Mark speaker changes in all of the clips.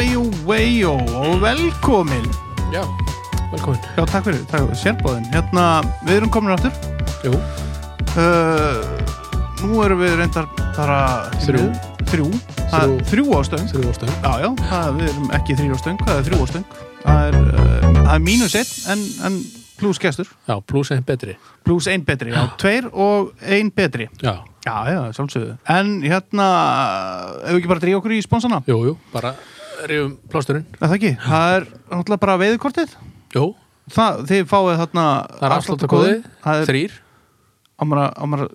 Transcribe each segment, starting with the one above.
Speaker 1: Veió og velkomin
Speaker 2: Já, velkomin
Speaker 1: Já, takk fyrir, takk fyrir, sérbóðin Hérna, við erum komin aftur
Speaker 2: Jú,
Speaker 1: uh, Nú erum við reyndar bara
Speaker 2: Þrjú.
Speaker 1: Þrjú, það,
Speaker 2: Þrjú.
Speaker 1: er þrjú ástöng
Speaker 2: þurfum ástæðum
Speaker 1: Já, já, það, við erum ekki þrjú ástöng, það er þrjú ástöng Það er, uh, það er mínus einn en, en plus gestur
Speaker 2: Já, pluss einn betri
Speaker 1: Plus ein betri, já, tveir og ein betri
Speaker 2: Já,
Speaker 1: Já, já, sjálfsögðu En hérna, ef við ekki bara dríu okkur í sponsana
Speaker 2: jú, jú, bara rifum plásturinn
Speaker 1: Er Það ekki, það er náttúrulega bara veiðkortið
Speaker 2: Jú,
Speaker 1: Það, þið fáið þarna
Speaker 2: það er afsláttakóði
Speaker 1: Það er
Speaker 2: Þrýr,
Speaker 1: ámara, ámara,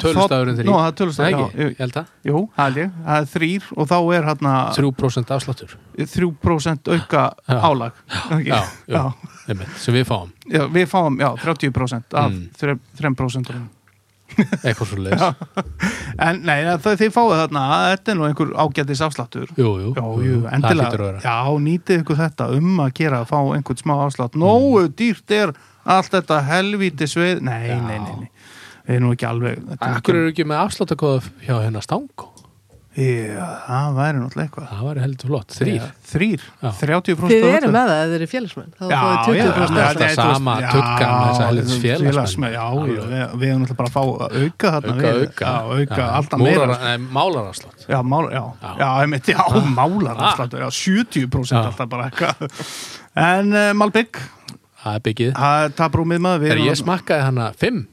Speaker 2: tölustafurinn þrýr
Speaker 1: Nó, það er
Speaker 2: Það
Speaker 1: tölustafur,
Speaker 2: ekki,
Speaker 1: já jú,
Speaker 2: ég held það
Speaker 1: Jú, það held ég, það er þrýr og þá er hérna
Speaker 2: 3% afsláttur
Speaker 1: 3% auka
Speaker 2: Já.
Speaker 1: álag Það ekki?
Speaker 2: Já, jú,
Speaker 1: já.
Speaker 2: einmitt, sem við fáum
Speaker 1: já, við fáum, já, 30% af
Speaker 2: Mm.
Speaker 1: 3%, 3
Speaker 2: Eitthvað svo leis
Speaker 1: En nei, það, þið fáið þarna, þetta er nú einhver ágætis afsláttur
Speaker 2: Jú, jú,
Speaker 1: Já, jú,
Speaker 2: Það hlýtur
Speaker 1: endilega,
Speaker 2: að vera
Speaker 1: já, nýtið ykkur þetta um að gera að fá einhvern smá afslátt
Speaker 2: Mm.
Speaker 1: Nóu dýrt er allt þetta helvíti sveið Nei,
Speaker 2: Já.
Speaker 1: nei, nei, nei, við erum nú ekki alveg þetta um- er nú
Speaker 2: Akkur eru ekki með afsláttakóða hjá hérna hennar stang
Speaker 1: ekki- Já, það væri náttúrulega eitthvað Eh,
Speaker 2: Það væri heldur flott, þrýr
Speaker 1: Já, Þrýr,
Speaker 2: Já.
Speaker 1: 30% af
Speaker 3: Þið
Speaker 1: öllu.
Speaker 3: erum með það, þið eru félagsmenn Þá
Speaker 1: Já,
Speaker 3: fáið
Speaker 1: já,
Speaker 2: já,
Speaker 3: 20%
Speaker 1: já,
Speaker 3: afslátt.
Speaker 1: nei, þú
Speaker 2: alltaf
Speaker 1: veist,
Speaker 2: sama
Speaker 1: já,
Speaker 2: tuggan með þessa helvítis
Speaker 1: félagsmenn.
Speaker 2: félagsmenn.
Speaker 1: Já, já, við, við erum náttúrulega bara að fá að auka þarna
Speaker 2: Auka,
Speaker 1: við.
Speaker 2: auka
Speaker 1: Já, auka
Speaker 2: Já,
Speaker 1: alltaf meira
Speaker 2: múrara- nei, Málarafslátt
Speaker 1: Já, mál, já,
Speaker 2: Já. Ah.
Speaker 1: já, einmitt, já, málar alltaf, já, 70%
Speaker 2: Já.
Speaker 1: alltaf bara eitthvað En uh, Malbygg,
Speaker 2: Það er byggið
Speaker 1: það er taprúmið maður við
Speaker 2: Þegar
Speaker 1: erum
Speaker 2: ég smakkaði hana fimm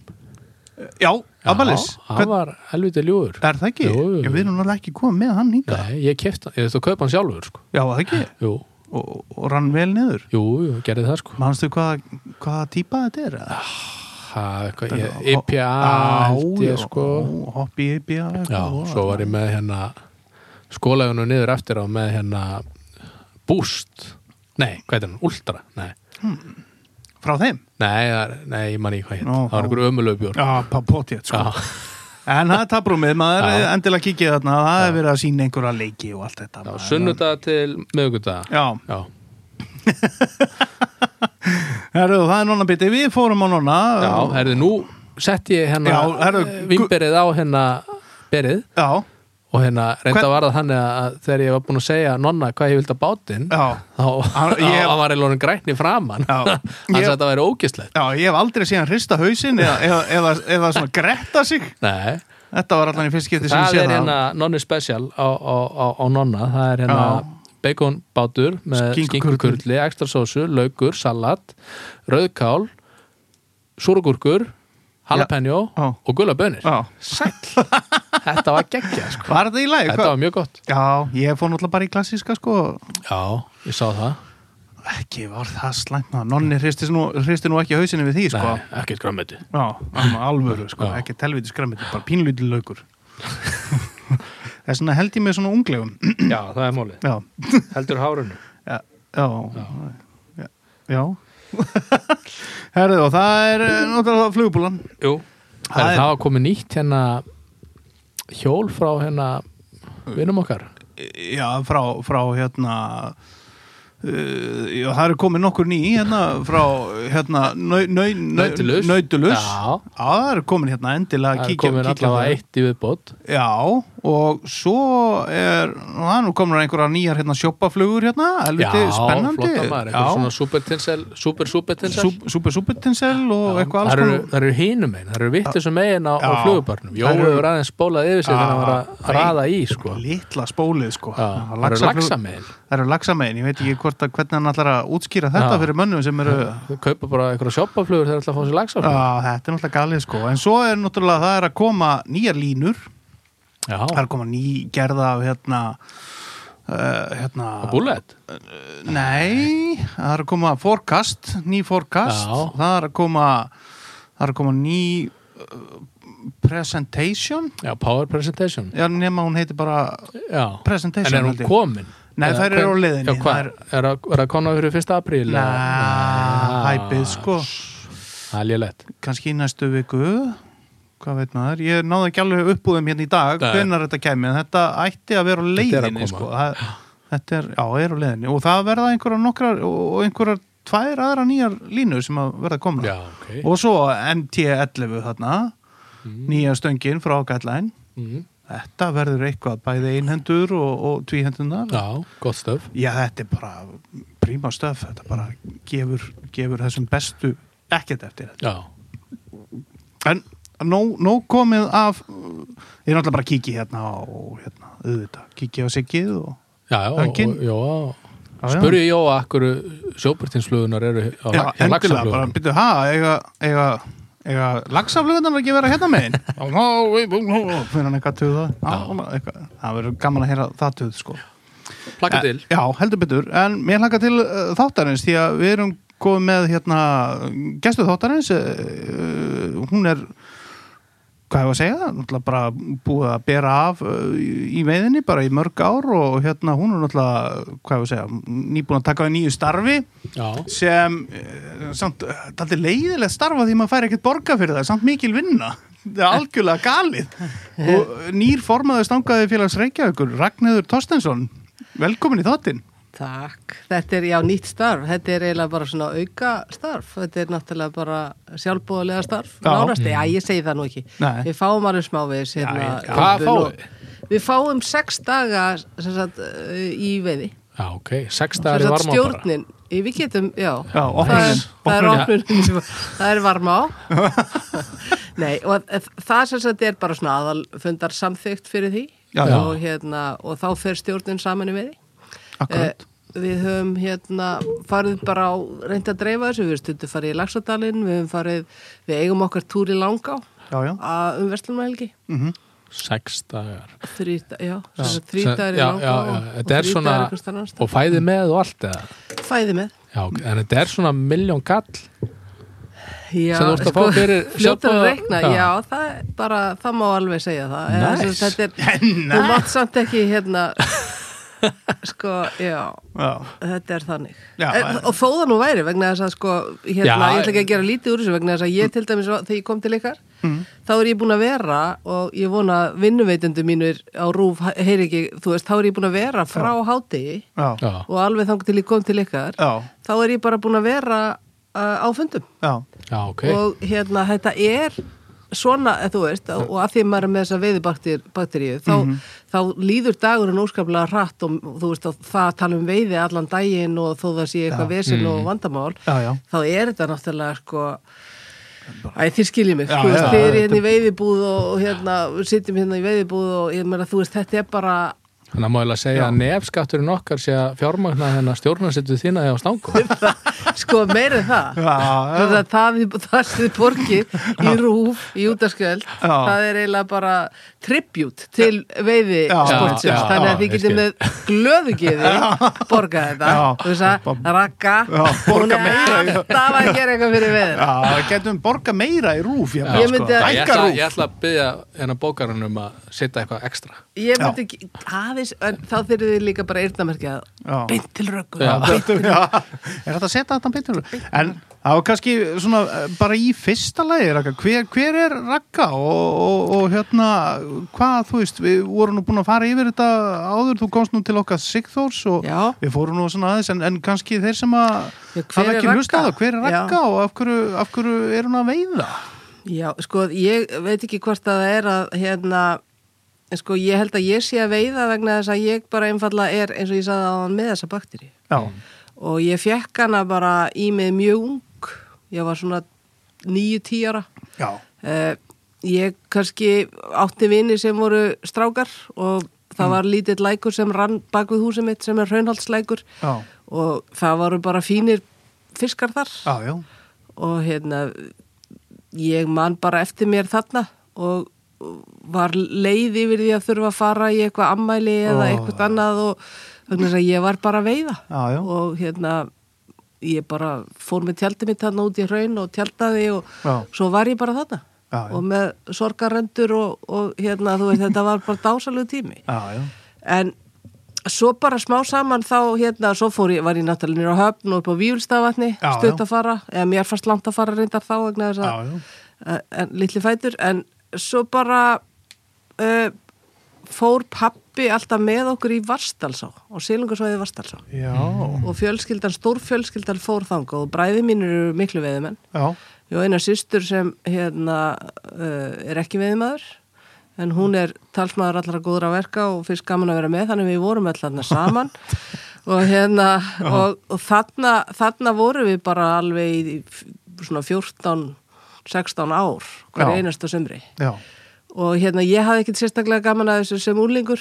Speaker 1: Já, Amalis
Speaker 2: Já, hann var helviti ljúður
Speaker 1: Er það ekki?
Speaker 2: Jú, jú, jú.
Speaker 1: Já, við erum náttúrulega ekki komið með hann hingað
Speaker 2: Nei, ég kefti hann, ég þú kaupa hann sjálfur sko.
Speaker 1: Já, það ekki,
Speaker 2: Jú,
Speaker 1: og, og rann vel niður
Speaker 2: jú, jú, gerði það sko
Speaker 1: Manstu hvað, hvaða típa þetta er? eða?
Speaker 2: ha, eitthvað, Ah, ég,
Speaker 1: Ho-
Speaker 2: IPA
Speaker 1: Á,
Speaker 2: held ég
Speaker 1: já,
Speaker 2: sko
Speaker 1: ó, Hoppi IPA eitthvað,
Speaker 2: Já,
Speaker 1: ó,
Speaker 2: svo var ég með hérna skólaðinu niður eftir á með hérna Boost Nei, hvað heitir hann? Ultra? Nei,
Speaker 1: Frá þeim?
Speaker 2: nei, það er- nei ég man ekki hvað hétt
Speaker 1: Ó,
Speaker 2: Það var
Speaker 1: ó.
Speaker 2: einhver ömulöfbjór
Speaker 1: Já, potið, sko
Speaker 2: Já,
Speaker 1: En það er taprúmið, maður
Speaker 2: Já.
Speaker 1: endilega kikið þarna Það er verið að sína einhverja leiki og allt þetta
Speaker 2: já
Speaker 1: maður.
Speaker 2: sunnudag til miðvikudag
Speaker 1: Já,
Speaker 2: Já,
Speaker 1: herru, það er nonna biti Við fórum á nonna
Speaker 2: já, herðu, nú sett ég
Speaker 1: Já,
Speaker 2: hérna
Speaker 1: herðu,
Speaker 2: vimberið á hérna berið
Speaker 1: já,
Speaker 2: og hérna reynda
Speaker 1: Hvern-
Speaker 2: var það þannig að þegar ég var búin að segja nonna hvað ég vildi að bátinn
Speaker 1: já,
Speaker 2: þá
Speaker 1: Hann- ég-
Speaker 2: þá var ég lónum grætni framann
Speaker 1: Já.
Speaker 2: hann
Speaker 1: Ég-
Speaker 2: sagði að það væri ógislegt
Speaker 1: já Ég hef aldrei séð hann hrista hausinn eða, eða, eða, eða svona gretta sig
Speaker 2: Nei,
Speaker 1: Þetta var allan í fyrst skipti sem ég
Speaker 2: það
Speaker 1: séð
Speaker 2: er hérna nonni special á, á, á, á nonna það er hérna baconbátur með
Speaker 1: Skinkukurli.
Speaker 2: skinkukurli, ekstra sósu, laukur, salat rauðkál súrugurkur, jalapeno
Speaker 1: Já.
Speaker 2: og gulabönir
Speaker 1: Já.
Speaker 2: Sæll, þetta var geggja sko.
Speaker 1: Var þetta í lagi?
Speaker 2: þetta var mjög gott
Speaker 1: Já, ég fór náttúrulega bara í klassíska sko
Speaker 2: Já, ég sá það
Speaker 1: Ekki var það slæmt maður. Nonni hristi nú, hristi nú ekki hausinni við því sko
Speaker 2: Nei, ekkert græmmetu
Speaker 1: Já, amma, alvöru sko,
Speaker 2: Já.
Speaker 1: ekki telviti skræmið bara pínlítið laukur Það er svona held ég með svona unglegum
Speaker 2: Já, það er mólið,
Speaker 1: Já,
Speaker 2: heldur hárunum
Speaker 1: já, já, já, já. Herðu og það er eh, náttúrulega flugbúlan
Speaker 2: Jú,
Speaker 1: Það
Speaker 2: það,
Speaker 1: er-
Speaker 2: var komið nýtt hérna hjól frá hérna vinnum okkar
Speaker 1: Já, frá, frá hérna Uh, já, það eru komið nokkur ný hérna frá hérna nau- nau- nau-
Speaker 2: Nautilus.
Speaker 1: Nautilus
Speaker 2: Já,
Speaker 1: Já, það eru komin hérna endilega
Speaker 2: það
Speaker 1: að
Speaker 2: er
Speaker 1: kíkja,
Speaker 2: komin
Speaker 1: kíkja á
Speaker 2: allavega
Speaker 1: það.
Speaker 2: eitt í viðbót
Speaker 1: Já, og svo er, nú, það er nú komin einhverja nýjar hérna sjoppaflugur hérna, helviti spennandi.
Speaker 2: flottar maður, eitthvað svona supertinsel super supertinsel
Speaker 1: Sú- Super Supertinsel og eitthvað alls
Speaker 2: Það eru,
Speaker 1: konar.
Speaker 2: það eru hinum megin, það eru vittir sem megin á, á
Speaker 1: Já.
Speaker 2: flugubarnum Jó,
Speaker 1: Þær
Speaker 2: það
Speaker 1: eru-
Speaker 2: eru aðeins spólað yfir sig
Speaker 1: Já.
Speaker 2: þannig að var að raða í sko.
Speaker 1: Litla spólið sko.
Speaker 2: Já, það eru
Speaker 1: laxaflug-
Speaker 2: laxa megin
Speaker 1: Það eru laxamegin, ég veit ekki hvort að hvernig hann allar að útskýra þetta
Speaker 2: Já.
Speaker 1: fyrir mönnum sem eru...
Speaker 2: Þau kaupa bara eitthvað sjoppaflugur þegar ætla að fá sér
Speaker 1: Já,
Speaker 2: laxaflugur
Speaker 1: þetta er náttúrulega galið sko. En svo er náttúrulega, það er að koma nýjar línur, það
Speaker 2: Já,
Speaker 1: er að koma ný gerða af hérna... Uh, hérna
Speaker 2: búllet
Speaker 1: Nei, það er að koma forecast, ný forecast
Speaker 2: Já.
Speaker 1: það er að koma það er að koma ný uh, presentation
Speaker 2: Já, power presentation
Speaker 1: já, nema hún heiti bara
Speaker 2: Já,
Speaker 1: presentation
Speaker 2: En er
Speaker 1: held
Speaker 2: hún
Speaker 1: ég.
Speaker 2: komin?
Speaker 1: Nei,
Speaker 2: Eða
Speaker 1: þær eru á
Speaker 2: hven-
Speaker 1: leiðinni.
Speaker 2: Já, hvað?
Speaker 1: Þær-
Speaker 2: Er að- er það konar fyrir 1. apríl?
Speaker 1: Nei, hæpið sko
Speaker 2: Það er lélegt
Speaker 1: kannski í næstu viku hvað veit maður, ég náði ekki alveg uppbúðum hérna í dag,
Speaker 2: Nei.
Speaker 1: hvenar þetta kæmi en þetta ætti að vera á
Speaker 2: Þetta er að
Speaker 1: leiðinni
Speaker 2: koma.
Speaker 1: sko. það, þetta er, já, er á leiðinni og það verða einhverjar nokkrar og og einhverjar tvær aðra nýjar línur sem að verða komna
Speaker 2: Já, ok
Speaker 1: og svo MT11 þarna nýja stöngin frá Gætlæn
Speaker 2: mm.
Speaker 1: þetta verður eitthvað bæði einhendur og, og tvíhendunar
Speaker 2: Já, gott stöf
Speaker 1: Já, þetta er bara príma stöf, þetta bara gefur, gefur þessum bestu ekkert eftir þetta.
Speaker 2: Já,
Speaker 1: En nóg, nóg komið af, uh, ég er náttúrulega bara að kíkja hérna og hérna, auðvitað, kíkja á siggið og...
Speaker 2: já, já,
Speaker 1: Hann
Speaker 2: og,
Speaker 1: kyn-
Speaker 2: og, já
Speaker 1: Já, já.
Speaker 2: Spurði Jóa akkur sjóbyrtinsflugunar eru á
Speaker 1: Já,
Speaker 2: lag- hjá
Speaker 1: endilega, bara
Speaker 2: laxaflugunum.
Speaker 1: byrju, ha, eiga, eiga, eiga lagsaflugunar ekki vera hérna megin? Já, ná, við- Fyrir hann eitthvað tuða, Já, eitthvað. það verður gaman að heyra það tuð, sko.
Speaker 2: Plakka til
Speaker 1: Eh, Já, heldur betur, en mér hlaka til uh, þáttarins því að við erum komið með hérna, gestu þáttarins uh, hún er hvað hefur að segja, náttúrulega bara búið að bera af uh, í veiðinni bara í mörg ár og hérna hún er náttúrulega, hvað hefur að segja nýbúin að taka við nýju starfi
Speaker 2: Já,
Speaker 1: sem, uh, samt, uh, þetta er leiðilegt starfa því maður fær ekkert borga fyrir það samt mikil vinna, það er algjörlega galið og uh, nýr formaður stangaði félags Reykjavíkur, Ragnhildur Torstensson velkomin í þáttinn
Speaker 3: Takk, þetta er já nýtt starf, þetta er eiginlega bara svona auka starf, þetta er náttúrulega bara sjálfbúðulega starf,
Speaker 1: Já.
Speaker 3: nánasti, já ég segi það nú ekki,
Speaker 1: Nei.
Speaker 3: við fáum alveg smáveðis hérna.
Speaker 1: Já, já.
Speaker 2: Hvað
Speaker 3: við
Speaker 2: fáið?
Speaker 3: nú- Við fáum sex daga sem sagt, uh, í veiði,
Speaker 2: já ok, sex
Speaker 3: Sem
Speaker 2: dagar í
Speaker 3: sagt,
Speaker 2: varma bara
Speaker 3: stjórnin, við getum, já,
Speaker 1: Já,
Speaker 3: það er,
Speaker 1: opnunin.
Speaker 3: það er
Speaker 1: Opnunin.
Speaker 3: opnunin, sem- það er varma á, nei og það sem sagt er bara svona aðalfundar samþygt fyrir því
Speaker 1: Já,
Speaker 2: já.
Speaker 3: og hérna og þá fer stjórnin saman í veiði.
Speaker 1: Akkurat.
Speaker 3: Eh, Við höfum hérna farið bara á reynd að dreifa þessu, við höfum stundu farið í Laxadalinn, við höfum farið, við eigum okkar túr í Langá
Speaker 1: já, já.
Speaker 3: að um Vestlumælgi,
Speaker 2: Sex dagar
Speaker 3: þrýta, já,
Speaker 2: Sem-
Speaker 3: þrýta er í
Speaker 2: já,
Speaker 3: Langá
Speaker 2: já, já,
Speaker 3: og- og
Speaker 2: Þetta er
Speaker 3: þrír
Speaker 2: svona,
Speaker 3: dagar einhvers staðar annars staðar.
Speaker 2: og fæði með og allt eða
Speaker 3: fæði með.
Speaker 2: Já, ok, en þetta er svona miljón kall
Speaker 3: Já,
Speaker 2: Sem þú ert að fá fyrir
Speaker 3: fljótur að
Speaker 2: sjálfboða-
Speaker 3: reikna,
Speaker 2: Já.
Speaker 3: já, það er bara, það má alveg segja það Eða,
Speaker 2: Nice.
Speaker 3: sem sagt, þetta er, þú mátt samt ekki hérna sko, já
Speaker 1: Já.
Speaker 3: þetta er þannig
Speaker 1: Já,
Speaker 3: en,
Speaker 1: en-
Speaker 3: og þó það nú væri vegna þess að sko hérna,
Speaker 2: Já,
Speaker 3: ég ætla ekki að gera lítið úr þessu vegna þess að ég til dæmis var- þegar ég kom til ykkar
Speaker 2: Mm.
Speaker 3: þá er ég búin að vera og ég vona vinnuveitundu mínir á rúf heyri ekki, þú veist, þá er ég búin að vera frá hátegi
Speaker 1: Já. Já.
Speaker 2: Já,
Speaker 3: og alveg þang til ég kom til ykkar
Speaker 1: Já.
Speaker 3: þá er ég bara búin að vera uh, á fundum
Speaker 1: Já.
Speaker 2: já, ok
Speaker 3: og hérna þetta er svona, eh, þú veist, og að því að maður er með þessa veiðibakteríu, þá,
Speaker 1: Mhm.
Speaker 3: þá líður dagurinn óskaplega hratt og þú veist, og það tala um veiði allan daginn og þó það sé eitthvað vesinn og vandamál,
Speaker 1: Mhm. Já, já.
Speaker 3: þá er þetta náttúrulega sko Æ, þið skiljið mig,
Speaker 1: Já,
Speaker 3: þú veist,
Speaker 1: já,
Speaker 3: þið er
Speaker 1: þetta-
Speaker 3: hérna í veiðibúð og, og hérna, við sitjum hérna í veiðibúð og ég meina, þú veist, þetta er bara
Speaker 2: Þannig að maður segja að nefskatturinn okkar sé að fjármagna hennar stjórnarsettu þína hjá stangu
Speaker 3: sko meira en það
Speaker 1: Já,
Speaker 3: það, það, það, það sem borgið í rúf, í útaskjöld
Speaker 1: Já.
Speaker 3: það er eiginlega bara tribut til veiði
Speaker 1: Já,
Speaker 3: sportsins,
Speaker 2: já,
Speaker 3: þannig
Speaker 2: já,
Speaker 3: að þið
Speaker 2: ég
Speaker 3: getum
Speaker 2: skil.
Speaker 3: með glöðugiði borga þetta,
Speaker 1: Já.
Speaker 3: þú veist að rakka,
Speaker 1: Já, borga meira, já.
Speaker 3: það var að gera eitthvað fyrir veiðina
Speaker 1: Já, getum borga meira í rúf ég, bara,
Speaker 3: Ég myndi að-
Speaker 2: sko. Ég
Speaker 1: Hækka
Speaker 2: ætla,
Speaker 1: rúf.
Speaker 2: ég ætla að byggja hennar bókarinn um að setja eitthvað ekstra
Speaker 3: ég myndi ekki, aðeins, en þá þurfið þið líka bara eyrnamerkja
Speaker 1: Já.
Speaker 3: beint til röggu
Speaker 2: Já.
Speaker 1: Já. Er þetta að setja þetta betur? En það var kannski svona eh, bara í fyrsta lagi Ragga, hver, hver er Ragga og, og, og hérna hvað þú veist, við vorum nú búin að fara yfir þetta áður, þú komst nú til okkar Sigþórs og
Speaker 3: Já.
Speaker 1: við fórum nú svona aðeins en, en kannski þeir sem að
Speaker 3: Já, hver
Speaker 1: hafa
Speaker 3: er
Speaker 1: ekki
Speaker 3: Ragga?
Speaker 1: hlustað á, hver er
Speaker 3: Já.
Speaker 1: Ragga og af hverju, af hverju er hún að veiða?
Speaker 3: Já, sko, ég veit ekki hvort að það er að, hérna, sko, ég held að ég sé að veiða vegna þess að ég bara einfallega er, eins og ég sagði að með þessa bakterju.
Speaker 1: Já,
Speaker 3: Og ég fekk hana bara í mig mjög ung, ég var svona nýju, tíjara.
Speaker 1: já,
Speaker 3: Uh, ég kannski átti vini sem voru strákar og það var lítill lækur sem rann bak við húsið mitt sem er raunhaldslækur
Speaker 1: já,
Speaker 3: og það voru bara fínir fiskar þar
Speaker 1: já, já.
Speaker 3: og hérna ég man bara eftir mér þarna og var leið yfir því að þurfa að fara í eitthvað ammæli eða
Speaker 1: Ó.
Speaker 3: eitthvað annað og þannig að ég var bara að veiða
Speaker 1: Já, já.
Speaker 3: og hérna ég bara fór með tjaldið mitt þarna út í hraun og tjaldaði og
Speaker 1: Já.
Speaker 3: svo var ég bara þarna
Speaker 1: Já, já.
Speaker 3: og með sorgarrendur og, og hérna þú veist þetta var bara dásalegu tími
Speaker 1: Já, já.
Speaker 3: en svo bara smá saman þá hérna, svo fór ég, var ég náttúrulega nýra á höfn og upp á Víulstafatni,
Speaker 1: Já,
Speaker 3: stutt
Speaker 1: já.
Speaker 3: að fara eða mér fannst langt að fara reyndar þá vegna þess
Speaker 1: Já,
Speaker 3: að
Speaker 1: já.
Speaker 3: eh, en, litli fætur, en svo bara uh, fór pappi alltaf með okkur í Vastalsá og sílungarsvæði Vastalsá
Speaker 1: Já,
Speaker 3: og fjölskyldan, stórfjölskyldan fór þangað og bræði mínir eru miklu veðumenn
Speaker 1: já,
Speaker 3: eh, Ég á eina systur sem hérna, uh, er ekki veiðmaður en hún er talsmaður allra góðra verka og fyrst gaman að vera með, þannig við vorum allarna saman og hérna og, og þarna, þarna vorum við bara alveg í svona 14 16 ár hver
Speaker 1: Já.
Speaker 3: einasta sömri
Speaker 1: já,
Speaker 3: og hérna ég hafði ekkit sérstaklega gaman að þessu sem úrlingur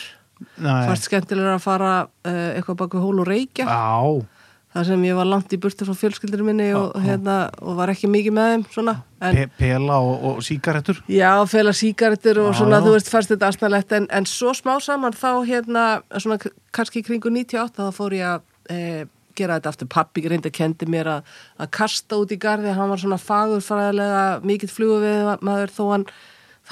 Speaker 1: nei,
Speaker 3: fast skemmtilega að fara uh, eitthvað bak við hól og reykja
Speaker 1: já,
Speaker 3: þar sem ég var langt í burtu frá fjölskyldur minni og, hérna, og var ekki mikið með þeim svona. en
Speaker 1: pe pela og, og sígarettur,
Speaker 3: já, fela sígarettur og
Speaker 1: Já,
Speaker 3: svona
Speaker 1: já.
Speaker 3: þú veist fannst þetta asnalett en, en svo smá saman þá hérna svona k- kannski í kringu 98 þá fór ég að e, gera þetta aftur pappi reyndi að kendi mér að, að kasta út í garði hann var svona fagurfræðilega mikill flugu við maður þó hann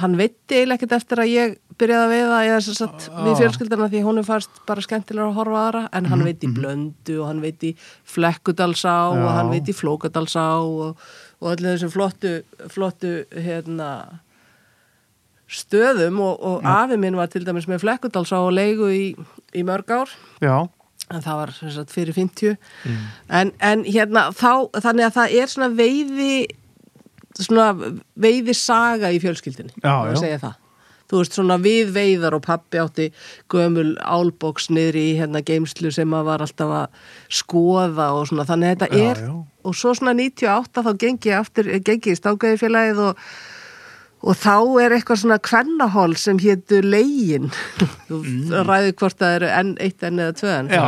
Speaker 3: hann veitti eiginlega ekkert eftir að ég byrjaði að veiða eða þess að við fjölskyldana því honum fannst bara skemmtilega að horfa á aðra en hann veit í blöndu og hann veit í flekkudalsá og
Speaker 1: Já.
Speaker 3: hann veit í flókadalsá og, og allir þessum flottu, flottu hérna, stöðum og, og afi minn var til dæmis með flekkudalsá og leigu í, í mörg ár
Speaker 1: já,
Speaker 3: en það var sem sagt, fyrir 50
Speaker 1: Mm.
Speaker 3: en, en hérna þá, þannig að það er svona veiði svona veiði saga í fjölskyldinni
Speaker 1: Já,
Speaker 3: ef
Speaker 1: já.
Speaker 3: að segja það þú veist svona við veiðar og pappi átti gömul álboks niður í hérna geimslu sem að var alltaf að skoða og svona þannig að þetta
Speaker 1: Já,
Speaker 3: er
Speaker 1: já.
Speaker 3: og svo svona 98 þá gengi ég aftur, gengi ég stákaði félagið og, og þá er eitthvað svona kvennahól sem hétur legin þú ræður hvort það eru enn eitt enn eða tvö enn
Speaker 1: Já.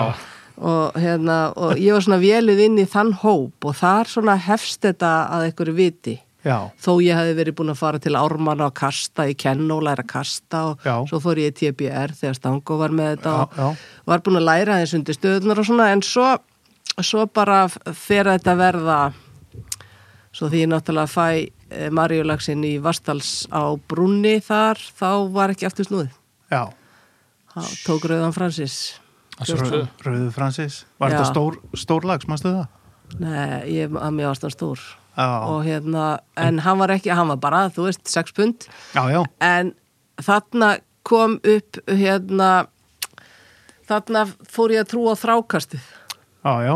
Speaker 3: og hérna og ég var svona velið inn í þann hóp og þar svona hefst þetta að einhverju viti
Speaker 1: já,
Speaker 3: þó ég hefði verið búin að fara til ármanna og kasta í kenn og læra að kasta og
Speaker 1: Já.
Speaker 3: svo fór ég í TBR þegar Stango var með þetta og
Speaker 1: Já, já.
Speaker 3: var búin að læra aðeins undir stöðunar og svona en svo, svo bara f- fer þetta að verða svo því ég náttúrulega fæ Marjulagsinn í Vastals á Brunni þar, þá var ekki aftur snúið
Speaker 1: já,
Speaker 3: þá tók Rauðan Fransis
Speaker 2: Að
Speaker 1: Rau,
Speaker 2: sjálfsögðu.
Speaker 1: Rauðu Francis, var
Speaker 3: Já.
Speaker 1: þetta stór, stórlags, mannstu það?
Speaker 3: Nei, ég, að mér varst hann stór
Speaker 1: Já,
Speaker 3: og hérna, en hann var ekki, hann var bara, þú veist, 6 pund
Speaker 1: já, já,
Speaker 3: en þarna kom upp hérna þarna fór ég að trúa á þrákastið
Speaker 1: já, já,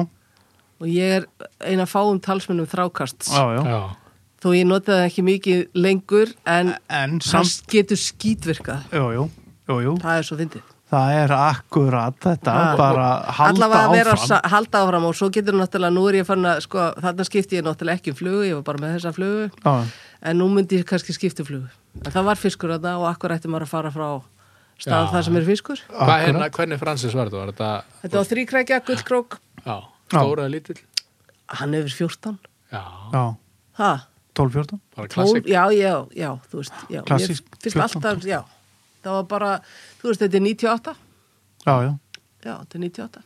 Speaker 3: og ég er eina fáum talsmennum þrákasts
Speaker 1: já, já,
Speaker 2: Já.
Speaker 3: þó ég notaði það ekki mikið lengur en
Speaker 1: en samt,
Speaker 3: það getur skítvirkað
Speaker 1: jú, jú, jú, jú,
Speaker 3: það er svo fyndið
Speaker 1: það er akkurat þetta,
Speaker 3: Það-
Speaker 1: bara halda
Speaker 3: Allavega að vera
Speaker 1: áfram,
Speaker 3: að sa- halda áfram og svo getur náttúrulega, nú er ég fann að sko, þarna skipti ég náttúrulega ekki um flugu, ég var bara með þessa flugu
Speaker 1: Já.
Speaker 3: en nú myndi ég kannski skipta um flugu en það var fiskur þarna og akkur ætti maður að fara frá stað
Speaker 2: Já.
Speaker 3: það sem er fiskur
Speaker 2: Hvað hérna, hvernig Francis var þetta? Var þetta,
Speaker 3: Þetta var þrýkrækja, gullkrók
Speaker 2: já, stóra eða lítill?
Speaker 3: hann er yfir 14
Speaker 2: Já,
Speaker 1: já,
Speaker 3: ha,
Speaker 1: 12-14,
Speaker 2: bara
Speaker 3: tól,
Speaker 2: klassik.
Speaker 3: já, já, já, þú veist já, mér
Speaker 1: Klassísk
Speaker 3: finnst
Speaker 1: 14.
Speaker 3: alltaf, já, það var bara þú veist, þetta er 98
Speaker 1: já, já,
Speaker 3: já, þetta er 98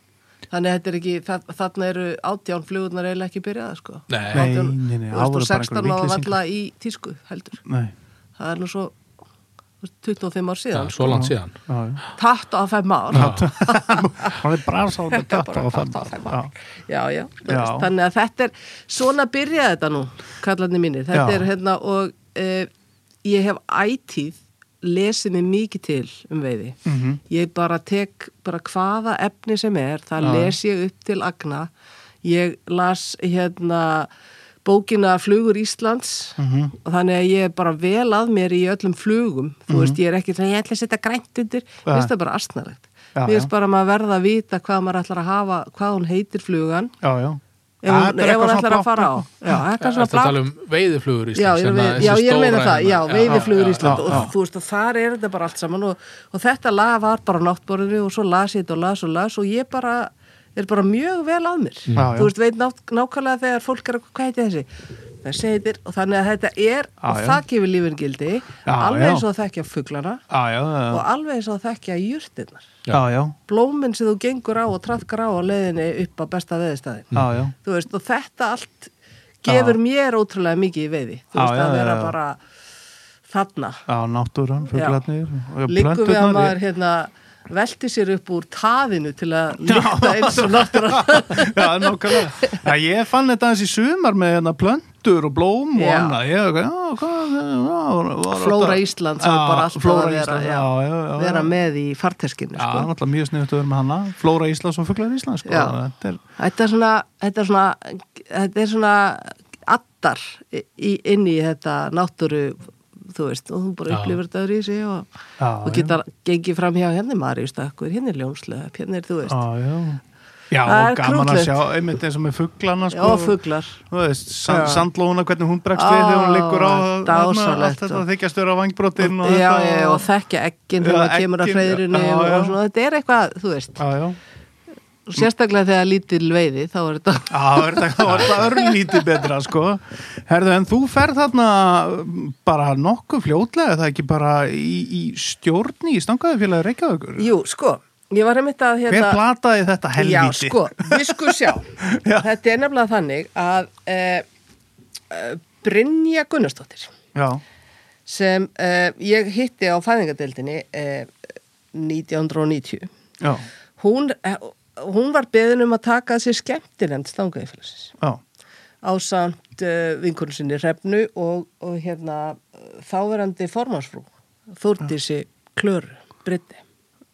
Speaker 3: þannig að þetta er ekki, það, þarna eru átján flugurnar eiginlega ekki byrjaða, sko
Speaker 2: Nei.
Speaker 1: Nei,
Speaker 3: Átján-
Speaker 1: nei, nei, það
Speaker 3: þú veist,
Speaker 1: voru
Speaker 3: og
Speaker 1: bara
Speaker 3: 16
Speaker 1: einhverjar
Speaker 3: var
Speaker 1: vitleysingar.
Speaker 3: valla í tísku, heldur
Speaker 1: nei,
Speaker 3: það er nú svo þú veist, 25 ár
Speaker 2: Já,
Speaker 3: síðan, sko.
Speaker 2: svo langt síðan.
Speaker 1: já, já.
Speaker 3: tatt á 5 ár
Speaker 1: hann er brasa á þetta
Speaker 3: bara
Speaker 1: og
Speaker 3: tatt á 5 ár já, já, þú
Speaker 1: Já.
Speaker 3: veist, þannig að þetta er svona byrjaði þetta nú, kallarni mínir þetta
Speaker 1: Já.
Speaker 3: er hérna og uh, ég hef ætíð lesið mér mikið til um veiði
Speaker 1: Mhm.
Speaker 3: ég bara tek bara hvaða efni sem er, það
Speaker 1: Já.
Speaker 3: les ég upp til agna, ég las hérna bókina Flugur Íslands
Speaker 1: Mhm.
Speaker 3: og þannig að ég er bara vel að mér í öllum flugum, þú veist, ég er ekki svona, ég ætla að setja grænt undir,
Speaker 1: Mhm. Nei.
Speaker 3: mér finnst það bara astnalegt
Speaker 1: Já,
Speaker 3: mér
Speaker 1: já.
Speaker 3: finnst bara að maður verða að vita hvað maður ætlar að hafa, hvað hún heitir flugan
Speaker 1: já, já
Speaker 3: ef
Speaker 1: Ah, þetta
Speaker 3: hún,
Speaker 1: er
Speaker 3: ef
Speaker 1: eitthvað
Speaker 3: hún
Speaker 1: svona
Speaker 3: ætlar að
Speaker 1: blátt-
Speaker 3: fara á já, þetta
Speaker 2: Ertu
Speaker 3: er
Speaker 2: að
Speaker 3: svona
Speaker 2: tala
Speaker 3: blá
Speaker 2: um veiðiflugur hérna, í
Speaker 3: já,
Speaker 2: Ísland?
Speaker 3: ég, vei- já, ég meina það, hérna. já, veiðiflugur
Speaker 1: já,
Speaker 3: Ísland
Speaker 1: já.
Speaker 3: og þú veist, og þar er þetta bara allt saman og, og þetta lag var bara á náttborðinu og svo las ég þetta og las og las og ég bara er bara mjög vel að mér
Speaker 1: Já, já.
Speaker 3: þú veist, veit ná, nákvæmlega þegar fólk er að hvað heitir þessi þessi heitir, og þannig að þetta er
Speaker 1: Já,
Speaker 3: og
Speaker 1: já.
Speaker 3: það gefur lífin gildi
Speaker 1: Já,
Speaker 3: alveg
Speaker 1: já.
Speaker 3: eins og að þekkja fuglana
Speaker 1: já, já,
Speaker 3: og
Speaker 1: já,
Speaker 3: alveg eins og að þekkja jurtinnar
Speaker 1: já, já,
Speaker 3: blóminn sem þú gengur á og trafkar á á leiðinni upp á besta veðistæðin
Speaker 1: já, já.
Speaker 3: þú veist, og þetta allt gefur
Speaker 1: Já.
Speaker 3: mér ótrúlega mikið í veiði þú
Speaker 1: Já,
Speaker 3: veist,
Speaker 1: já,
Speaker 3: að
Speaker 1: já,
Speaker 3: vera
Speaker 1: já.
Speaker 3: bara þarna
Speaker 1: Já, náttúran, fuglarnir og
Speaker 3: liggum við að
Speaker 1: plönturnar.
Speaker 3: maður hérna velti sér upp úr taðinu til að lykta eins og náttúrulega
Speaker 1: Já, nákvæmlega. Já, ég fann þetta aðeins í sumar með hérna plöntur og blóm og
Speaker 3: Já.
Speaker 1: annað. Ég, já, hvað, já, var, var
Speaker 3: Flóra
Speaker 1: þetta-
Speaker 3: Íslands var bara alltaf
Speaker 1: Flóra
Speaker 3: að vera,
Speaker 1: Íslands,
Speaker 3: já,
Speaker 1: já, já, já, já.
Speaker 3: vera með í farteskinu
Speaker 1: Já, það er
Speaker 3: sko.
Speaker 1: náttúrulega mjög sniðut að vera með hana. Flóra Íslands og fuglar Íslands, sko.
Speaker 3: Já.
Speaker 1: Þetta er,
Speaker 3: þetta er svona þetta er svona, þetta er svona addar í, inn í þetta náttúru þú veist, og þú bara
Speaker 2: Já.
Speaker 3: upplifir þetta öðru í sig og,
Speaker 1: Já,
Speaker 3: og geta gengið fram hjá hérna henni Maríu Stakkur, henni er ljónslöf, henni er, þú veist,
Speaker 1: Já, já. Já,
Speaker 3: Það er
Speaker 1: gaman að
Speaker 3: krúttlegt.
Speaker 1: sjá, einmitt eins og með fugglana
Speaker 3: já,
Speaker 1: sko,
Speaker 3: fuglar.
Speaker 1: þú veist, sand,
Speaker 3: Já.
Speaker 1: sandlóna, hvernig hún bregst
Speaker 3: Á,
Speaker 1: við þegar hún liggur á
Speaker 3: dásamlegt,
Speaker 1: allt þetta
Speaker 3: og-
Speaker 1: þykja störa vangbrotin og
Speaker 3: og, já,
Speaker 1: þetta
Speaker 3: já, og þekkja ekkin þegar
Speaker 1: Já,
Speaker 3: það kemur að
Speaker 1: eggin,
Speaker 3: freyðurinu
Speaker 1: já,
Speaker 3: og,
Speaker 1: já.
Speaker 3: og svona, þetta er eitthvað, þú veist
Speaker 1: Já, já,
Speaker 3: sérstaklega þegar lítil veiði, þá er þetta
Speaker 1: Já, það var þetta- það var þetta örnlítið betra sko. Herðu, en þú ferð þarna bara nokkuð fljótlega er það ekki bara í, í stjórni í stangaði félagi Reykjavíkur
Speaker 3: Jú, sko, ég var einmitt að hérna-
Speaker 1: Hver plataði þetta helvíti?
Speaker 3: Já, sko, við skulum sjá
Speaker 1: Já.
Speaker 3: Þetta er nefnilega þannig að e, e, Brynja Gunnarsdóttir
Speaker 1: Já,
Speaker 3: sem e, ég hitti á fæðingadeildinni e, 1990
Speaker 1: já,
Speaker 3: hún, eh, hún var beðin um að taka að sér skemmtinemnd stangaðifélagsins
Speaker 1: já,
Speaker 3: ásamt uh, vinkunum sinni Hrefnu og, og hérna eh, þáverandi formansfrú Þórdísi Klöru Brytti.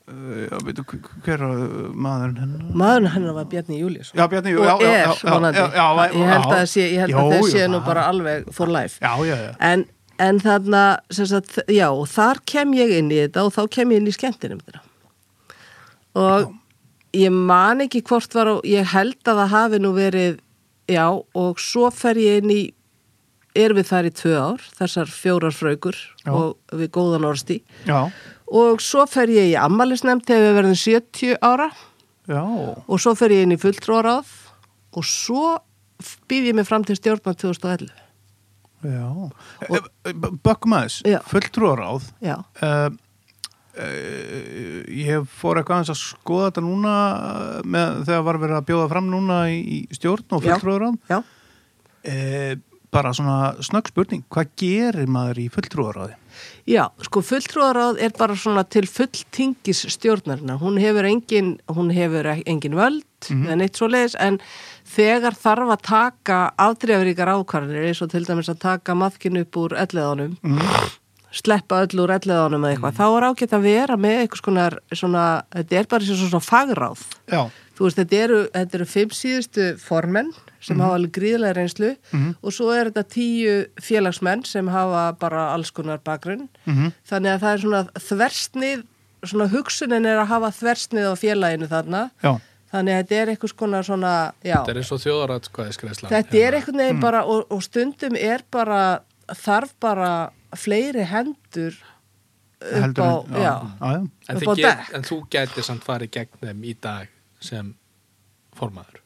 Speaker 1: Uh, já veitu, hver var uh, maðurinn hennar?
Speaker 3: Maðurinn hennar var Bjarni Július
Speaker 1: Já, Bjarni, já,
Speaker 3: og
Speaker 1: já,
Speaker 3: er
Speaker 1: já, já,
Speaker 3: vonandi.
Speaker 1: já, já, já,
Speaker 3: ég held að, það sé, ég held að
Speaker 1: Jú,
Speaker 3: þeir
Speaker 1: jú,
Speaker 3: séu nú
Speaker 1: það-
Speaker 3: bara alveg for life.
Speaker 1: Já, já, já,
Speaker 3: En, en þarna, sem sagt, já, og þar kem ég inn í þetta og þá kem ég inn í skemmtinemndina. Og ég man ekki hvort var og ég held að það hafi nú verið, já, og svo fer ég inn í, erum við þar í tvö ár, þessar fjórar fraukur
Speaker 1: Já.
Speaker 3: og við góðan orðstí.
Speaker 1: já,
Speaker 3: Og svo fer ég í ammælisnefnd þegar við verðum 70 ára
Speaker 1: já,
Speaker 3: og svo fer ég inn í fulltróðráð og svo býð ég mig fram til stjórna 2011.
Speaker 1: já. Eh, Bökkum aðeins,
Speaker 3: Já.
Speaker 1: fulltrúaráð,
Speaker 3: Já.
Speaker 1: uh, uh, ég fór eitthvað aðeins að skoða þetta núna uh, með, þegar var verið að bjóða fram núna í, í stjórn og
Speaker 3: Já.
Speaker 1: fulltrúaráð.
Speaker 3: Já.
Speaker 1: Uh, bara svona snögg spurning, hvað gerir maður í fulltrúaráði?
Speaker 3: Já, sko fulltrúaráð er bara svona til fulltingis stjórnarinnar. Hún hefur engin, hún hefur ek- engin völd en eitt svo leiðis en þegar þarf að taka afdrefaríkar ákvarðanir eins og til dæmis að taka maðkin upp úr elleðanum, sleppa öll úr elleðanum eða eitthvað, þá er ágætt að vera með eitthvað skonar svona, þetta er bara eins og svona fagráð.
Speaker 1: Já,
Speaker 3: Þú veist, þetta eru, þetta eru fimm síðustu formenn sem hafa alveg gríðlega reynslu og svo er þetta tíu félagsmenn sem hafa bara alls konar bakgrunn. Þannig að það er svona þversnið, svona hugsunin er að hafa þversnið á félaginu þarna.
Speaker 1: já,
Speaker 3: Þannig að þetta er eitthvað konar svona, já,
Speaker 2: Þetta er eins og Hérna. þjóðaratkvæðiskreisla
Speaker 3: þetta er eitthvað neginn bara og, og stundum er bara, þarf bara fleiri hendur upp
Speaker 1: heldur
Speaker 3: á,
Speaker 1: en-
Speaker 3: já,
Speaker 1: já, já.
Speaker 2: en,
Speaker 3: upp
Speaker 2: þið
Speaker 3: á
Speaker 2: get,
Speaker 3: dekk.
Speaker 2: en þú gæti samt farið gegn þeim í dag sem formaður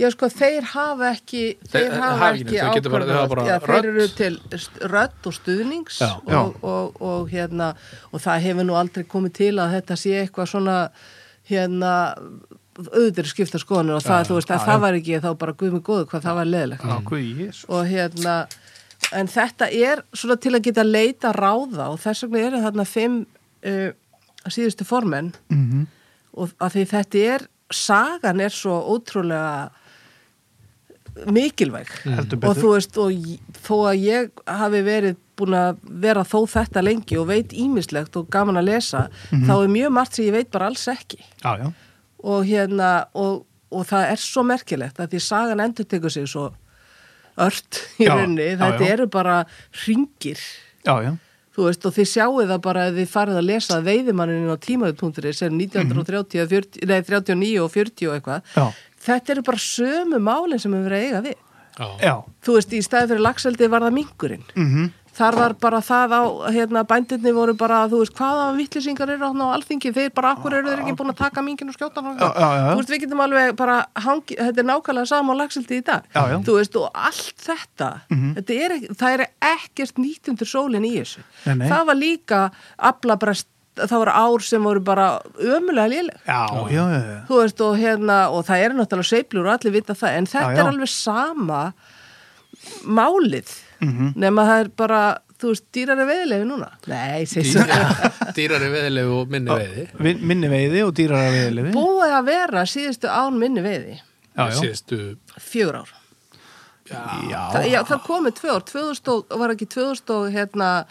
Speaker 3: Já, sko, þeir hafa ekki, þeir
Speaker 2: Þeir
Speaker 3: hafa
Speaker 2: hafa ekki
Speaker 3: ekki
Speaker 2: neitt, þau geta bara- þau hafa bara
Speaker 3: ákvörðað. Já, þeir
Speaker 2: rödd.
Speaker 3: eru til st- rödd og stuðnings
Speaker 2: Já.
Speaker 3: og,
Speaker 1: Já.
Speaker 3: Og, og, hérna, og það hefur nú aldrei komið til að þetta sé eitthvað svona, hérna, auðvitað skipta skoðanir og það, þú veist, að það var ekki þá bara guð með góðu hvað það var leðilegt.
Speaker 1: Já, hvað ég
Speaker 3: Og hérna, en þetta er svona til að geta leita ráða og þess vegna eru þarna fimm uh, síðustu formenn
Speaker 1: Mhm.
Speaker 3: og að því þetta er sagan er svo ótrúlega mikilvæg
Speaker 2: Mhm.
Speaker 1: Mm, Heldur
Speaker 3: og
Speaker 1: betur.
Speaker 3: þú veist og ég- þó að ég hafi verið búin að vera þó þetta lengi og veit ímislegt og gaman að lesa
Speaker 1: Mhm.
Speaker 3: þá er mjög margt sem ég veit bara alls ekki
Speaker 1: Já, já,
Speaker 3: og hérna og, og það er svo merkilegt að því sagan endur tekur sig svo ört í
Speaker 1: Já,
Speaker 3: rauninni,
Speaker 1: já,
Speaker 3: þetta
Speaker 1: já.
Speaker 3: eru bara ringir
Speaker 1: já, já.
Speaker 3: Þú veist, og þið sjáu það bara ef þið farið að lesa veiðimannin á tímaðupunkturinn sem 1930, og 40, nei, 39 og 40 og eitthvað.
Speaker 1: Já.
Speaker 3: Þetta eru bara sömu málinn sem hefur verið að eiga við.
Speaker 2: Já,
Speaker 1: Já,
Speaker 3: Þú veist, í staði fyrir lagseldi var það mingurinn.
Speaker 1: mhm,
Speaker 3: Þar var bara það á, hérna, bændinni voru bara, þú veist, hvaða vittlisingar eru þarna á alþingi, þeir bara, akkur eru þeir ekki búin að taka mingin og skjóta hann.
Speaker 1: Já, já, já.
Speaker 3: Þú veist, við getum alveg bara, hangi, þetta er nákvæmlega sama á lagseldi í dag.
Speaker 1: Já, Mhm. já.
Speaker 3: Þú veist, og allt þetta, þetta er, ekki- það er ekkert nýtt undir sólinn í þessu.
Speaker 1: Nei, nei.
Speaker 3: Það var líka aflabrest, það voru ár sem voru bara ömulega léleg.
Speaker 1: já, já, já, já.
Speaker 3: Þú veist, og hérna, og það er náttúrulega sveiflur og allir vita það, en þetta
Speaker 1: Já, já.
Speaker 3: er alveg sama málið,
Speaker 1: Mhm.
Speaker 3: nema það er bara, þú veist, dýrar er veiðilefi núna. Nei, segir svo.
Speaker 2: dýrari, dýrari veðilegu og minni veiði
Speaker 1: Vin- minni veiði og dýrara veiðilefi
Speaker 3: Búið að vera síðustu án minni veiði,
Speaker 1: Já, já.
Speaker 2: síðustu
Speaker 3: fjögur ár.
Speaker 1: já,
Speaker 3: Þa, já, það komið tvö ár, 2000 og, var ekki 2000 og, hérna,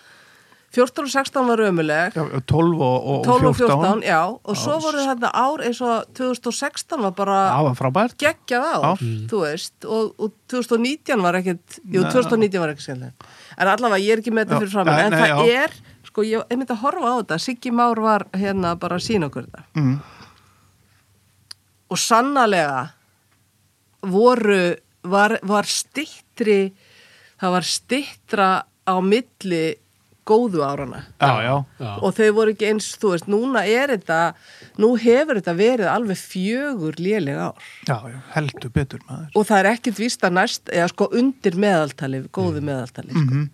Speaker 3: 14 og 16 var ömuleg,
Speaker 1: Já, 12 og, og
Speaker 3: 12 og
Speaker 1: 14
Speaker 3: 14, já, og svo voru þetta ár eins og 2016 var bara
Speaker 1: Það var frábært
Speaker 3: geggjað ár,
Speaker 1: Ár.
Speaker 3: þú veist, og, og 2019 var ekkert, jú,
Speaker 1: Nei.
Speaker 3: 2019 var ekkert skemmtileg. En allavega, ég er ekki með
Speaker 1: Já,
Speaker 3: þetta fyrir fram,
Speaker 1: nei,
Speaker 3: en
Speaker 1: nei,
Speaker 3: það
Speaker 1: já.
Speaker 3: er, sko, ég er myndi að horfa á þetta, Siggi Már var hérna bara að sína okkur þetta.
Speaker 1: mm.
Speaker 3: og sannlega voru var, var stittri það var stittra á milli góðu árana
Speaker 1: Já, já,
Speaker 2: Já.
Speaker 3: og þau voru ekki eins, þú veist, núna er þetta nú hefur þetta verið alveg fjögur léleg ár
Speaker 1: já, já, heldur betur maður
Speaker 3: og það er ekkert víst að næst, eða sko undir meðaltali, góðu meðaltali sko.
Speaker 1: Mhm.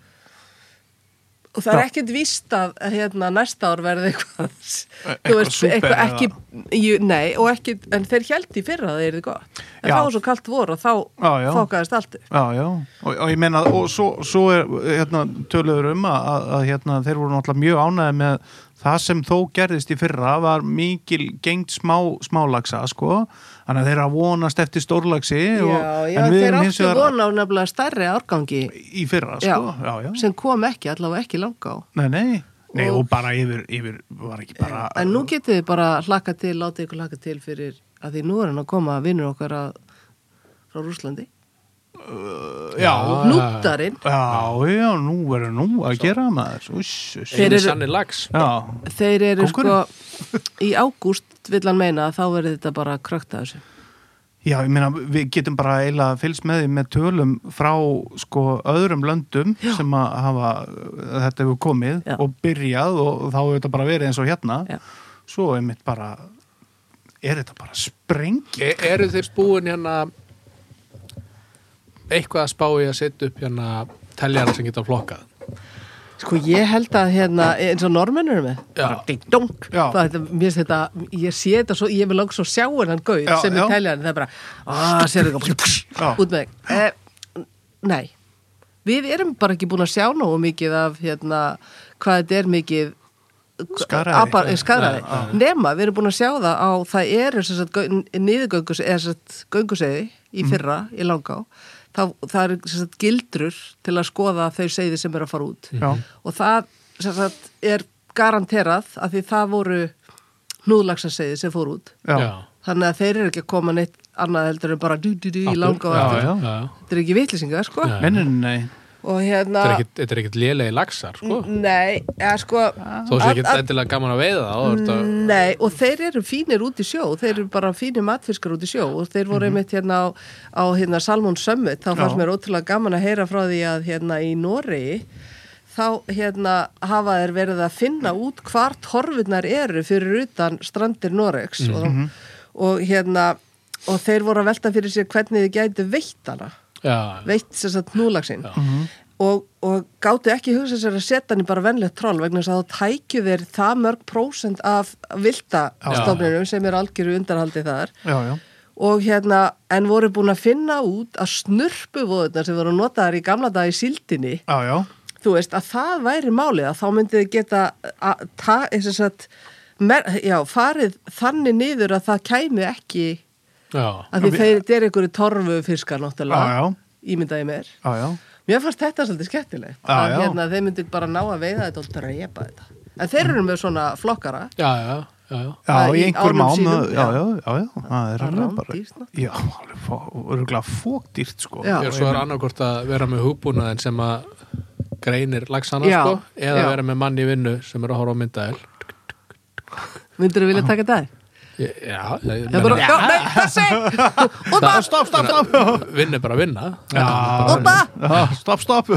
Speaker 3: og það er
Speaker 1: Já.
Speaker 3: ekkert víst að að, hérna, næsta ár verði eitthvað þú
Speaker 1: E-, eitthvað súper
Speaker 3: eitthvað ekki
Speaker 1: eða-
Speaker 3: jú, nei, og ekki, en þeir held í fyrra að það er þið gott, en
Speaker 1: Já.
Speaker 3: þá var svo kalt vor og þá
Speaker 1: Já, já.
Speaker 3: fókaðist allt upp.
Speaker 1: Já, já, og, og ég meina og svo, svo er, hérna, töluður um að, að- að hérna, þeir voru náttúrulega mjög ánæði með það sem þó gerðist í fyrra var mikil gengt smá, smálagsa, sko þannig að þeir eru að vonast eftir stórlagsi og,
Speaker 3: já, já,
Speaker 1: en við
Speaker 3: þeir
Speaker 1: erum hins
Speaker 3: áttu
Speaker 1: vegar
Speaker 3: vona á nefnilega stærri árgangi
Speaker 1: í fyrra, sko, já, já,
Speaker 3: sem kom ekki, allavega ekki langa á
Speaker 1: Nei, nei, nei
Speaker 3: Og-
Speaker 1: og, bara yfir, yfir var ekki bara
Speaker 3: en nú getið þið bara hlakka til, látið ykkur hlakka til fyrir að því nú er hann að koma að vinnur okkar að, frá Rúslandi
Speaker 2: Ah.
Speaker 1: Já,
Speaker 3: núttarinn
Speaker 1: já, já, nú verður nú að gera maður Úss, úss
Speaker 3: Þeir
Speaker 2: Þeir
Speaker 3: eru-
Speaker 2: eru sannir lags.
Speaker 1: Já,
Speaker 3: Þeir eru
Speaker 1: Kóngurinn.
Speaker 3: sko í ágúst vill hann meina að þá verður þetta bara krökt að þessu.
Speaker 1: já, ég meina, við getum bara eiginlega fylgst með því með tölum frá sko öðrum löndum sem að hafa, þetta hefur komið
Speaker 3: Já.
Speaker 1: og byrjað og þá hefur þetta bara verið eins og hérna
Speaker 3: Já.
Speaker 1: svo er mitt bara er þetta bara sprengi
Speaker 2: E eru þeir búin hérna eitthvað að spá í að setja upp hérna teljara sem geta flokkað?
Speaker 3: Sko ég held að hérna eins og normennur með
Speaker 2: Já.
Speaker 3: bara ding-dong
Speaker 1: Já.
Speaker 3: Það er þetta- mér finnst þetta, ég sé þetta svo, ég vil langt svo sjá hennan gauð
Speaker 1: Já,
Speaker 3: sem
Speaker 1: já.
Speaker 3: ég telja hann, það er bara að sér
Speaker 1: Já.
Speaker 3: þetta út með þig eh, Nei, við erum bara ekki búin að sjá nógu mikið af hérna hvað þetta er mikið
Speaker 1: Skaðræði.
Speaker 3: apar- eh, skaðræði.
Speaker 1: Já,
Speaker 3: nema við erum búin að sjá það á það eru sem sagt, niðurgöngus eða sem sagt, gönguseiði
Speaker 1: Mhm.
Speaker 3: í fyrra í langá þá, það eru sem sagt, gildrur til að skoða þau seiði sem eru að fara út
Speaker 2: Mhm.
Speaker 1: Já,
Speaker 3: og það sem sagt, er garanterað að því það voru núðlagsaseiði sem fór út
Speaker 1: já,
Speaker 3: þannig að þeir eru ekki að koma neitt annað heldur en bara dú dú dú í langa og
Speaker 1: Já,
Speaker 3: aftur
Speaker 1: já.
Speaker 3: þetta er ekki vitlisingar sko
Speaker 2: Nei.
Speaker 1: Nei, nei, nei,
Speaker 3: og hérna
Speaker 2: Þetta er ekkit- þetta er ekkit lélegi lagsar, sko.
Speaker 3: nei, ja, sko
Speaker 2: Þó sé ekkit
Speaker 3: Mm, að- að-
Speaker 2: endilega gaman að veiða það. Mm.
Speaker 3: Nei, og þeir eru fínir út í sjó, þeir eru bara fínir matfiskar út í sjó og þeir voru einmitt hérna á, á hérna Salmon Summit, þá fannst
Speaker 1: Já.
Speaker 3: mér ótrúlega gaman að heyra frá því að hérna í Noregi þá hérna hafa þeir verið að finna út hvar torfurnar eru fyrir utan strandir Noregs og, og hérna og þeir voru að velta fyrir sér hvernig þið gætu veitt hana,
Speaker 2: Já,
Speaker 3: veitt sem sagt núlagsinn
Speaker 2: Já.
Speaker 3: og, og gáttu ekki hugsa sér að setja hann í bara venlegt troll vegna þess að þá tækju þeir það mörg prósent af viltastofninum sem er algjöru undarhaldi þar
Speaker 1: já, já
Speaker 3: og hérna, en voru búin að finna út að snurpuvóðunar sem voru notaðar í gamla dag í síldinni
Speaker 1: Já, já,
Speaker 3: þú veist, að það væri málið að þá myndið þið geta að, ta, þess að, mer, já, farið þannig niður að það kæmi ekki
Speaker 2: já.
Speaker 3: að því þeir, þeir eru einhverju torfu fiskar náttúrulega,
Speaker 1: Já, já.
Speaker 3: ímyndaði mér
Speaker 1: já, já
Speaker 3: Mér fannst þetta svolítið skemmtilegt
Speaker 1: Já,
Speaker 3: að
Speaker 1: já.
Speaker 3: hérna, þeir myndir bara ná að veiða þetta og drepa þetta En þeir eru með svona flokkara
Speaker 2: Já, já, já, já.
Speaker 1: Já,
Speaker 3: Það
Speaker 1: í
Speaker 3: í
Speaker 1: einhverjum
Speaker 3: ánum
Speaker 1: ám já,
Speaker 3: sínum,
Speaker 1: já,
Speaker 3: já.
Speaker 1: já, já, það er
Speaker 3: Það er
Speaker 1: alveg bara
Speaker 3: rándýrt, ná.
Speaker 1: Já, alveg fó, fókdýrt sko
Speaker 3: Já.
Speaker 2: Ég svo er annarkort að vera með hugbúnaðin sem að greinir lagsana,
Speaker 3: Já,
Speaker 2: sko, eða
Speaker 3: já.
Speaker 2: vera með mann í vinnu sem er að horfa á myndaðil.
Speaker 3: Myndir þú vilja taka þetta?
Speaker 2: Já,
Speaker 3: Það er bara, já, nei, þessi Og það,
Speaker 1: Stopp, stopp, stopp
Speaker 2: Vinn er bara að vinna.
Speaker 1: Já,
Speaker 3: Oppa!
Speaker 1: já, stopp, stopp,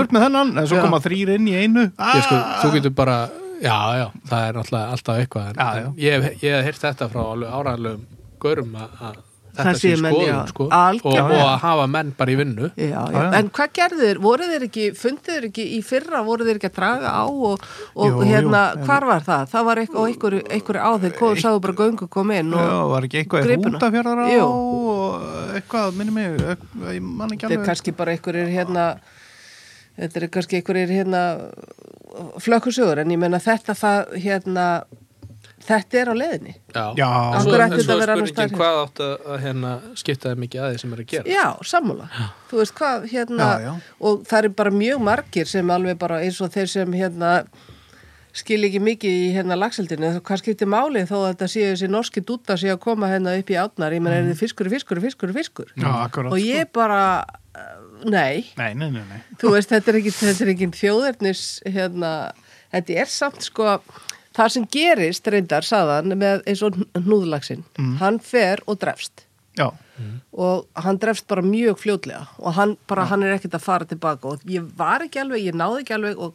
Speaker 1: burt með þennan en svo koma þrýr inn í einu
Speaker 2: ég sko, þú getur bara já, já, það er náttúrulega alltaf eitthvað
Speaker 1: Já,
Speaker 2: en,
Speaker 1: já.
Speaker 2: en ég, hef- ég hef heyrt þetta frá alveg áraðlegum görum að að þetta
Speaker 3: Það
Speaker 2: sé
Speaker 3: séu menn,
Speaker 2: skoðum
Speaker 3: já.
Speaker 2: sko, og,
Speaker 3: Algjörlega.
Speaker 2: og að hafa menn bara í vinnu
Speaker 3: já, já.
Speaker 1: já.
Speaker 3: En hvað gerðu þeir? Voru þeir ekki, fundu þeir ekki í fyrra, voru þeir ekki að draga á og, og
Speaker 1: Jú, jú,
Speaker 3: hérna,
Speaker 1: en-
Speaker 3: hvar var það? Það var eitthvað, eitthvað, eitthvað á þeir kom, sáðu bara göngu kom inn
Speaker 1: Já,
Speaker 3: og
Speaker 1: var ekki eitthvað í
Speaker 3: Gripuna.
Speaker 1: hútafjörðar á
Speaker 3: Jú.
Speaker 1: og eitthvað, minni mig eitthvað, ég man ekki
Speaker 3: þeir
Speaker 1: alveg
Speaker 3: kannski bara einhverjir hérna þetta er kannski einhverjir hérna flökkusögur en ég meina þetta það hérna þetta er á leiðinni.
Speaker 1: Já.
Speaker 2: En
Speaker 1: Af
Speaker 2: svo, en
Speaker 3: hverju ætti þetta
Speaker 2: svo
Speaker 3: að
Speaker 2: er
Speaker 3: vera annars
Speaker 2: spurningin
Speaker 3: staðar?
Speaker 2: hvað átt að að, hérna, skipta þeim mikið aðeins sem er að gera
Speaker 3: Já, sammála. Þú veist hvað, hérna,
Speaker 1: Já, já.
Speaker 3: og það er bara mjög margir sem alveg bara eins og þeir sem, hérna, skil ekki mikið í hérna lagseldinu, hvað skiptir máli þó að þetta séu þessi norski dúta sé að koma hérna upp í átnar, ég menn er þið fiskur, fiskur, fiskur, fiskur.
Speaker 1: Já, akkurat,
Speaker 3: Og ég bara, eh, nei,
Speaker 1: Nei, nei, nei, nei.
Speaker 3: þú veist, þetta er ekki, þetta er ekki þjóðernis, hérna, þetta er samt sko, það sem gerist reyndar saðan með eins og hnúðlagsinn, hann fer og drefst
Speaker 1: Já,
Speaker 3: og hann drefst bara mjög fljótlega og hann bara, hann er ekkert að fara tilbaka og ég var ekki alveg, ég náði ekki alveg og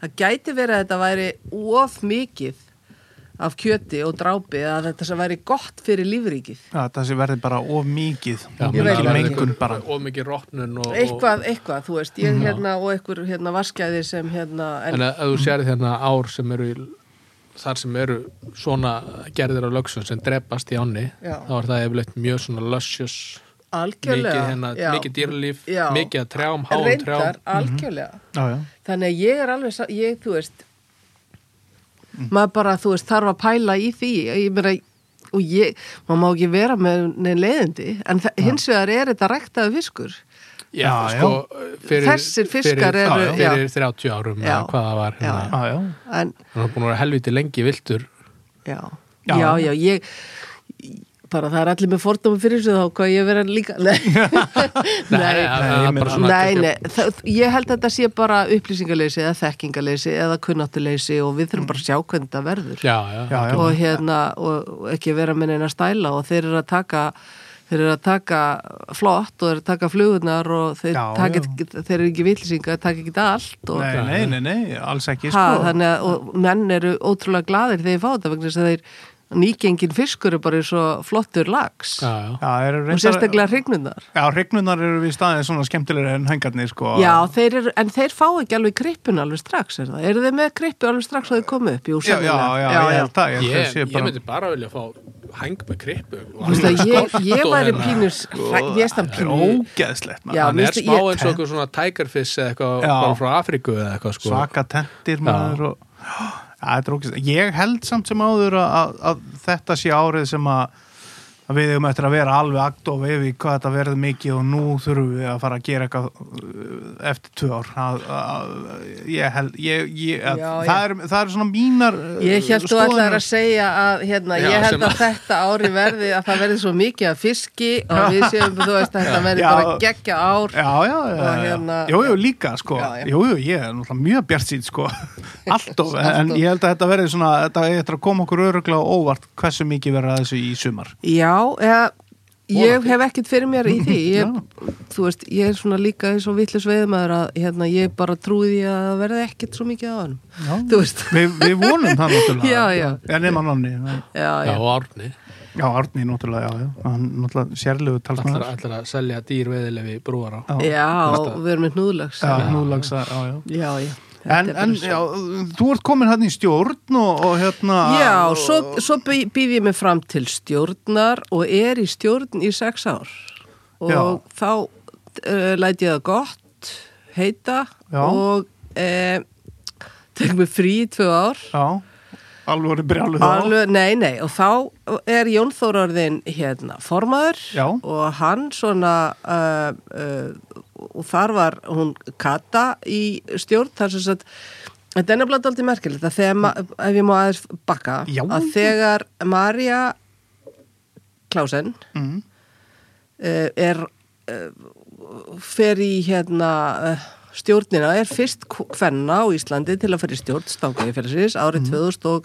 Speaker 3: það gæti verið að þetta væri of mikið af kjöti og drápi að þetta sem væri gott fyrir lífríkið
Speaker 1: Já, það sé verði bara of mikið
Speaker 2: Já,
Speaker 1: Mikil
Speaker 3: veit ekki.
Speaker 1: mengun bara
Speaker 2: og mikið rótnun og,
Speaker 3: eitthvað, eitthvað, þú veist, ég hérna og einhver hérna vaskæði sem hérna
Speaker 2: og, en að, að þú sér þérna ár sem eru í, þar sem eru svona gerðir af lögsum sem drepast í ánni
Speaker 3: Já.
Speaker 2: þá er það yfirleitt mjög svona luscious
Speaker 3: Algjörlega.
Speaker 2: mikið, hérna,
Speaker 3: já.
Speaker 2: mikið dýrlíf
Speaker 3: Já.
Speaker 2: mikið að trjám, háum
Speaker 3: Reyndar,
Speaker 2: trjám Mhm.
Speaker 3: algjörlega.
Speaker 1: Já, já,
Speaker 3: Þannig að ég er alveg, sa- ég, þú veist, maður bara, þú veist, þarf að pæla í því. Ég meina, og ég, maður má ekki vera með neinn leiðindi, en þa- hins vegar er þetta ræktaði fiskur.
Speaker 2: já,
Speaker 1: Já,
Speaker 2: sko, fyrir,
Speaker 3: Þessir fiskar
Speaker 2: fyrir,
Speaker 3: eru-
Speaker 2: fyrir,
Speaker 3: já.
Speaker 2: 30 árum
Speaker 3: Já.
Speaker 2: eða hvað það var
Speaker 3: Já,
Speaker 2: hérna.
Speaker 1: já, já.
Speaker 3: En,
Speaker 2: hann er búin að vera helviti lengi viltur
Speaker 3: já,
Speaker 1: Já.
Speaker 3: já, já, ég, bara það er allir með fordómi fyrir þessu þá, hvað ég vera líka, nei,
Speaker 2: Nei, það- það er
Speaker 1: meina-
Speaker 2: bara svona
Speaker 3: Nei,
Speaker 2: kannski-
Speaker 3: nei, það, ég held að þetta sé bara upplýsingaleysi eða þekkingaleysi eða kunnáttuleysi og við þurfum bara að sjá hvernig þetta verður
Speaker 2: Já, já,
Speaker 1: Já, já.
Speaker 3: og hérna og og ekki vera með neina stæla og þeir eru að taka þeir eru að taka flott og þeir eru að taka flugurnar og þeir,
Speaker 1: Já,
Speaker 3: taka,
Speaker 1: já.
Speaker 3: Ekki, þeir eru ekki vitlisinga, þeir taka ekki allt og,
Speaker 1: Nei, nei, nei, nei, alls ekki
Speaker 3: hérna- ha,
Speaker 1: sko.
Speaker 3: þannig að og menn eru ótrúlega gladir þegar þeir fá þetta vegna þess að þeir nýgengin fiskur er bara svo flottur lags
Speaker 2: já,
Speaker 1: Já,
Speaker 2: já.
Speaker 1: það eru
Speaker 3: og sérstaklega hrygnurnar
Speaker 1: Já, regnunar eru við staðið svona skemmtilegri en hengarnir sko
Speaker 3: Já, þeir eru, en þeir fá ekki alveg krippun alveg strax, er það? Eru þeir með krippu alveg strax að þeir komu upp? Jú,
Speaker 1: já, já,
Speaker 3: sennilega.
Speaker 1: já, ég held það
Speaker 2: Ég,
Speaker 1: Ég, held það sé
Speaker 2: ég
Speaker 1: bara-
Speaker 2: myndi bara vilja fá hang með krippu
Speaker 3: Þú veist að ég, ég
Speaker 2: Og
Speaker 3: væri
Speaker 2: hérna,
Speaker 3: pínus,
Speaker 1: Sko,
Speaker 3: hræ- ég er stann
Speaker 1: Þetta er
Speaker 3: pínu,
Speaker 1: ógeðslegt maður.
Speaker 3: Já,
Speaker 2: hann
Speaker 3: mér
Speaker 2: er
Speaker 3: finnst-
Speaker 2: smá
Speaker 3: ég-
Speaker 2: eins og eitthvað svona tigerfish eða eitthvað
Speaker 1: Já.
Speaker 2: bara frá Afríku eða eitthvað sko
Speaker 1: svaka tentir maður og, já, þetta er ógeðslegt. Ég held samt sem áður að, að, að þetta sé árið sem að, að við eigum eftir að vera alveg akt og við hvað þetta verður mikið og nú þurfum við að fara að gera eitthvað uh, eftir tvö ár að, að, ég held ég, ég, að,
Speaker 3: Já,
Speaker 1: það, er, það er svona mínar uh,
Speaker 3: ég held þú
Speaker 1: skoðanir.
Speaker 3: ætlar að segja að, hérna,
Speaker 2: Já,
Speaker 3: ég held
Speaker 2: sem
Speaker 3: að þetta ári verði, að það verði svo mikið af fiski og við séum, þú veist, að þetta verði
Speaker 1: Já.
Speaker 3: bara geggja ár.
Speaker 1: Já, já, já,
Speaker 3: Og
Speaker 1: já.
Speaker 3: hérna-
Speaker 1: jú, jú, líka, sko,
Speaker 3: Já, já.
Speaker 1: jú, jú, ég er náttúrulega mjög bjart sín, sko, allt of, en ég held að þetta verði svona, þetta er eftir að koma okkur öruglega á óvart hversu mikið verður að þessu í sumar.
Speaker 3: Já, eða, ég hef ekkert fyrir mér í því, ég, þú veist, ég er svona líka eins og vittlis veiðmaður að, hérna, ég bara trúi því að það verði ekkert svo mikið á hann.
Speaker 1: Já.
Speaker 3: Þú veist,
Speaker 1: Vi, við vonum það náttúrulega.
Speaker 3: Já, já.
Speaker 1: En nema nonni, en-
Speaker 3: já,
Speaker 2: já,
Speaker 3: já.
Speaker 2: og Árni
Speaker 1: já, Árni náttúrulega, já, já, hann náttúrulega sérlegu
Speaker 2: ætlar,
Speaker 1: talsmaður.
Speaker 2: ætlar að selja dýr veðilefi brúar á
Speaker 3: Já, og við erum með hnúðlags
Speaker 1: Já, núlagsa, já, já.
Speaker 3: já, já.
Speaker 1: En,
Speaker 3: Þetta er
Speaker 1: en
Speaker 3: bara
Speaker 1: já, þú ert komin hann í stjórn og, og hérna...
Speaker 3: svo- já, svo, svo bý- býð ég mig fram til stjórnar og er í stjórn í sex ár og
Speaker 1: Já.
Speaker 3: þá uh, læt ég það gott heita
Speaker 1: Já.
Speaker 3: og uh, tek mig frí í tvö ár
Speaker 1: Já, alvöru brjálu
Speaker 3: Alveg, nei, nei, og þá er Jón Þórarðin hérna formaður
Speaker 1: Já.
Speaker 3: og hann svona uh, uh, og þar var hún Kata í stjórn þar sem sagt Þetta er nefnilega aldrei merkilegt að þegar, ma- ef ég má aðeins bakka,
Speaker 1: Já.
Speaker 3: að þegar Marja Klásen
Speaker 1: Mm,
Speaker 3: uh, er, uh, fer í hérna uh, stjórnina, er fyrst hvenna á Íslandi til að fara í stjórn stangaðifélagsins árið 2003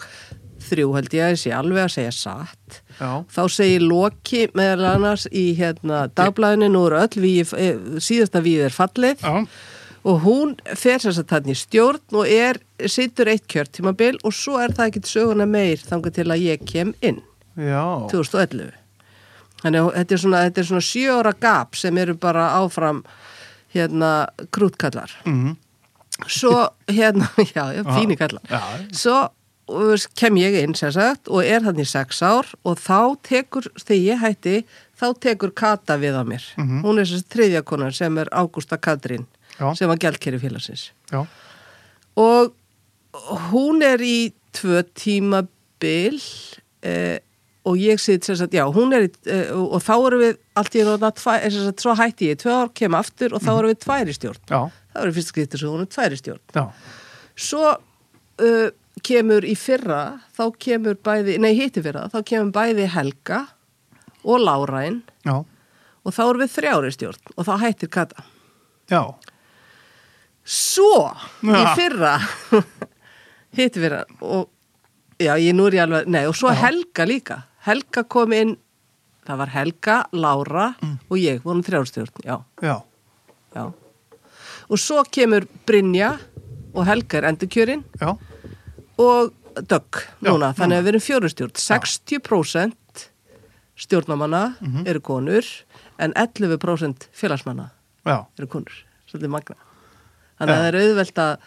Speaker 3: held ég að ég sé alveg að segja satt.
Speaker 1: já,
Speaker 3: Þá segir Loki meðal annars í hérna dagblæðinu, nú eru öll víð, síðasta víð er fallið
Speaker 1: já,
Speaker 3: og hún fer þess að þannig stjórn og er, situr eitt kjörtímabil og svo er það ekkit söguna meir þangar til að ég kem inn.
Speaker 1: já,
Speaker 3: 2011 þannig að þetta er svona, þetta er svona sjö ára gap sem eru bara áfram hérna krútkallar
Speaker 1: mhm,
Speaker 3: svo hérna, já, já, fíni kallar
Speaker 1: já,
Speaker 3: svo uh, kem ég inn sem sagt og er þannig sex ár og þá tekur, þegar ég hætti þá tekur Kata við á mér hún er þessi þriðja konar sem er Ágústa Katrín
Speaker 1: Já.
Speaker 3: sem var gælkeri félagsins
Speaker 1: já,
Speaker 3: og hún er í tvö tímabil bil eh, og ég sit sem sagt, já, hún er í, eh, og og þá erum við allt í enn og eh, svo hætti ég, í tvö ár kem aftur og þá erum við tvær í stjórn
Speaker 1: já,
Speaker 3: það verður fyrst skriftur svo hún er tvær í stjórn
Speaker 1: já,
Speaker 3: svo uh, kemur í fyrra þá kemur bæði, nei hitti fyrra þá kemur bæði Helga og Lárain
Speaker 1: já,
Speaker 3: og þá erum við þrjári stjórn og þá hættir Kata
Speaker 1: já,
Speaker 3: svo í
Speaker 1: Ja.
Speaker 3: fyrra hitti fyrra og já, ég nú er ég alveg, nei og svo Helga líka Helga kom inn það var Helga, Lára
Speaker 1: Mm.
Speaker 3: og ég vorum þrjári stjórn, já,
Speaker 1: já,
Speaker 3: já og svo kemur Brynja og Helga er endurkjörinn
Speaker 1: já,
Speaker 3: og Dögg
Speaker 1: Já,
Speaker 3: núna, þannig
Speaker 1: núna.
Speaker 3: að við erum fjórustjórn 60% stjórnamanna
Speaker 1: Mhm.
Speaker 3: eru konur en 11% félagsmanna
Speaker 1: já,
Speaker 3: eru konur, svolítið magna þannig að
Speaker 1: Já.
Speaker 3: það er auðvelt að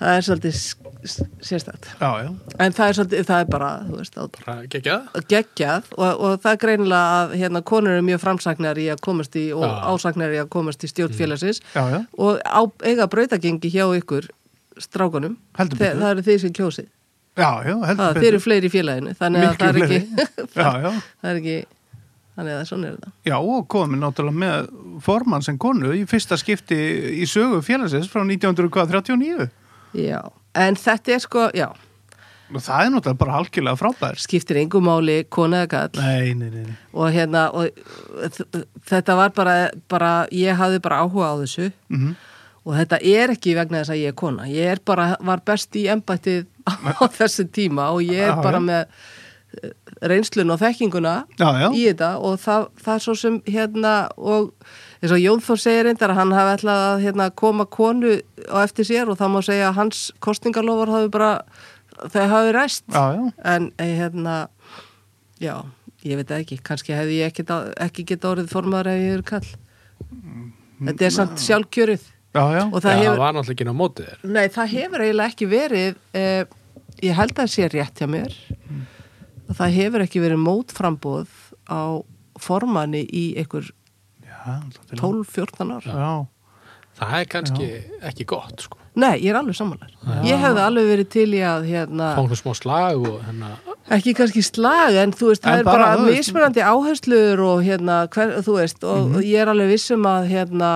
Speaker 3: það er svolítið s- s- sérstætt
Speaker 1: já, já,
Speaker 3: en það er svolítið, það er bara, þú veist, á
Speaker 2: Gekja það?
Speaker 3: geggjað og, og það er greinilega að hérna, konur eru mjög framsagnar í að komast í og
Speaker 2: Já.
Speaker 3: ásagnar í að komast í stjórnfélagsins
Speaker 1: Mm. Já, já.
Speaker 3: og á, eiga brautagengi hjá ykkur strákunum,
Speaker 1: Heldur
Speaker 3: Þe-
Speaker 1: betur.
Speaker 3: það eru þið sem kjósið
Speaker 1: já, já, heldur
Speaker 3: það, þeir eru fleiri í félaginu þannig að
Speaker 1: Miklu
Speaker 3: það er ekki
Speaker 1: fleiri.
Speaker 3: það,
Speaker 1: Já, já.
Speaker 3: það er ekki þannig að svona er þetta
Speaker 1: Já, og komið náttúrulega með formann sem konu í fyrsta skipti í sögu félagsins frá 1939.
Speaker 3: já. en þetta er sko, já,
Speaker 1: Og það er náttúrulega bara algjörlega frábært.
Speaker 3: skiptir engu máli kona eða kall
Speaker 1: Nei, nei, nei. nei.
Speaker 3: og hérna og, þ- þetta var bara, bara ég hafði bara áhuga á þessu
Speaker 1: Mhm.
Speaker 3: og þetta er ekki vegna þess að ég er kona ég er bara, var best í embættið á þessu tíma og ég er
Speaker 1: Já,
Speaker 3: bara
Speaker 1: já.
Speaker 3: með eh, reynslun og þekkinguna
Speaker 1: Já, já.
Speaker 3: í þetta og það, það er svo sem hérna og eins og Jón Þór segir reyndar að hann hafi ætlað að hérna, koma konu á eftir sér og það má segja að hans kostningalofar hafi bara, þau hafi ræst
Speaker 1: Já, já.
Speaker 3: en eh, hérna já, ég veit það ekki kannski hefði ég ekki, ekki geta orðið formaður ef ég eru kall þetta er samt sjálfkjörið
Speaker 1: Já, já.
Speaker 3: og
Speaker 2: Já,
Speaker 3: það
Speaker 2: það
Speaker 3: hefur,
Speaker 2: var náttúrulega ekki ná mótið þér
Speaker 3: nei, það hefur eiginlega ekki verið eh, ég held að það sé rétt hjá mér og það hefur ekki verið mótframbóð á formanni í einhver
Speaker 1: Já, náttúrulega.
Speaker 3: 12-14 ár
Speaker 1: Já,
Speaker 2: Það er kannski ekki gott sko
Speaker 3: Nei, ég er alveg sammálar Ég hefði alveg verið til í að hérna,
Speaker 2: Fá einhver smá slag og hérna- hennar
Speaker 3: ekki kannski slag en þú veist, það
Speaker 1: En
Speaker 3: er bara,
Speaker 1: bara, þú veist- Mhm.
Speaker 3: mismunandi áherslur og hérna, hver, þú veist og ég er alveg vissum að hérna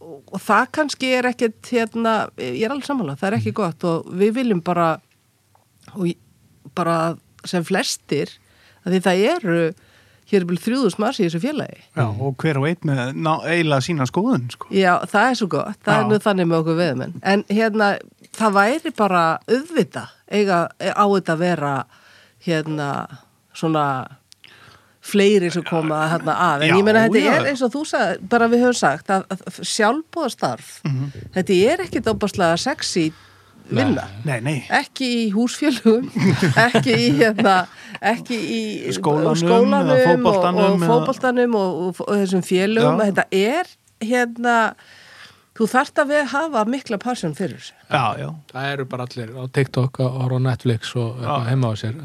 Speaker 3: og, og það kannski er ekkit hérna, ég er alveg sammála það er
Speaker 1: Mhm.
Speaker 3: ekki gott og við viljum bara og ég- bara sem flestir að því það eru hér er byrjum þrjúðus mars í þessu félagi
Speaker 1: já, og hver og einn með ná, eiginlega sína skoðun, sko.
Speaker 3: Já, það er svo gott, það er
Speaker 1: Já.
Speaker 3: nú þannig með okkur veðmenn. En hérna, það væri bara auðvita, eiga á þetta að vera hérna svona fleiri sem koma hérna að. En
Speaker 1: Já,
Speaker 3: ég meina þetta
Speaker 1: já.
Speaker 3: er eins og þú sagði, bara við höfum sagt að, að sjálfbóðastarf,
Speaker 1: Mhm.
Speaker 3: þetta er ekki dópaslega sexy vinna.
Speaker 1: Nei, nei.
Speaker 3: Ekki í húsfélugum, ekki í, hérna, ekki í
Speaker 1: Skólanum eða
Speaker 3: skólanum og, og
Speaker 1: fótboltanum eða-
Speaker 3: fótboltanum og, og, og þessum félugum.
Speaker 1: Já.
Speaker 3: Þetta er hérna, þú þarft að við hafa mikla passion fyrir þessu.
Speaker 1: Já, já.
Speaker 2: Það eru bara allir á TikTok og og á Netflix og eitthvað heima á sér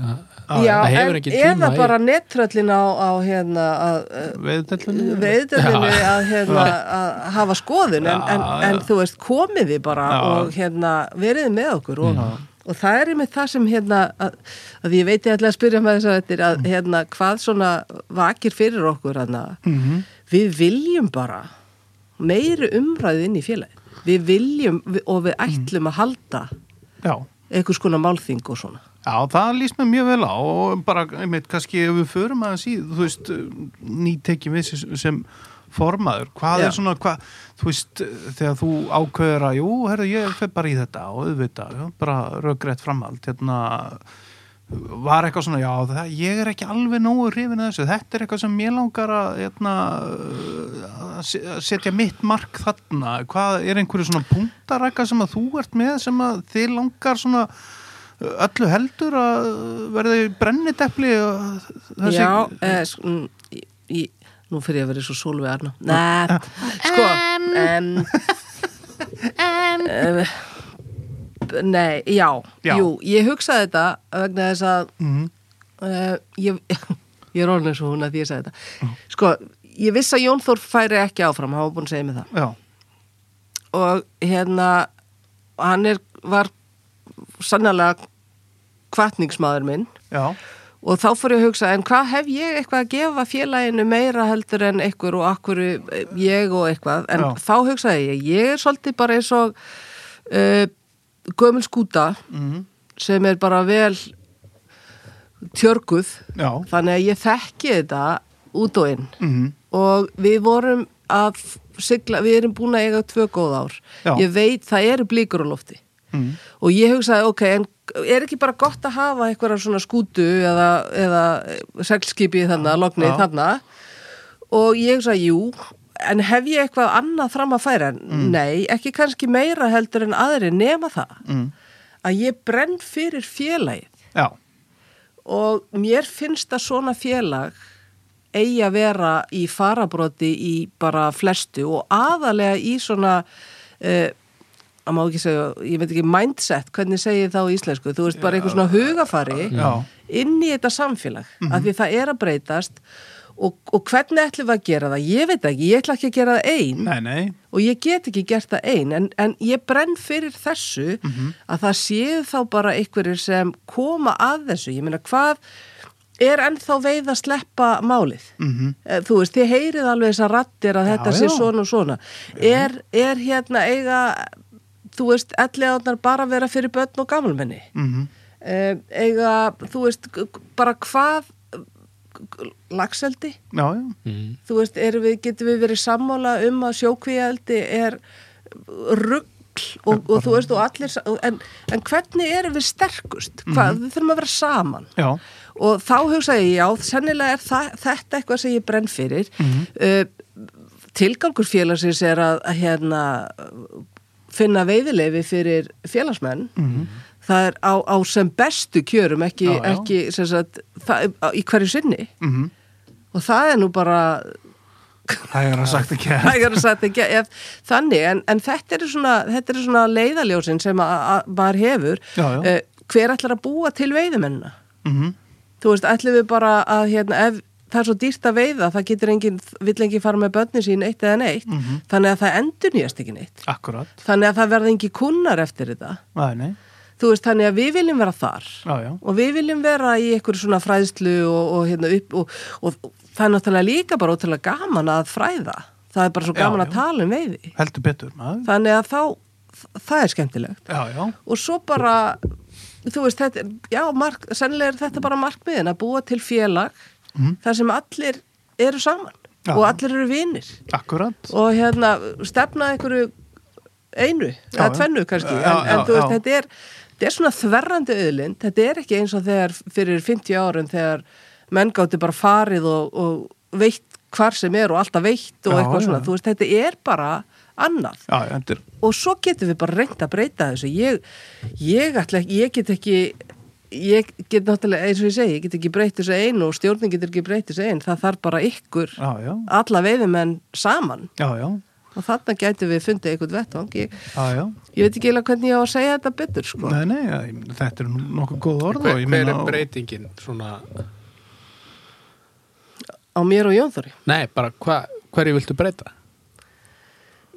Speaker 2: Það
Speaker 3: Já,
Speaker 2: það hefur
Speaker 3: en
Speaker 2: ekki
Speaker 3: eða
Speaker 2: tíma í-
Speaker 3: bara nettröllin á, á hérna, að,
Speaker 1: Veiðdellunni.
Speaker 3: veiðdöfninu að, hérna, að hafa skoðun en, en,
Speaker 1: Já,
Speaker 3: en þú veist, komið þið bara
Speaker 1: Já.
Speaker 3: og hérna, verið með okkur og, og það er með það sem hérna, að, að ég veit ég ætla að spyrja um með þess að þetta
Speaker 1: Mm.
Speaker 3: að hérna, hvað svona vakir fyrir okkur hérna.
Speaker 1: Mhm.
Speaker 3: við viljum bara meiri umræði inn í félagi við viljum vi- og við ætlum að halda
Speaker 1: Já.
Speaker 3: einhvers konar málþing og svona
Speaker 1: Já, það líst mér mjög vel á og bara, einmitt, kannski ef við förum aðeins í, þú veist, nýtekjum við sem- sem formaður, hvað
Speaker 3: Já.
Speaker 1: er svona, hvað, þú veist, þegar þú ákveður að, jú, herru, ég fer bara í þetta og auðvitað, já, bara röggrætt framhald, hérna, var eitthvað svona, já, það, ég er ekki alveg nógu hrifin að þessu, þetta er eitthvað sem ég langar að, hérna, að se- að setja mitt mark þarna, hvað er einhverju svona punktarækka sem að þú ert með sem að þið langar svona uh, öllu heldur að verði brennidepli og þessi
Speaker 3: Já, eh, sk- mm, í, í, nú fyrir ég að vera svo sólvið Arna Nei, sko um, um, Nei, já,
Speaker 1: Já.
Speaker 3: Jú, ég hugsaði þetta vegna þess að
Speaker 1: Mhm.
Speaker 3: uh, ég, ég er orðin eins og hún að því ég sagði þetta Sko, ég vissi að Jón Þór færi ekki áfram, hann var búin að segja mig það
Speaker 1: Já,
Speaker 3: og hérna hann er, var sannlega kvartningsmaður minn
Speaker 1: já,
Speaker 3: og þá fór ég að hugsa, en hvað hef ég eitthvað að gefa félaginu meira heldur en einhver og akkur ég og eitthvað en
Speaker 1: Já.
Speaker 3: þá hugsaði ég, ég er svolítið bara eins og uh, gömul skúta
Speaker 1: Mhm.
Speaker 3: sem er bara vel tjörguð
Speaker 1: já,
Speaker 3: þannig að ég þekki þetta út og inn
Speaker 1: Mhm.
Speaker 3: og við vorum að sigla, við erum búin að eiga tvö góð ár
Speaker 1: Já.
Speaker 3: ég veit það eru blíkur á lofti
Speaker 1: Mhm.
Speaker 3: og ég hugsaði ok, en er ekki bara gott að hafa einhverja svona skútu eða, eða seglskipi þarna, lognið
Speaker 1: Já.
Speaker 3: þarna og ég hugsaði jú en hef ég eitthvað annað fram að færa nei, ekki kannski meira heldur en aðri nema það
Speaker 1: Mm.
Speaker 3: að ég brenn fyrir félagið
Speaker 1: já,
Speaker 3: og mér finnst að svona félag eigi að vera í farabroti í bara flestu og aðalega í svona uh, að má ekki segja, ég veit ekki mindset, hvernig segið þá í íslensku þú veist bara eitthvað svona hugafari
Speaker 1: Já.
Speaker 3: inn í þetta samfélag, af því það er að breytast og, og hvernig ætlum við að gera það, ég veit ekki, ég ætla ekki að gera það ein
Speaker 1: nei, nei
Speaker 3: og ég get ekki gert það ein en, en ég brenn fyrir þessu
Speaker 1: Mhm.
Speaker 3: að það séu þá bara einhverjir sem koma að þessu, ég meina hvað er ennþá veið að sleppa málið,
Speaker 1: Mhm.
Speaker 3: Eh, þú veist þið heyrið alveg þessar rattir að þetta sé
Speaker 1: já.
Speaker 3: svona og svona, er, er hérna eiga, þú veist elliðarnar bara vera fyrir börn og gamlmenni
Speaker 1: Mhm.
Speaker 3: Eh, eiga, þú veist g- g- bara hvað g- g- lagseldi
Speaker 1: já, já,
Speaker 2: Mm.
Speaker 3: þú veist, erum við, getum við verið sammála um að sjókvíaldi er ruggl og, og þú veist og allir, sa- en, en hvernig erum við sterkust? Hvað,
Speaker 1: Mhm.
Speaker 3: við þurfum að vera saman
Speaker 1: já,
Speaker 3: og þá hugsaði ég, já, sennilega er það, þetta eitthvað sem ég brenn fyrir
Speaker 1: Mhm.
Speaker 3: uh, tilgangur félagsins er að, að hérna finna veiðileifi fyrir félagsmenn það er á, á sem bestu kjörum ekki,
Speaker 1: Mhm. Já, já.
Speaker 3: ekki sem sagt, það, í hverju sinni
Speaker 1: Mhm.
Speaker 3: og það er nú bara
Speaker 1: það er að sagt ekki að
Speaker 3: hægar að sagt ekki ef, þannig, en, en þetta eru svona, þetta eru svona leiðaljósin sem að- að maður hefur
Speaker 1: Já, já.
Speaker 3: Eh, hver ætlar að búa til veiðimennina
Speaker 1: Mhm.
Speaker 3: þú veist, ætlum við bara að hérna, ef það er svo dýrt að veiða það getur enginn, vill enginn fara með börnin sín eitt eða neitt,
Speaker 1: Mhm.
Speaker 3: þannig að það endur nýjast ekki neitt,
Speaker 1: akkurat,
Speaker 3: þannig að það verða engin kunnar eftir þetta,
Speaker 1: nei, nei
Speaker 3: þú veist, þannig að við viljum vera þar
Speaker 1: já, já,
Speaker 3: og við viljum vera í einhverju svona fræðslu og, og, hérna, upp, og, og, og það er náttúrulega líka bara ótrúlega gaman að fræða það er bara svo
Speaker 1: Já,
Speaker 3: gaman
Speaker 1: já.
Speaker 3: að tala um veiði
Speaker 1: heldur betur maður,
Speaker 3: þannig að þá, það er skemmtilegt
Speaker 1: já, já
Speaker 3: og svo bara þú veist, þetta, já, mark, sennilega er þetta bara markmiðin að búa til félag þar sem allir eru saman
Speaker 1: Mhm. Já.
Speaker 3: og allir eru vinir
Speaker 1: akkurat,
Speaker 3: og hérna stefna einhverju einu, eða
Speaker 1: já.
Speaker 3: tvennu kannski
Speaker 1: Já,
Speaker 3: en, en
Speaker 1: já,
Speaker 3: þú veist,
Speaker 1: já.
Speaker 3: þetta er, þetta er svona þverrandi auðlind, þetta er ekki eins og þegar fyrir 50 árum þegar menn gátti bara farið og, og veitt hvar sem er og alltaf veitt og
Speaker 1: Já,
Speaker 3: eitthvað
Speaker 1: já.
Speaker 3: svona, þú veist, þetta er bara annað
Speaker 1: já, já, þetta er
Speaker 3: og svo getum við bara reynd að breyta þessu ég, ég, ætla, ekki- ég get ekki ég get náttúrulega eins og ég segi, ég get ekki breytt þessu einu og stjórnin getur ekki breytt þessu einu, það þarf bara ykkur
Speaker 1: já, já,
Speaker 3: alla veiðimenn saman
Speaker 1: já, já,
Speaker 3: og þarna gætum við fundið einhvern vettvang ég,
Speaker 1: já, Ah, já.
Speaker 3: ég veit ekki eiginlega hvernig ég á að segja þetta betur sko.
Speaker 1: Nei, nei, já, ég meina, þetta er nokkuð góð orð og
Speaker 2: hver,
Speaker 1: ég
Speaker 2: hver
Speaker 1: meina-
Speaker 2: er breytingin svona,
Speaker 3: á mér og Jónþóri
Speaker 2: nei, bara hva, hverju viltu breyta?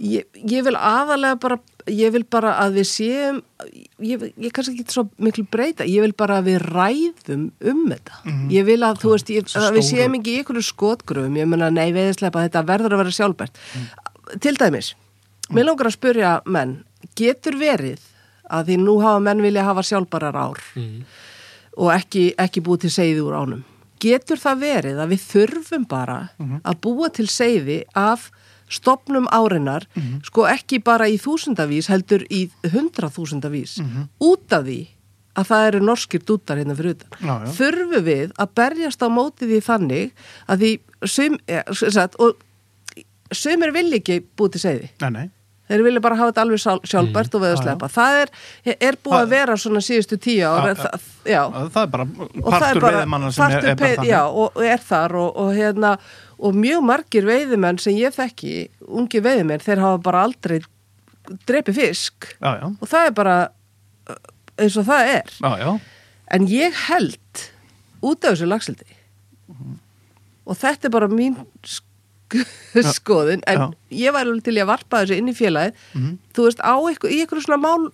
Speaker 3: ég, ég vil aðalega bara ég vil bara að við séum ég, ég kannski ekki svo miklu breyta ég vil bara að við ræðum um þetta ég vil að, þú veist, ég,
Speaker 1: Svo
Speaker 3: að við
Speaker 1: stóru.
Speaker 3: séum ekki í ykkur skotgröfum, ég meina nei veiðislepa þetta verður að vera sjálfbært til dæmis, mér langar að spyrja menn, getur verið að því nú hafa menn vilja hafa sjálfbærar ár og ekki, ekki búið til seiði úr ánum. Getur það verið að við þurfum bara
Speaker 1: Mhm.
Speaker 3: að búa til seiði af stopnum árinar,
Speaker 1: Mhm.
Speaker 3: sko ekki bara í þúsundavís, heldur í hundraþúsundavís,
Speaker 1: Mhm.
Speaker 3: út af því að það eru norskir dútar hérna fyrir utan.
Speaker 1: Já, já.
Speaker 3: Þurfum við að berjast á móti því þannig að því sum, eh, sem sagt, og sumir vilja ekki búið til seiði.
Speaker 1: Nei, nei,
Speaker 3: Þeir vilja bara hafa þetta alveg sjálf, sjálfbært og veða
Speaker 1: Mhm. Já, já.
Speaker 3: slepa. Það er, er búið að
Speaker 1: Það-
Speaker 3: vera svona síðustu tíu
Speaker 1: Já,
Speaker 3: ára.
Speaker 1: já.
Speaker 3: það- Já,
Speaker 1: það er bara
Speaker 3: og það er
Speaker 1: partur
Speaker 3: bara
Speaker 1: veiðimanna sem er, er bara
Speaker 3: pei-
Speaker 1: þannig
Speaker 3: já, og, og er þar og, og, hérna, og mjög margir veiðimenn sem ég þekki, ungi veiðimenn þeir hafa bara aldrei drepi fisk
Speaker 1: já, já,
Speaker 3: og það er bara uh, eins og það er
Speaker 1: já, já,
Speaker 3: en ég held út af þessu lagsildi og þetta er bara mín sk skoðin en
Speaker 1: Já. Mhm.
Speaker 3: ég var alveg til í að varpa þessu inn í félagið þú veist, á ykkur, í ykkur svona mál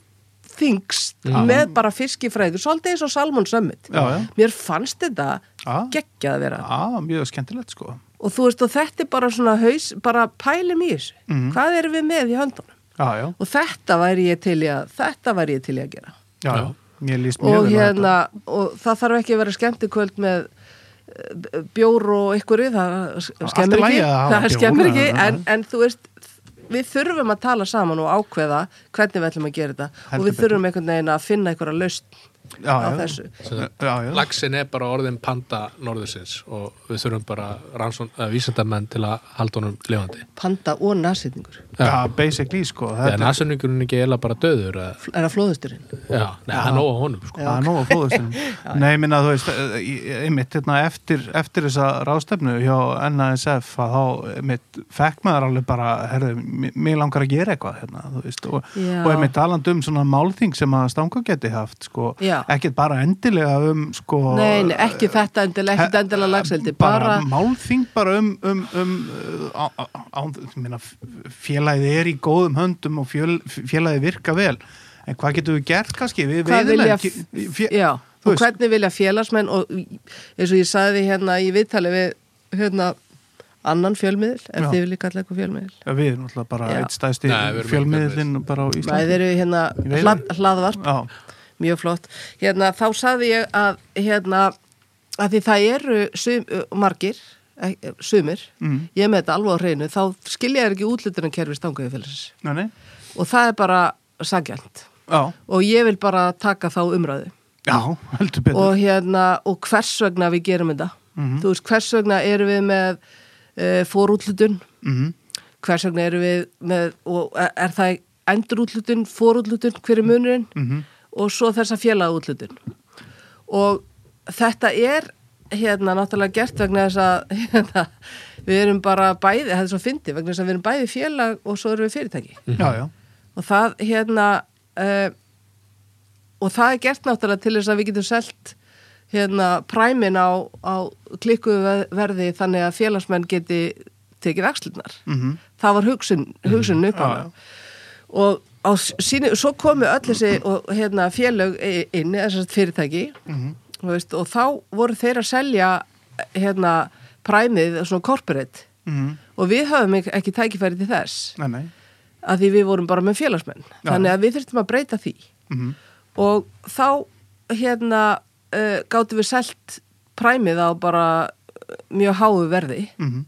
Speaker 3: þingst með bara fiskifræður, svolítið eins og Salmon Summit.
Speaker 1: Já, já.
Speaker 3: Mér fannst þetta
Speaker 1: Já.
Speaker 3: geggjað að vera.
Speaker 1: Á, mjög skemmtilegt sko.
Speaker 3: Og þú veist, og þetta er bara svona haus, bara pælum í þessu.
Speaker 1: Mhm.
Speaker 3: Hvað erum við með í höndunum?
Speaker 1: Já, já,
Speaker 3: Og þetta væri ég til í að, þetta væri ég til í að gera.
Speaker 1: já,
Speaker 2: Já.
Speaker 1: já. Mér líst mjög
Speaker 3: Og
Speaker 1: vel á
Speaker 3: hérna, og það þarf ekki að vera skemmtikvöld með eh, bjór og ykkur við, það
Speaker 1: Allt í
Speaker 3: skemmir
Speaker 1: lagi
Speaker 3: ekki.
Speaker 1: að hafa
Speaker 3: Það
Speaker 1: bjór,
Speaker 3: skemmir ekki,
Speaker 1: já, já.
Speaker 3: en, en þú veist, við þurfum að tala saman og ákveða hvernig við ætlum að gera þetta.
Speaker 1: Heldur
Speaker 3: og við
Speaker 1: betur.
Speaker 3: þurfum einhvern veginn að finna einhverja lausn
Speaker 1: Já,
Speaker 3: á
Speaker 1: já.
Speaker 3: þessu.
Speaker 1: þetta. Já, já.
Speaker 2: Laxin er bara orðin panda norðursins og við þurfum bara rannsón, að vísindamenn til að halda honum lifandi.
Speaker 3: Panda og nasýtningur.
Speaker 1: Já, basically sko.
Speaker 2: Þegar
Speaker 1: Þetta
Speaker 2: nasunningurinn ekki eila bara döður að,
Speaker 3: Er það flóðusturinn?
Speaker 2: já, nei, það er nóg á honum sko.
Speaker 1: Já, nóg að fóðustunum. Nei, ég minna, þú veist, eh, ég- einmitt, hérna, eftir, eftir þessa ráðstefnu hjá NASF að þá, einmitt, fekk maður alveg bara, herðu, mi- mig langar að gera eitthvað, hérna, þú veist, og,
Speaker 3: Já.
Speaker 1: og einmitt talandi um svona málþing sem að stanga geti haft, sko,
Speaker 3: Já.
Speaker 1: ekkert bara endilega um, sko...
Speaker 3: Nei, nei, ekki þetta endilega, ekkert endilega lagseldi, bara,
Speaker 1: bara málþing bara um, um, um á, á, á, minna, félagið er í góðum höndum og fjöl, félagið virka vel en hvað getum við gert kannski við
Speaker 3: hvað
Speaker 1: veiðimenn,
Speaker 3: vilja,
Speaker 1: ge- fé-
Speaker 3: já,
Speaker 1: þú
Speaker 3: og
Speaker 1: veist,
Speaker 3: hvernig vilja félagsmenn og eins og ég sagði hérna í viðtali við hérna annan fjölmiðil, ef
Speaker 1: Já.
Speaker 3: þið viljið kalla eitthvað fjölmiðil.
Speaker 1: Já, við erum alltaf bara
Speaker 3: Já.
Speaker 1: eitt stæsti
Speaker 2: Nei, við erum
Speaker 1: fjölmiðlinn bara á
Speaker 3: Nei, þeir
Speaker 1: Íslandi
Speaker 3: eru hérna
Speaker 1: veiði.
Speaker 3: hlað, hlaðvarp,
Speaker 1: Já,
Speaker 3: mjög flott. Hérna, þá sagði ég að, hérna, að því það eru sum, margir, ek- sumir,
Speaker 1: Mm.
Speaker 3: ég er með þetta alveg á hreinu, þá skilja þér ekki útlutunarkerfi stangaði félagsins.
Speaker 1: nei, nei,
Speaker 3: Og það er bara sagjant.
Speaker 1: já,
Speaker 3: og ég vil bara taka þá umræðu
Speaker 1: já, heldur betur
Speaker 3: og hérna, og hvers vegna við gerum þetta þú veist, hvers vegna erum við með e, fórútlutun
Speaker 1: Mhm.
Speaker 3: hvers vegna erum við með, og er- er það endurútlutun, fórútlutun, hver er munurinn og svo þessa félagútlutun og þetta er hérna náttúrulega gert vegna þess að hérna, við erum bara bæði, þetta er svo fyndi vegna þess að við erum bæði félag og svo erum við fyrirtæki
Speaker 2: Mhm.
Speaker 1: Já, já,
Speaker 3: og það hérna uh, og það er gert náttúrulega til þess að við getum selt hérna præmin á, á klikkuverði þannig að félagsmenn geti tekið axlunar
Speaker 1: Mhm.
Speaker 3: það var hugsun, hugsun upp á það og á síni, svo komu öll þessi og, hérna, félög i- inn þessast fyrirtæki þú veist, og þá voru þeir að selja hérna præmið svona corporate
Speaker 1: Mhm.
Speaker 3: og við höfum ek- ekki tækifæri til þess
Speaker 1: nei, nei
Speaker 3: að því við vorum bara með félagsmenn
Speaker 1: Já.
Speaker 3: þannig að við þurftum að breyta því
Speaker 1: Mhm.
Speaker 3: og þá hérna uh, gáttum við selt præmið á bara eh, mjög háu verði
Speaker 1: Mhm.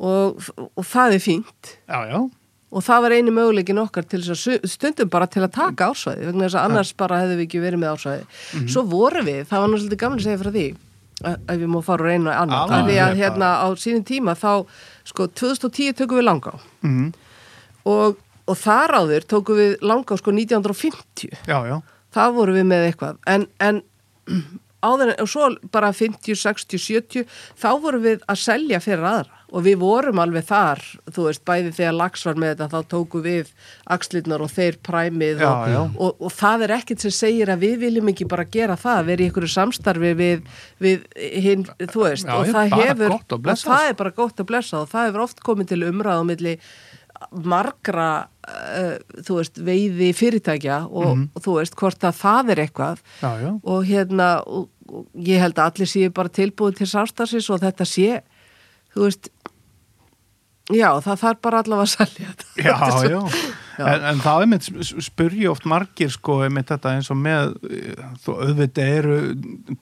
Speaker 3: og, og það er fínt
Speaker 1: Já, já,
Speaker 3: og það var eini möguleikin okkar til þess að su- stundum bara til að taka ásvæði vegna þess að annars bara hefðum við ekki verið með ásvæði
Speaker 1: Mhm.
Speaker 3: svo voru við, það var náttúrulega svolítið gaman að segja frá því eh, ef við má fara úr einu og annan
Speaker 1: Alveg,
Speaker 3: af því
Speaker 1: bara-
Speaker 3: að hérna á sínum tíma þá sko 2010 tökum við langa
Speaker 1: Mhm.
Speaker 3: og, og þar áður tókum við langa sko 1950
Speaker 1: já, já
Speaker 3: það vorum við með eitthvað en, en áður en og svo bara 50, 60, 70 þá vorum við að selja fyrir aðra og við vorum alveg þar þú veist, bæði þegar lax var með þetta þá tókum við axlirnar og þeir præmið og,
Speaker 1: Já, já.
Speaker 3: Og, og það er ekkert sem segir að við viljum ekki bara gera það verið í einhverju samstarfi við, við hinn, þú veist
Speaker 2: Já,
Speaker 3: og
Speaker 2: já,
Speaker 3: það
Speaker 2: bara
Speaker 3: hefur,
Speaker 2: gott og blessað.
Speaker 3: það er bara gott að blessa og það hefur oft komið til umræðum milli margra uh, þú veist, veiði fyrirtækja og, og þú veist, hvort að það er eitthvað
Speaker 1: Mhm. Já, já.
Speaker 3: og hérna og, og ég held að allir séu bara tilbúið til sástarsins og þetta sé þú veist já, það þarf bara allavega að selja þetta
Speaker 1: Já,
Speaker 3: Þetta er
Speaker 1: já.
Speaker 3: svo-
Speaker 1: En, en það er mitt spurji oft margir sko, einmitt þetta eins og með þú auðvitað eru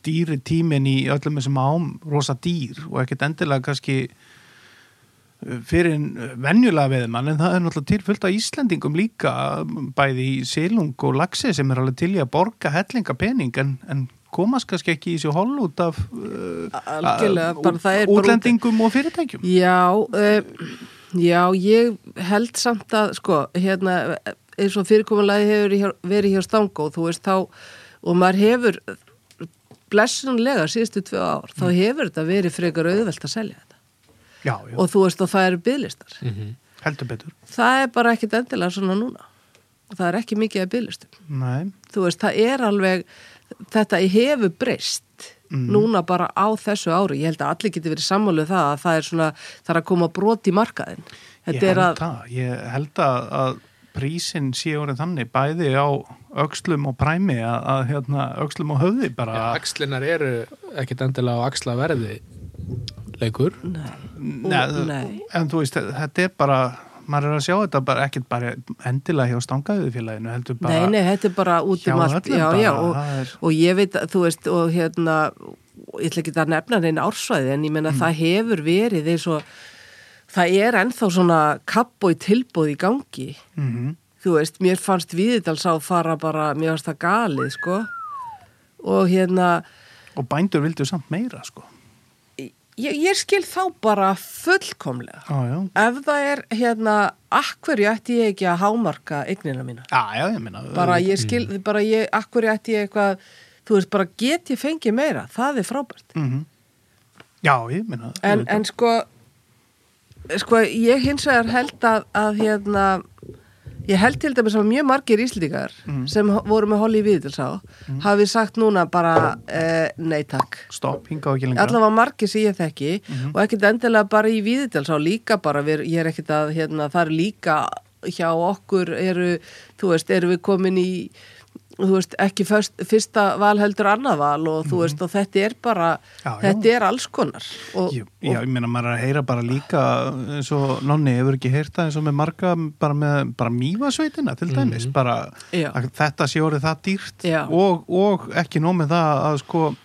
Speaker 1: dýri tímin í öllum þessum ám rosa dýr og ekkert endilega kannski uh, fyrir en venjulega veðmann en það er náttúrulega til fullt af Íslendingum líka bæði í Silung og Laxi sem er alveg til í að borga hellinga pening en, en komast kannski ekki í sér hol út af uh,
Speaker 3: Algjörlega,
Speaker 1: uh,
Speaker 3: bara
Speaker 1: út-
Speaker 3: það er bara út-
Speaker 1: útlendingum og fyrirtækjum
Speaker 3: Já, uh, já, ég held samt að, sko, hérna, eins og fyrirkomulega hefur hjá- verið hjá Stangó, þú veist, þá, og maður hefur, blessunlega síðustu tvö ár, þá hefur þetta verið frekar auðvelt að selja þetta.
Speaker 1: Já, já,
Speaker 3: Og þú veist, og það eru byðlistar.
Speaker 1: heldur betur
Speaker 3: Það er bara ekkit endilega svona núna. Það er ekki mikið að byðlistum
Speaker 1: Nei,
Speaker 3: þú veist, það er alveg þetta hefur breyst
Speaker 1: Mhm.
Speaker 3: núna bara á þessu ári ég held að allir geti verið sammáluð um það að það er svona það er að koma brot í markaðin
Speaker 1: ég
Speaker 3: þetta er
Speaker 1: held
Speaker 3: að,
Speaker 1: að, ég held að, að prísin sé orðið þannig bæði á öxlum og præmi að, að hérna, öxlum og höfði bara
Speaker 2: Já, Axlinar eru ekkit endilega á axlaverði leikur
Speaker 1: Nei,
Speaker 3: Nei.
Speaker 1: en þú veist, þetta er bara maður er að sjá þetta bara ekkert bara endilega hjá stangaðið félaginu heldur bara
Speaker 3: Nei, nei, þetta er bara út
Speaker 1: hjá
Speaker 3: um allt
Speaker 1: öllum
Speaker 3: já,
Speaker 1: bara,
Speaker 3: já, og,
Speaker 1: það er-
Speaker 3: og ég veit að þú veist og hérna, og ég ætla ekki að nefna neina ársvæði en ég menna
Speaker 1: Mm.
Speaker 3: það hefur verið eins og það er ennþá svona kapp og tilbúð í gangi
Speaker 1: Mhm.
Speaker 3: þú veist, mér fannst Víðidals á fara bara, mér fannst það galið sko og hérna
Speaker 1: og bændur vildu samt meira sko
Speaker 3: ég, ég skil þá bara fullkomlega
Speaker 1: já, já,
Speaker 3: ef það er hérna, akkurju ætti ég ekki að hámarka eignina mína
Speaker 1: já, já, ég minna
Speaker 3: bara ég skil, bara ég, akkur ég ætti ég eitthvað, þú veist, bara get ég fengið meira, það er frábært
Speaker 1: Mhm. já, ég minna
Speaker 3: en, en sko sko, ég hins vegar held að, að hérna, ég held til dæmis að mjög margir íslíkar sem ho- voru með Holly Viðilsá hafi sagt núna bara eh, nei takk
Speaker 1: stopp, hinga ekki lengra
Speaker 3: allavega margir sem ég þekki
Speaker 1: Mhm.
Speaker 3: og ekkert endilega bara í viðdelsá líka bara, við, ég er ekkert að hérna, það er líka hjá okkur eru, þú veist, eru við komin í þú veist, ekki fyrst, fyrsta val heldur annað val og þú veist, og þetta er bara
Speaker 1: Mhm. Já, já.
Speaker 3: þetta er alls konar og,
Speaker 1: Jú, Já, ég meina maður er að heyra bara líka eins og Nonni hefur ekki heyrta eins og með marga bara með bara mývasveitina til dæmis, bara
Speaker 3: Mhm. Já.
Speaker 1: að þetta sé orðið það dýrt
Speaker 3: Já.
Speaker 1: og, og ekki nómið það að sko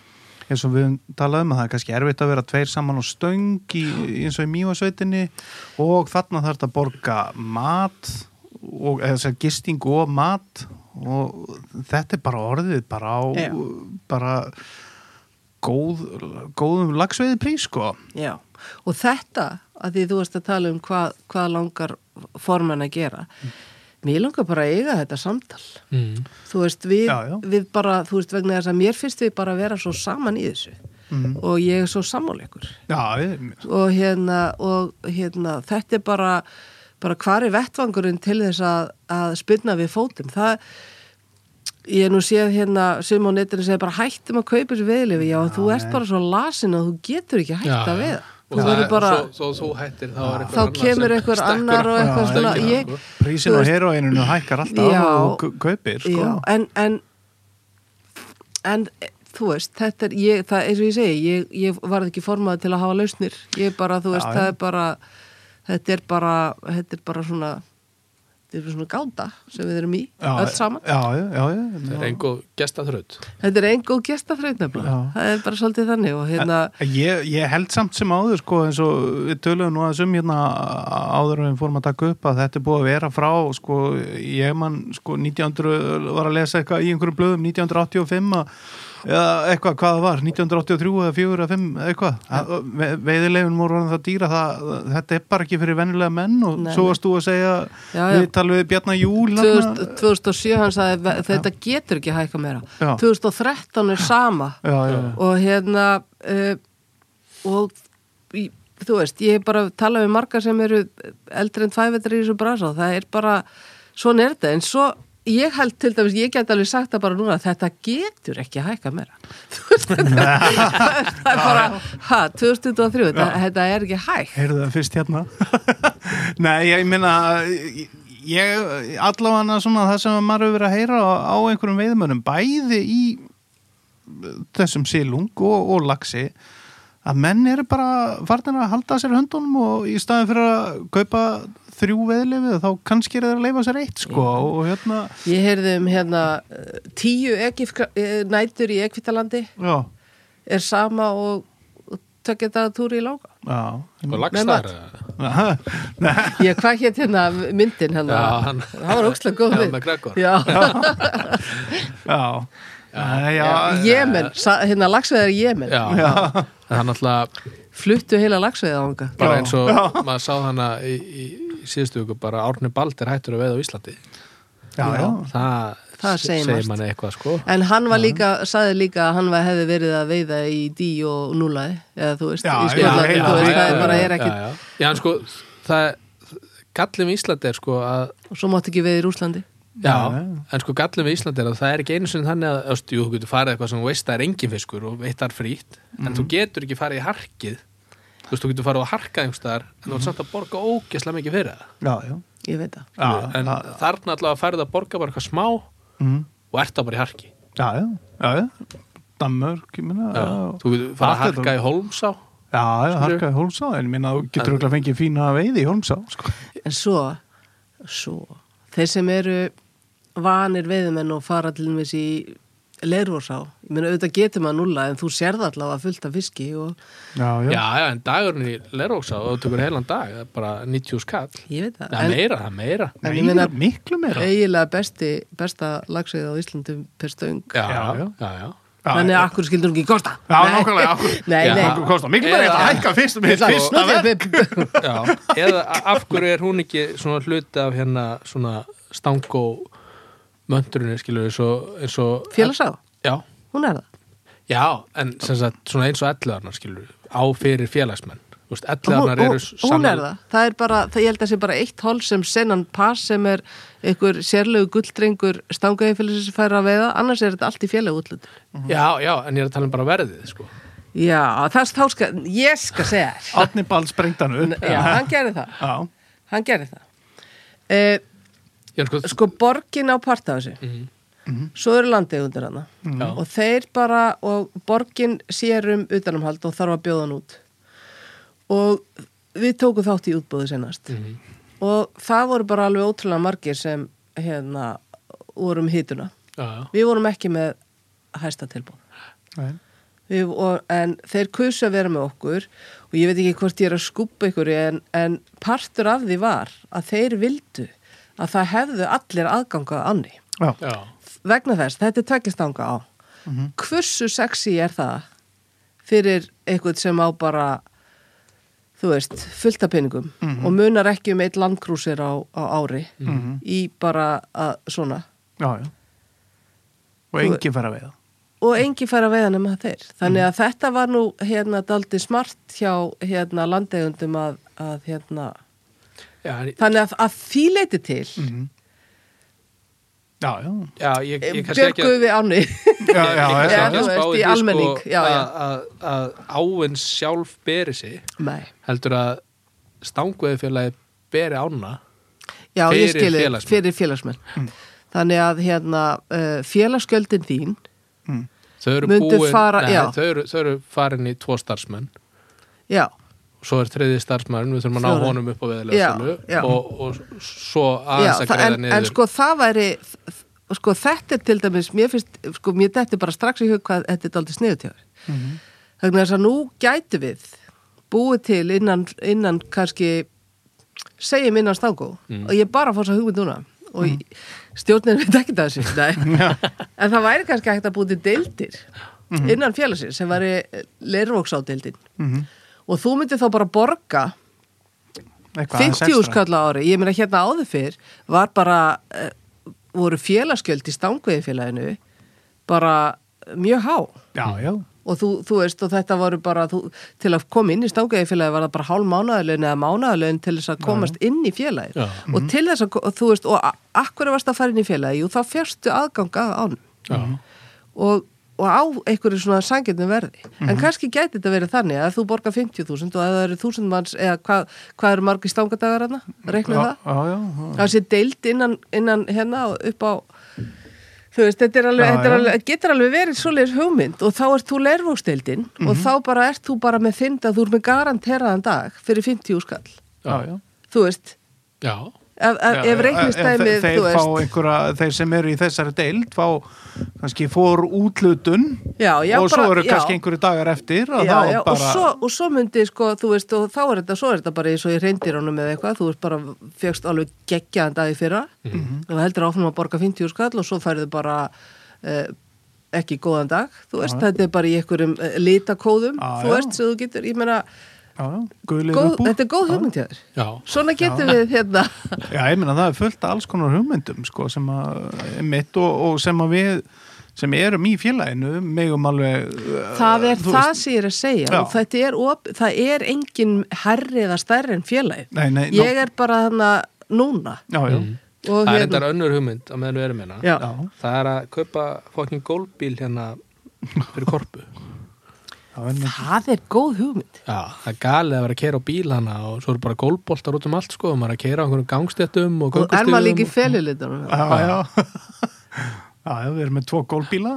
Speaker 1: eins og við talaðum að það er kannski erfitt að vera tveir saman og stöng í, eins og í mývasveitinni og þarna þarf þetta að borga mat og eða þess að gisting og mat og þetta er bara orðið bara á
Speaker 3: Já.
Speaker 1: bara góð, góðum lagsveiði prís sko
Speaker 3: Já, og þetta að því þú varst að tala um hvað, hvað langar formann að gera
Speaker 1: Mm.
Speaker 3: mér langar bara að eiga þetta samtal
Speaker 2: mm.
Speaker 3: þú veist, við,
Speaker 1: Já, já.
Speaker 3: við bara þú veist, vegna þess að mér finnst við bara að vera svo saman í þessu
Speaker 1: Mhm.
Speaker 3: og ég er svo sammála ykkur
Speaker 1: Já, ég,
Speaker 3: og hérna, og hérna þetta er bara, bara hvar er vettvangurinn til þess að, að spynna við fótum það ég hef nú séð hérna sem á netinu segir bara hættum að kaupa þessu veðlifi já, þú ert bara svo lasin að þú getur ekki hægt að veða
Speaker 2: og
Speaker 3: þú
Speaker 2: það
Speaker 3: verður
Speaker 2: er
Speaker 3: bara,
Speaker 2: bara svo, svo hættir þá, er einhver
Speaker 3: þá
Speaker 2: annar
Speaker 3: kemur
Speaker 2: sem
Speaker 3: einhver
Speaker 2: stekkur
Speaker 3: annar og
Speaker 2: á
Speaker 3: eitthvað
Speaker 2: stöngina,
Speaker 3: svona ég,
Speaker 2: sko.
Speaker 1: prísin
Speaker 3: Þú
Speaker 1: á
Speaker 3: veist-
Speaker 1: heroininu hækkar alltaf
Speaker 3: Já.
Speaker 1: og þú kaupir sko.
Speaker 3: já, en, en en e, þú veist, þetta er ég, það eins og ég segi, ég, ég varð ekki formað til að hafa lausnir, ég bara, þú veist,
Speaker 1: Já,
Speaker 3: það
Speaker 1: já.
Speaker 3: er bara þetta er bara, þetta er bara svona þetta er bara svona gáta sem við erum í,
Speaker 1: já,
Speaker 3: öll saman
Speaker 1: Já, já, já,
Speaker 2: það
Speaker 1: já,
Speaker 2: er einhver gestaþraut
Speaker 3: þetta er ein góð gestaþraut nefnilega,
Speaker 1: Já.
Speaker 3: það er bara svolítið þannig og hérna,
Speaker 1: En Ég, ég held samt sem áður sko, eins og við töluðum nú að sum hérna áður en við fórum að taka upp að þetta er búið að vera frá sko, ég mann sko, 1900 var að lesa eitthvað í einhverjum blöðum 1985 að eða eitthvað hvað það var, 1983 eða 4 eða 5 eitthvað, Að- ve veiðilegun voru orðin það dýra, það, þetta er bara ekki fyrir vennilega menn og
Speaker 3: Nei,
Speaker 1: svo varst þú að segja
Speaker 3: Já, já.
Speaker 1: við talum við Bjarnar Júl
Speaker 3: 2000, 2007 hann sagði, "Ve- þetta getur ekki hækka meira,
Speaker 1: Já.
Speaker 3: 2013 er sama
Speaker 1: já, já, já.
Speaker 3: og hérna uh, og í- þú veist, ég hef bara talað við margar sem eru eldri en tvævetri í þessu brasa og það er bara, svona er þetta en svo, ég held til dæmis, ég get alveg sagt það bara núna, þetta getur ekki hækka meira þú veist, þetta það er bara, ha, 2023 þetta, þetta er ekki hægt
Speaker 1: Heyrðu það fyrst hérna Nei, ég minna ég allavega svona það sem maður hefur verið að heyra á, á einhverjum veiðmönnum bæði í þessum silung og, og laxi að menn eru bara farnir að halda sér höndunum og í staðin fyrir að kaupa þrjú veðlefið þá kannski eru þeir að leifa sér eitt sko og hérna
Speaker 3: ég heyrði um hérna eh, tíu Egypt, nætur í Ekvitalandi
Speaker 1: já,
Speaker 3: er sama og, og tökja þetta túr í lága
Speaker 1: já
Speaker 2: og
Speaker 3: mat.
Speaker 2: lagstar
Speaker 1: Nei,
Speaker 3: Já, hvað hétt hérna myndin hérna?
Speaker 2: Já, hann-
Speaker 3: það var ógslag góð
Speaker 2: Já,
Speaker 3: mynd.
Speaker 2: McGregor.
Speaker 3: Já,
Speaker 1: já, já, já,
Speaker 3: Jemen, sa- hérna lagsveðar í Jemen.
Speaker 2: já, það er náttúrulega
Speaker 3: Fluttu heila lagsveðið á hanga.
Speaker 2: bara
Speaker 1: Já.
Speaker 2: eins og maður sá hana í, í, í síðustu viku bara Árni Bald er hættur að veða á Íslandi
Speaker 1: já, já.
Speaker 2: það,
Speaker 3: Það
Speaker 2: se-
Speaker 3: segir margt.
Speaker 2: manni eitthvað sko
Speaker 3: En hann var líka, sagði líka að hann var, hefði verið að veiða í dí og núlaði, eða þú veist,
Speaker 1: Já,
Speaker 3: í
Speaker 1: já,
Speaker 3: Skotlandi,
Speaker 1: heila
Speaker 3: þú veist,
Speaker 1: viku,
Speaker 3: það er bara er
Speaker 2: já,
Speaker 3: ekkit,
Speaker 2: já. já, en sko, það gallum í Íslandi er sko að
Speaker 3: og svo mátt ekki veið í Rúslandi.
Speaker 2: já,
Speaker 1: Já, já.
Speaker 2: en sko gallum í Íslandi er að það er ekki einu sinni þannig að östu,
Speaker 1: Mhm.
Speaker 2: jú, þú getur farið eitthvað sem þú veist það er engin fiskur og veitt það er frýtt en þú getur ekki farið í harkið þú veist, þú getur farið að harka einhverstaðar en þú ert samt að borga ógeðslega mikið fyrir það
Speaker 1: já, já,
Speaker 3: ég veit það
Speaker 1: já,
Speaker 2: en
Speaker 1: já,
Speaker 2: þarna allavega færið að borga bara eitthvað smá og
Speaker 1: mhm.
Speaker 2: ert það bara í harki
Speaker 1: já, já, já, já. Danmörk, ég minna
Speaker 2: já. þú getur farið að
Speaker 1: Allt
Speaker 2: harka
Speaker 1: þetta.
Speaker 2: í Holmsá
Speaker 1: Já, já,
Speaker 2: Skilurðu?
Speaker 1: harkaði Hólmsá, en minna þú getur auðvitað fengið fína veiði í Hólmsá, sko.
Speaker 3: en svo, svo þeir sem eru vanir veiðumenn og fara til dæmis í leirvorsá, ég meina auðvitað getur maður nulla en þú sérð allavega fullt af fiski og
Speaker 1: Já, já.
Speaker 2: já, já, en dagurinn í Leróksá og þú tekur heilan dag, það er bara 90 skall
Speaker 3: ég veit það
Speaker 2: það er
Speaker 3: en
Speaker 2: meira, það er meira
Speaker 1: Nei,
Speaker 3: en ég meina-
Speaker 1: miklu meira.
Speaker 3: eiginlega besti, besta lagsveið á Íslandum per stöng
Speaker 2: já,
Speaker 1: Já, já.
Speaker 2: já, já, já.
Speaker 3: þannig að akkur skildur hún ekki kosta
Speaker 1: Já,
Speaker 3: Nei.
Speaker 1: nákvæmlega, akkur-
Speaker 3: nei,
Speaker 2: Já.
Speaker 3: nei,
Speaker 1: Hvað kostar? Miklu meira
Speaker 2: Eða-
Speaker 1: þetta hækka fyrst með
Speaker 2: Eða-
Speaker 1: fyrst.
Speaker 3: Nú þegar við-
Speaker 2: Já, eða af hverju er hún ekki svona hluti af hérna svona stangó möndurinu skilur eins og, eins og
Speaker 3: félagsá,
Speaker 2: já,
Speaker 3: hún er það
Speaker 2: já, en sem sagt svona eins og elliðarnar skilur á fyrir félagsmenn Þú veist,
Speaker 3: Hún,
Speaker 2: elliðarnar
Speaker 3: hún,
Speaker 2: eru
Speaker 3: hún er það, það er bara, það, ég held að sé bara eitt hól sem senan pass sem er einhver sérlegu gulldrengur stangaði félagsins að færa að veiða, annars er þetta allt í félagi útlut.
Speaker 2: já, já, en ég er að tala um bara verðið sko.
Speaker 3: Já, það þá skal, ég skal segja þér.
Speaker 1: Átni Ball sprengt hann upp.
Speaker 3: Já, hann gerði það,
Speaker 1: Já,
Speaker 3: hann gerði það. Eh,
Speaker 2: já, sko,
Speaker 3: sko, borgin á part af þessu, svo eru landið undir hana
Speaker 2: Já.
Speaker 3: og þeir bara, og borgin sér um utanumhald og þarf að bjóða hann út. Og við tókum þátt í útbúðu senast. og það voru bara alveg ótrúlega margir sem hérna vorum hýtuna.
Speaker 2: já, já,
Speaker 3: Við vorum ekki með hæsta tilbúð.
Speaker 1: Nei.
Speaker 3: Við, og, en þeir kusu að vera með okkur og ég veit ekki hvort ég er að skúpa ykkur en, en partur af því var að þeir vildu að það hefðu allir aðgangað annir.
Speaker 1: já,
Speaker 2: já,
Speaker 3: Vegna þess, þetta er tveggjastanga á. Hversu sexy er það fyrir eitthvað sem á bara þú veist, fullt af peningum og munar ekki um eitt landkrúsir á, á ári í bara að, svona
Speaker 1: já, já. Og enginn fær að veiða.
Speaker 3: og engi fær að veiða nema þeir þannig
Speaker 2: Mhm.
Speaker 3: að þetta var nú hérna daldi smart hjá hérna landegundum að, að hérna
Speaker 2: já, en-
Speaker 3: þannig að, að því leiti til
Speaker 2: Mhm.
Speaker 1: Já, já.
Speaker 2: já ég, ég kannski ekki
Speaker 3: björguðu við áni
Speaker 1: Já, já,
Speaker 2: ég kannski
Speaker 1: já,
Speaker 3: Já,
Speaker 2: ekki
Speaker 3: þú
Speaker 2: að spá í
Speaker 3: veist, í
Speaker 2: því,
Speaker 3: almenning,
Speaker 2: sko,
Speaker 3: já, já.
Speaker 2: að- að- að áin sjálf beri sig
Speaker 3: Nei.
Speaker 2: heldur að stangveðfélagi beri ána
Speaker 3: Já,
Speaker 2: Fyrir
Speaker 3: ég skilði,
Speaker 2: félagsmenn. Mhm.
Speaker 3: fyrir félagsmenn þannig að hérna uh, félagsgjöldin þín
Speaker 2: þau eru
Speaker 3: Mundu
Speaker 2: búin
Speaker 3: fara-
Speaker 2: nei,
Speaker 3: já.
Speaker 2: þau, eru, þau eru farin í tvo starfsmenn
Speaker 3: já,
Speaker 2: og svo er þriði starfsmenn, við þurfum að ná
Speaker 3: Fjórir.
Speaker 2: honum upp á
Speaker 3: Já,
Speaker 2: veðilega
Speaker 3: já.
Speaker 2: sölu og, og svo
Speaker 3: já
Speaker 2: aðeins að
Speaker 3: það-
Speaker 2: greiða
Speaker 3: en,
Speaker 2: niður
Speaker 3: en sko það væri sko þetta er til dæmis mér finnst, sko mér dettir bara strax í hug hvað þetta er aldrei sniðut hjá þér þannig að þess að nú gætu við búið til innan, innan kannski segjum innan stangó
Speaker 2: Mhm.
Speaker 3: og ég er bara að fá svo hugmynd núna og mm. stjórnin veit ekki það þessu nei. en það væri kannski hægt að búið til deildir innan félagsins sem væri leirvóksádeildin
Speaker 1: Mhm.
Speaker 3: og þú myndir þá bara borga
Speaker 1: Eitthvað aðeins
Speaker 3: 50
Speaker 1: extra.
Speaker 3: skall á ári, ég meina hérna áður fyrr var bara, uh, voru félagsgjöld í stangveiðfélaginu bara eh, mjög há
Speaker 1: Já, já.
Speaker 3: og þú, þú veist og þetta voru bara þú, til að koma inn í stangveiðfélagi var það bara hálf mánaðalögin eða mánaðalögin til þess að komast inn í félagið
Speaker 2: Já.
Speaker 3: og til þess að ko- og þú veist og a- af hverju varst að fara inn í félagið, jú þá fjastu aðganga án
Speaker 2: Já.
Speaker 3: og, og á einhverju svona sangjöndum verði.
Speaker 1: Mhm.
Speaker 3: En kannski gæti þetta verið þannig að þú borgar 50.000 og ef það eru 1000 manns eða hvað, hvað eru margir stangadagar hana, reikna
Speaker 1: Já,
Speaker 3: það?
Speaker 1: já, já.
Speaker 3: Það sé deild innan, innan hérna og upp á þú veist, þetta, er
Speaker 1: Já,
Speaker 3: alveg, þetta er
Speaker 1: já.
Speaker 3: alveg, getur alveg verið svoleiðis hugmynd og þá ert þú lervóksdeildin
Speaker 1: Mhm.
Speaker 3: og þá bara ert þú bara með fynd að þú er með garanteraðan dag fyrir 50 skall.
Speaker 1: Já, já.
Speaker 3: Þú veist,
Speaker 2: já,
Speaker 3: ef, ef, ef reiknistæmið,
Speaker 1: Eh, þeir,
Speaker 3: þú
Speaker 1: þeir, fá
Speaker 3: veist.
Speaker 1: einhverja, þeir sem eru í þessari deild fá kannski fór útlutun
Speaker 3: Já, já,
Speaker 1: og svo
Speaker 3: bara-
Speaker 1: eru kannski
Speaker 3: já.
Speaker 1: einhverju dagar eftir og
Speaker 3: já,
Speaker 1: þá
Speaker 3: já,
Speaker 1: bara
Speaker 3: og, svo, og svo myndi sko, þú veist, og þá er þetta, svo er þetta bara eins og ég reyndir honum með eitthvað, þú veist bara fegst alveg geggjaðan dag í fyrra
Speaker 1: Mhm.
Speaker 3: og heldur áfram að borga 50 skall og svo færðu bara eh, ekki góðan dag, þú veist, þetta er bara í einhverjum eh, litakóðum,
Speaker 1: Já,
Speaker 3: þú
Speaker 1: já.
Speaker 3: veist, sem þú getur, ég meina
Speaker 1: já, já, gulir
Speaker 3: góð,
Speaker 1: upp úr
Speaker 3: þetta er góð hugmynd hjá þér
Speaker 2: já,
Speaker 3: svona getum við hérna
Speaker 1: Já, ég meina það er fullt af alls konar hugmyndum sko, sem að mitt og, og sem að við sem erum í félaginu megum alveg uh,
Speaker 3: það er
Speaker 1: þú
Speaker 3: það
Speaker 1: veist-
Speaker 3: sem ég er að segja
Speaker 1: Já.
Speaker 3: og þetta er, op, það er engin herri eða stærri en félagi
Speaker 1: Nei, nei, nó-
Speaker 3: ég er bara þarna núna
Speaker 1: Já, já,
Speaker 3: og hérna-
Speaker 2: það er þetta önnur hugmynd á meðan við erum hérna
Speaker 3: já.
Speaker 1: já,
Speaker 2: það er að kaupa fokkin gólbíl hérna fyrir korpu
Speaker 1: Það er nú-
Speaker 3: Mm-hmm. Það er góð hugmynd.
Speaker 2: Já, það er galið að vera að keira á bíl hana og svo eru bara gólboltar út um allt sko og maður er að keira á einhverjum gangstéttum og
Speaker 3: Og er
Speaker 2: göngustígum
Speaker 3: maður líka í
Speaker 2: og-
Speaker 3: felulitunum?
Speaker 1: Já, já. Já, já, við erum með tvo gólbíla,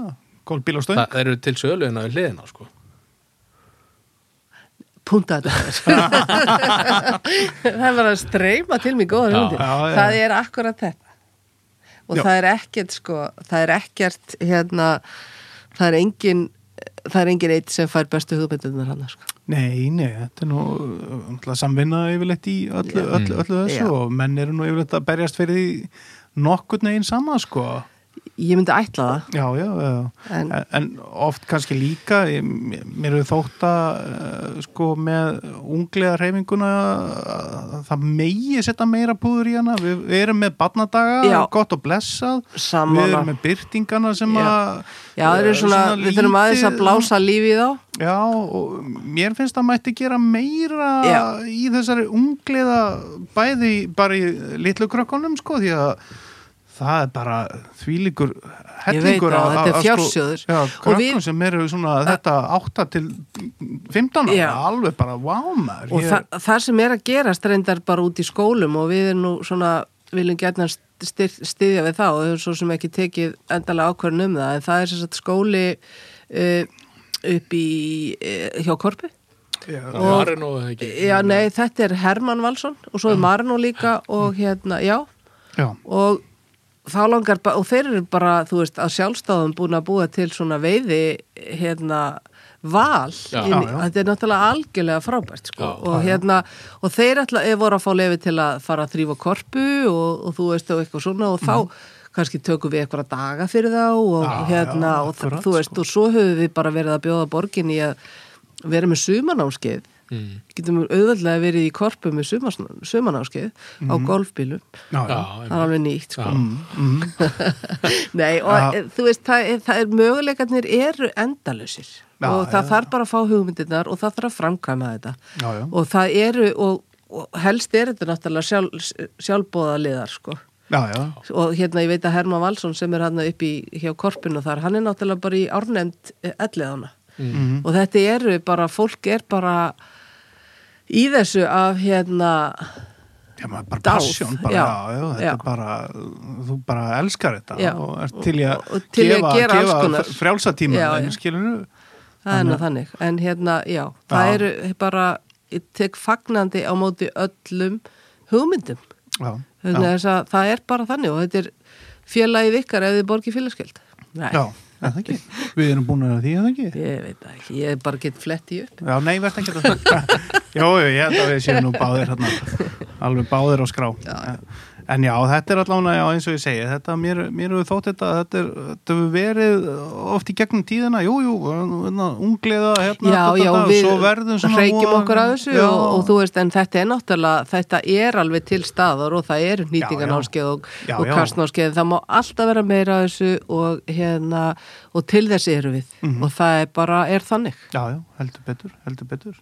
Speaker 1: gólbílastöng.
Speaker 2: Það eru til sölu en á hliðina sko
Speaker 3: Punta þetta. það var að streyma til mig góða
Speaker 2: Já,
Speaker 3: hugmyndir.
Speaker 1: já, já.
Speaker 3: Það er akkurat þetta. Og
Speaker 1: Já.
Speaker 3: það er ekkert, sko, það er ekkert, hérna, það er engin, það er engin eitt sem fær bestu hugmyndirnar hann, sko.
Speaker 1: Nei, nei, þetta er nú uh, náttúrulega samvinna yfirleitt í öllu, öllu, öllu þessu
Speaker 3: Já.
Speaker 1: og menn eru nú yfirleitt að berjast fyrir því nokkurn veginn sama, sko.
Speaker 3: Ég myndi ætla það.
Speaker 1: Já, já, já.
Speaker 3: En-
Speaker 1: En, en oft kannski líka, ég- mér eru þótt að, uh, sko, með unglega reyfinguna, uh, það megi setja meira púður í hana. Við, við erum með barnadaga,
Speaker 3: Já.
Speaker 1: gott og blessað.
Speaker 3: Sammála.
Speaker 1: Við erum með byrtingana sem
Speaker 3: Já.
Speaker 1: að...
Speaker 3: Já, það eru
Speaker 1: eh,
Speaker 3: svona, við þurfum aðeins að
Speaker 1: lítið-
Speaker 3: blása lífi í þá.
Speaker 1: Já, og mér finnst að mætti gera meira
Speaker 3: Já.
Speaker 1: í þessari ungliða bæði bara í litlu krökkunum sko því að það er bara þvílíkur hellingur
Speaker 3: það, þetta er
Speaker 1: að- að-
Speaker 3: fjársjóður.
Speaker 1: sko, Já,
Speaker 3: Og
Speaker 1: krökkum
Speaker 3: við-
Speaker 1: sem eru svona þetta 8 til 15
Speaker 3: Já.
Speaker 1: ára, alveg bara vámar
Speaker 3: og þa það sem er að gerast reyndar bara út í skólum og við erum nú svona viljum gætna styðja við það og þau svo sem ekki tekið endalega ákvörðin um það en það er sem sagt skóli uh, upp í uh, hjá Korpi
Speaker 1: það
Speaker 2: Það var nú ekki
Speaker 3: Já, nei, þetta er Hermann Valsson og svo er Marno líka og hérna, já
Speaker 1: Já,
Speaker 3: og þá langar bara, og þeir eru bara, þú veist, að sjálfstáðum búin að búa til svona veiði, hérna, val.
Speaker 2: Já.
Speaker 3: inn í-
Speaker 1: Já, já.
Speaker 3: Þetta er náttúrulega algjörlega frábært, sko.
Speaker 2: Já,
Speaker 3: og hérna, og þeir alltaf voru að fá lefi til að fara að þrýfa korpu og, og þú veist, og eitthvað svona og þá kannski tökum við eitthvað daga fyrir þá og
Speaker 1: Mhm. Já,
Speaker 3: hérna,
Speaker 1: já,
Speaker 3: og
Speaker 1: akkurat, sko.
Speaker 3: þú veist, og svo höfum við bara verið að bjóða borgin í að vera með sumanámskeið
Speaker 2: Mm.
Speaker 3: getum auðveldlega verið í korpu með sumarsn- sumanámskeið á
Speaker 1: Mhm.
Speaker 3: golfbílum
Speaker 1: já,
Speaker 2: Já,
Speaker 1: já.
Speaker 3: það er alveg nýtt sko. Nei, og
Speaker 1: Já.
Speaker 3: þú veist, það, er- það er möguleikarnir eru endalösir
Speaker 1: Já,
Speaker 3: og það
Speaker 1: já.
Speaker 3: þarf bara að fá hugmyndirnar og það þarf að framkvæma þetta
Speaker 1: Já, já.
Speaker 3: og það eru og, og helst er þetta náttúrulega sjálf, sjálfbóðaliðar sko
Speaker 1: já, já.
Speaker 3: og hérna ég veit að Herman Valsson sem er hann upp í hjá korpinu þar, hann er náttúrulega bara í árnefnd elliðana mm. og þetta eru bara, fólk er bara í þessu af hérna,
Speaker 1: Já, maður er bara
Speaker 3: Dáð,
Speaker 1: passion, bara,
Speaker 3: já,
Speaker 1: já, já, þetta
Speaker 3: já.
Speaker 1: er bara, þú bara elskar þetta
Speaker 3: Já.
Speaker 1: og er til í
Speaker 3: Og-
Speaker 1: að
Speaker 3: og til í að
Speaker 1: gefa,
Speaker 3: gera alls konar.
Speaker 1: gefa frjálsatíma,
Speaker 3: Já, já.
Speaker 1: en skilur
Speaker 3: það er nú þannig en hérna, já, það
Speaker 1: Já.
Speaker 3: eru bara ég tek fagnandi á móti öllum hugmyndum
Speaker 1: já,
Speaker 3: þannig þess að það er bara þannig og þetta er félagið ykkar ef þið borgið félagsgjöld Nei,
Speaker 1: Já, er það ekki? Við erum búin að því, er það ekki?
Speaker 3: ég veit það ekki, ég bara get fletti upp
Speaker 1: Já, nei, verð ekki um það. Jó, jú, ég held að við séum nú báðir hérna, alveg báðir á skrá. En já, þetta er allavega, já, eins og ég segi, þetta, mér, mér hefur þótt þetta, þetta, er, þetta hefur verið oft í gegnum tíðina, jú, jú, hérna, ungliða, hérna,
Speaker 3: Já,
Speaker 1: þetta,
Speaker 3: já,
Speaker 1: þetta,
Speaker 3: við
Speaker 1: svo verðum svona
Speaker 3: reykjum
Speaker 1: voða-
Speaker 3: okkur að þessu
Speaker 1: Já.
Speaker 3: og, og þú veist, en þetta er náttúrulega, þetta er alveg til staðar og það eru nýtinganámskeið og,
Speaker 1: Já,
Speaker 3: og
Speaker 1: já.
Speaker 3: kastnámskeið, það má alltaf vera meira að þessu og hérna, og til þessi eru við
Speaker 1: Mhm.
Speaker 3: og það er bara, er þannig.
Speaker 1: Já, já, heldur betur, heldur betur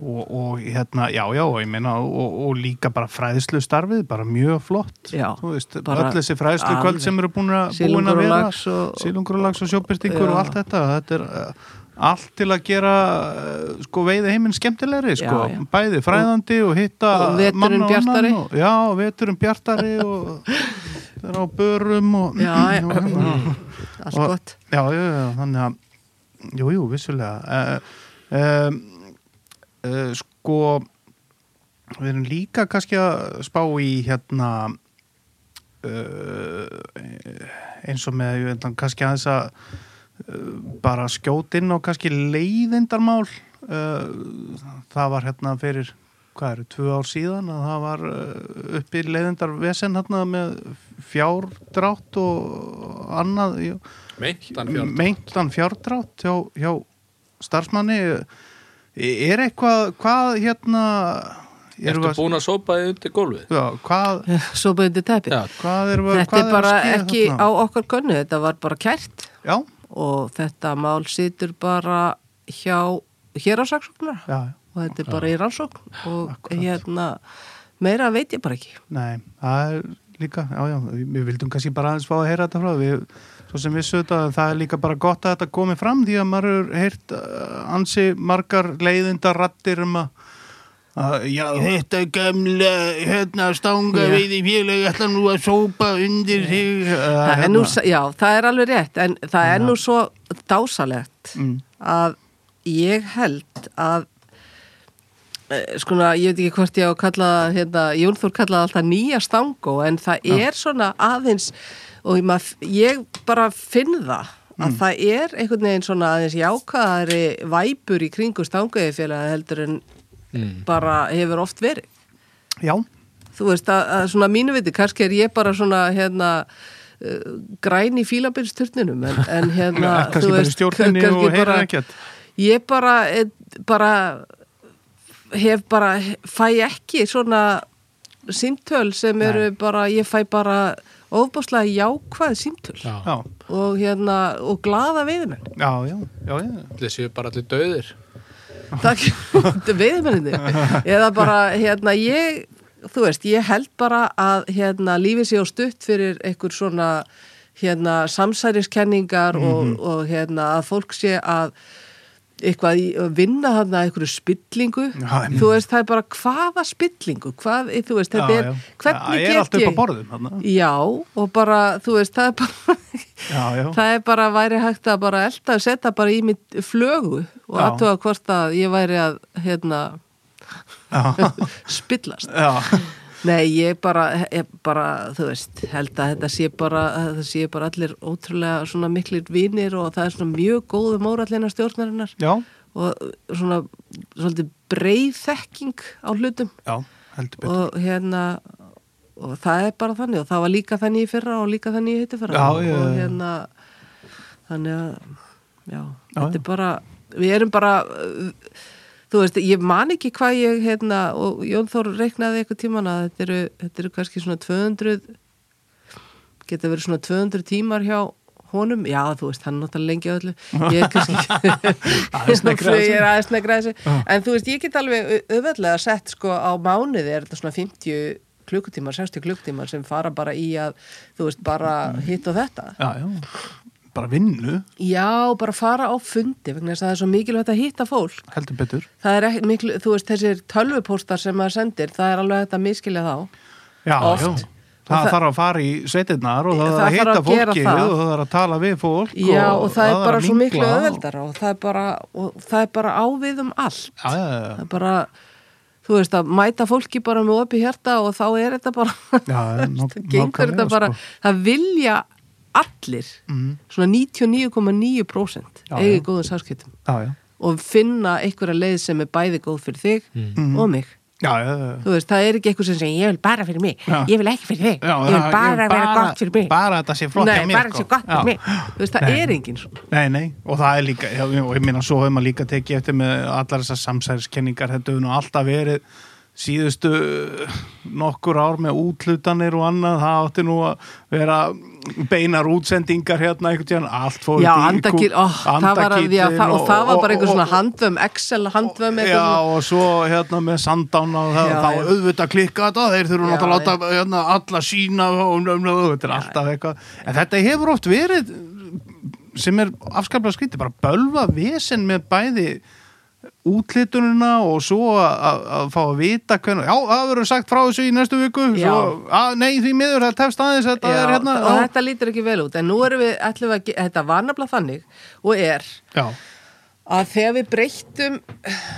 Speaker 1: og, og hérna, já, já, og ég meina og, og líka bara fræðslu starfið bara mjög flott,
Speaker 3: Já,
Speaker 1: þú veist
Speaker 3: bara
Speaker 1: öll þessi fræðslu
Speaker 3: alveg.
Speaker 1: kvöld sem eru búin að búin
Speaker 3: Silungur og
Speaker 1: að vera
Speaker 3: lax og-
Speaker 1: silungur og lags og sjóbyrtingur
Speaker 3: Já.
Speaker 1: og allt þetta, þetta er uh, allt til að gera uh, sko veiði heiminn skemmtilegri,
Speaker 3: Já,
Speaker 1: sko,
Speaker 3: já.
Speaker 1: bæði fræðandi og, hitta
Speaker 3: og veturinn
Speaker 1: mann annan
Speaker 3: bjartari.
Speaker 1: og, já, veturum bjartari og það er á börum og
Speaker 3: Já, já.
Speaker 1: og, hérna.
Speaker 3: Allt
Speaker 1: Og-
Speaker 3: gott.
Speaker 1: Já, já, já, þannig að Jú, jú, vissulega uh, um, uh, Sko Við erum líka kannski að spá í hérna uh, eins og með ég veit að kannski aðeins að uh, bara skjóta inn og kannski leiðindarmál uh, það var hérna fyrir hvað eru, tvö ár síðan að það var uh, uppi leiðindarvesen hérna með fjárdrátt og annað jú,
Speaker 2: Meintan
Speaker 1: Mm,
Speaker 2: fjörð
Speaker 1: meintan fjárdrátt hjá, hjá starfsmanni er eitthvað hvað hérna erum
Speaker 2: Ertu
Speaker 1: við að-
Speaker 2: búin að sópa þið undir gólfið?
Speaker 1: Já, hvað,
Speaker 3: Svo byrjuði teppið.
Speaker 2: Já,
Speaker 1: hvað erum við
Speaker 3: Þetta
Speaker 1: hvað
Speaker 3: er
Speaker 1: að
Speaker 3: bara
Speaker 1: ske
Speaker 3: ekki
Speaker 1: þarna?
Speaker 3: á okkar könnu, þetta var bara kært
Speaker 1: Já,
Speaker 3: og þetta mál situr bara hjá, hér á saksóknar
Speaker 1: já,
Speaker 3: og þetta er bara í rannsókn og
Speaker 1: Akkurat.
Speaker 3: hérna, meira veit ég bara ekki.
Speaker 1: nei, það er líka, já, já, við vildum kannski bara aðeins fá að heyra þetta frá, við svo sem vissu þetta en það er líka bara gott að þetta komi fram því að maður hefur heyrt eh, ansi margar leiðindar rattir um að að, Já, þetta gamla hérna stanga
Speaker 3: Já.
Speaker 1: veiði félag ætla nú að sópa undir sig
Speaker 3: það
Speaker 1: hérna.
Speaker 3: er nú, s- já, það er alveg rétt en það er nú svo dásalegt
Speaker 1: Mm.
Speaker 3: að ég held að eh, skona, ég veit ekki hvort ég á að kalla það, hérna, Jónþór kallaði alltaf nýja stangó en það er svona aðeins og mað, ég bara finn það að það er einhvern veginn svona aðeins jákaðari væpur í kringu stanguðifélag heldur en bara hefur oft verið
Speaker 1: Já,
Speaker 3: þú veist að, að svona mínu viti kannski er ég bara svona hérna uh, græn í fílabilsturninum en, en hérna
Speaker 1: kannski
Speaker 3: þú
Speaker 1: bara í
Speaker 3: veist,
Speaker 1: stjórninni
Speaker 3: kannski
Speaker 1: og heyra
Speaker 3: bara-
Speaker 1: ekkert
Speaker 3: ég bara, eh, bara hef bara fæ ekki svona símtöl sem eru bara ég fæ bara ofbáslega jákvæð símtöl
Speaker 2: Já,
Speaker 1: Já,
Speaker 3: og hérna og glada veiðmenn
Speaker 1: já, já, já, já.
Speaker 2: þeir séu bara allir döðir
Speaker 3: Takk, veiðmenninni eða bara, hérna, ég þú veist, ég held bara að hérna, lífið sé á stutt fyrir einhver svona hérna, samsæriskenningar
Speaker 1: Mhm.
Speaker 3: og, og hérna, að fólk sé að eitthvað í, að vinna hann að einhverju spillingu
Speaker 1: Já, einmitt.
Speaker 3: þú veist, það er bara hvaða spillingu hvað, þú veist, þetta
Speaker 1: Já,
Speaker 3: er
Speaker 1: já.
Speaker 3: hvernig
Speaker 1: Það er allt
Speaker 3: get
Speaker 1: upp
Speaker 3: ég
Speaker 1: á borðum þarna.
Speaker 3: já, og bara, þú veist, það er bara
Speaker 1: Já, já.
Speaker 3: Það er bara, væri hægt að bara elda að setja bara í mitt flögu og
Speaker 1: Já.
Speaker 3: aðtuga hvort að ég væri að hérna,
Speaker 1: Já,
Speaker 3: spillast.
Speaker 1: já.
Speaker 3: Nei, ég bara, ég bara, þú veist, held að þetta sé bara, að þetta sé bara allir ótrúlega svona miklir vinir og það er svona mjög góðu mórallina stjórnarinnar
Speaker 1: Já,
Speaker 3: og svona svolítið breið þekking á hlutum
Speaker 1: já, heldur betur.
Speaker 3: og hérna og það er bara þannig og það var líka þannig í fyrra og líka þannig í hitti fyrra
Speaker 1: Já,
Speaker 3: og,
Speaker 1: já, já.
Speaker 3: hérna þannig að já, þetta
Speaker 1: já.
Speaker 3: er bara við erum bara uh, þú veist, ég man ekki hvað ég hérna, og Jón Þór reiknaði eitthvað tíman að þetta eru, þetta eru kannski svona 200 geta verið svona 200 tímar hjá honum, já þú veist, hann er náttúrulega lengi á öllu ég er kannski ég er aðeins negra þessu en þú veist, ég get alveg auðveldlega sett sko á mánuði er þetta svona 50 klukkutímar, 60 klukkutímar sem fara bara í að, þú veist, bara hitt og þetta.
Speaker 1: Já, já. Bara vinnu,
Speaker 3: Já, bara fara á fundi vegna þess að það er svo mikilvægt að hitta fólk
Speaker 1: heldur betur.
Speaker 3: það er ekki miklu, þú veist, þessir tölvupóstar sem maður sendir, það er alveg hægt að miskilja þá.
Speaker 1: Já,
Speaker 3: Oft.
Speaker 1: já.
Speaker 3: Og
Speaker 1: Það
Speaker 3: það-
Speaker 1: þarf að fara í sveitirnar og það
Speaker 3: Það
Speaker 1: þarf að
Speaker 3: þarf
Speaker 1: hitta
Speaker 3: að gera
Speaker 1: fólkið
Speaker 3: það.
Speaker 1: og það þarf að tala við fólk
Speaker 3: Já, og það er
Speaker 1: þarf
Speaker 3: bara
Speaker 1: Sko, að
Speaker 3: svo miklu
Speaker 1: mingla og-
Speaker 3: öðveldara og það er bara, og það er bara ávið um allt.
Speaker 1: Já, já, já.
Speaker 3: Það er bara, þú veist, að mæta fólki bara með opið hjarta og þá er þetta bara,
Speaker 1: Já, já,
Speaker 3: það
Speaker 1: nák-
Speaker 3: gengur þetta
Speaker 1: nákvæmlega,
Speaker 3: bara,
Speaker 1: sko. Mm.
Speaker 3: það vilja allir, svona 99,9%
Speaker 1: Já, já.
Speaker 3: eigi góðum sáskiptum
Speaker 1: Já, já.
Speaker 3: og finna einhverja leið sem er bæði góð fyrir þig
Speaker 1: Mm.
Speaker 3: og mig.
Speaker 1: Já, já, já.
Speaker 3: Þú veist, það er ekki eitthvað sem segir, ég vil bara fyrir mig,
Speaker 1: Já.
Speaker 3: ég vil ekki fyrir þig,
Speaker 1: Já,
Speaker 3: ég vil
Speaker 1: já,
Speaker 3: bara vera gott fyrir mig.
Speaker 1: Bara þetta sé flott
Speaker 3: Nei,
Speaker 1: hjá mér.
Speaker 3: bara
Speaker 1: sko.
Speaker 3: sé gott
Speaker 1: Já.
Speaker 3: fyrir mig. Þú veist, það
Speaker 1: Nei.
Speaker 3: er enginn svona.
Speaker 1: Nei, nei, og það er líka, já, og ég minna svo hefur maður líka tekið eftir með allar þessar samsæðiskenningar, þetta hefur nú alltaf verið síðustu nokkur ár með útlutanir og annað, það átti nú að vera beinar útsendingar hérna einhvern tíðan, allt fór
Speaker 3: Já,
Speaker 1: út í-
Speaker 3: andakil, ó, það var að því að
Speaker 1: andakíllinn
Speaker 3: það, og það var bara einhver svona
Speaker 1: og-
Speaker 3: handvömm, Excel handvömm eitthvað
Speaker 1: Já,
Speaker 3: svona.
Speaker 1: og svo hérna með sandána og það,
Speaker 3: Já,
Speaker 1: þá
Speaker 3: já.
Speaker 1: auðvitað klikka þetta, þeir þurfum
Speaker 3: Já,
Speaker 1: náttúrulega að láta hérna, alla sína og og- og- og- þetta er alltaf eitthvað. En þetta hefur oft verið sem er afskaplega skrítið, bara bölva vesen með bæði útlitunina og svo að- að að fá að vita hvernig, já, það verður sagt frá þessu í næstu viku,
Speaker 3: Já.
Speaker 1: svo, að, nei, því miður það tefst aðeins, þetta
Speaker 3: Já,
Speaker 1: er hérna
Speaker 3: og
Speaker 1: já,
Speaker 3: þetta lítur ekki vel út, en nú erum við, ætlum við að, ge- þetta var nafnilega þannig og er
Speaker 1: já,
Speaker 3: að þegar við breyttum,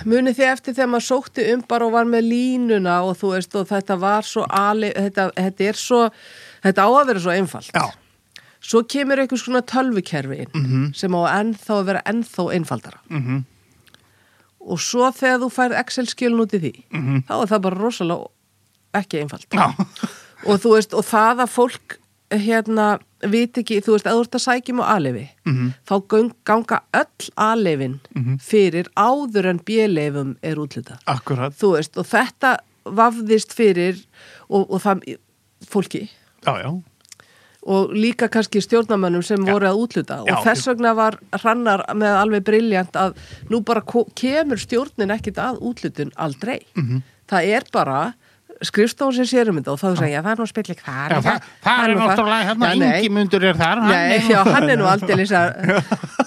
Speaker 3: munið þið eftir þegar maður sótti um bara og var með línuna og þú veist, og þetta var svo, ali, þetta, þetta er svo, þetta á að vera svo einfalt.
Speaker 1: já,
Speaker 3: Svo kemur einhvers konar tölvukerfi inn sem á ennþá að vera ennþá einfaldara.
Speaker 1: mhm,
Speaker 3: Og svo þegar þú færð Excel-skilun út í því,
Speaker 1: Mhm.
Speaker 3: þá er það bara rosalega ekki einfalt.
Speaker 1: já,
Speaker 3: Og þú veist, og það að fólk hérna, vit ekki, þú veist, að þú ert að sækjum á alifi,
Speaker 1: Mhm.
Speaker 3: þá göng, ganga öll alifin fyrir áður en bjöleifum er útlitað.
Speaker 1: akkurat,
Speaker 3: Þú veist, og þetta vafðist fyrir og, og það fólki
Speaker 1: já, já,
Speaker 3: og líka kannski stjórnamönnum sem voru að útluta
Speaker 1: Já.
Speaker 3: og þess vegna var hrannar með alveg briljant að
Speaker 1: Mhm.
Speaker 3: nú bara ko- kemur stjórnin ekkit að útlutun aldrei. -hmm. Það er bara skrifstofun sem sérum þetta og þá sagði ég, það er nú spill ekki þar.
Speaker 1: Já, það, það er
Speaker 3: nú
Speaker 1: náttúrulega hérna,
Speaker 3: Já, nei.
Speaker 1: yngimundur er þar hann
Speaker 3: Nei,
Speaker 1: er-
Speaker 3: já, hann er nú aldeilis að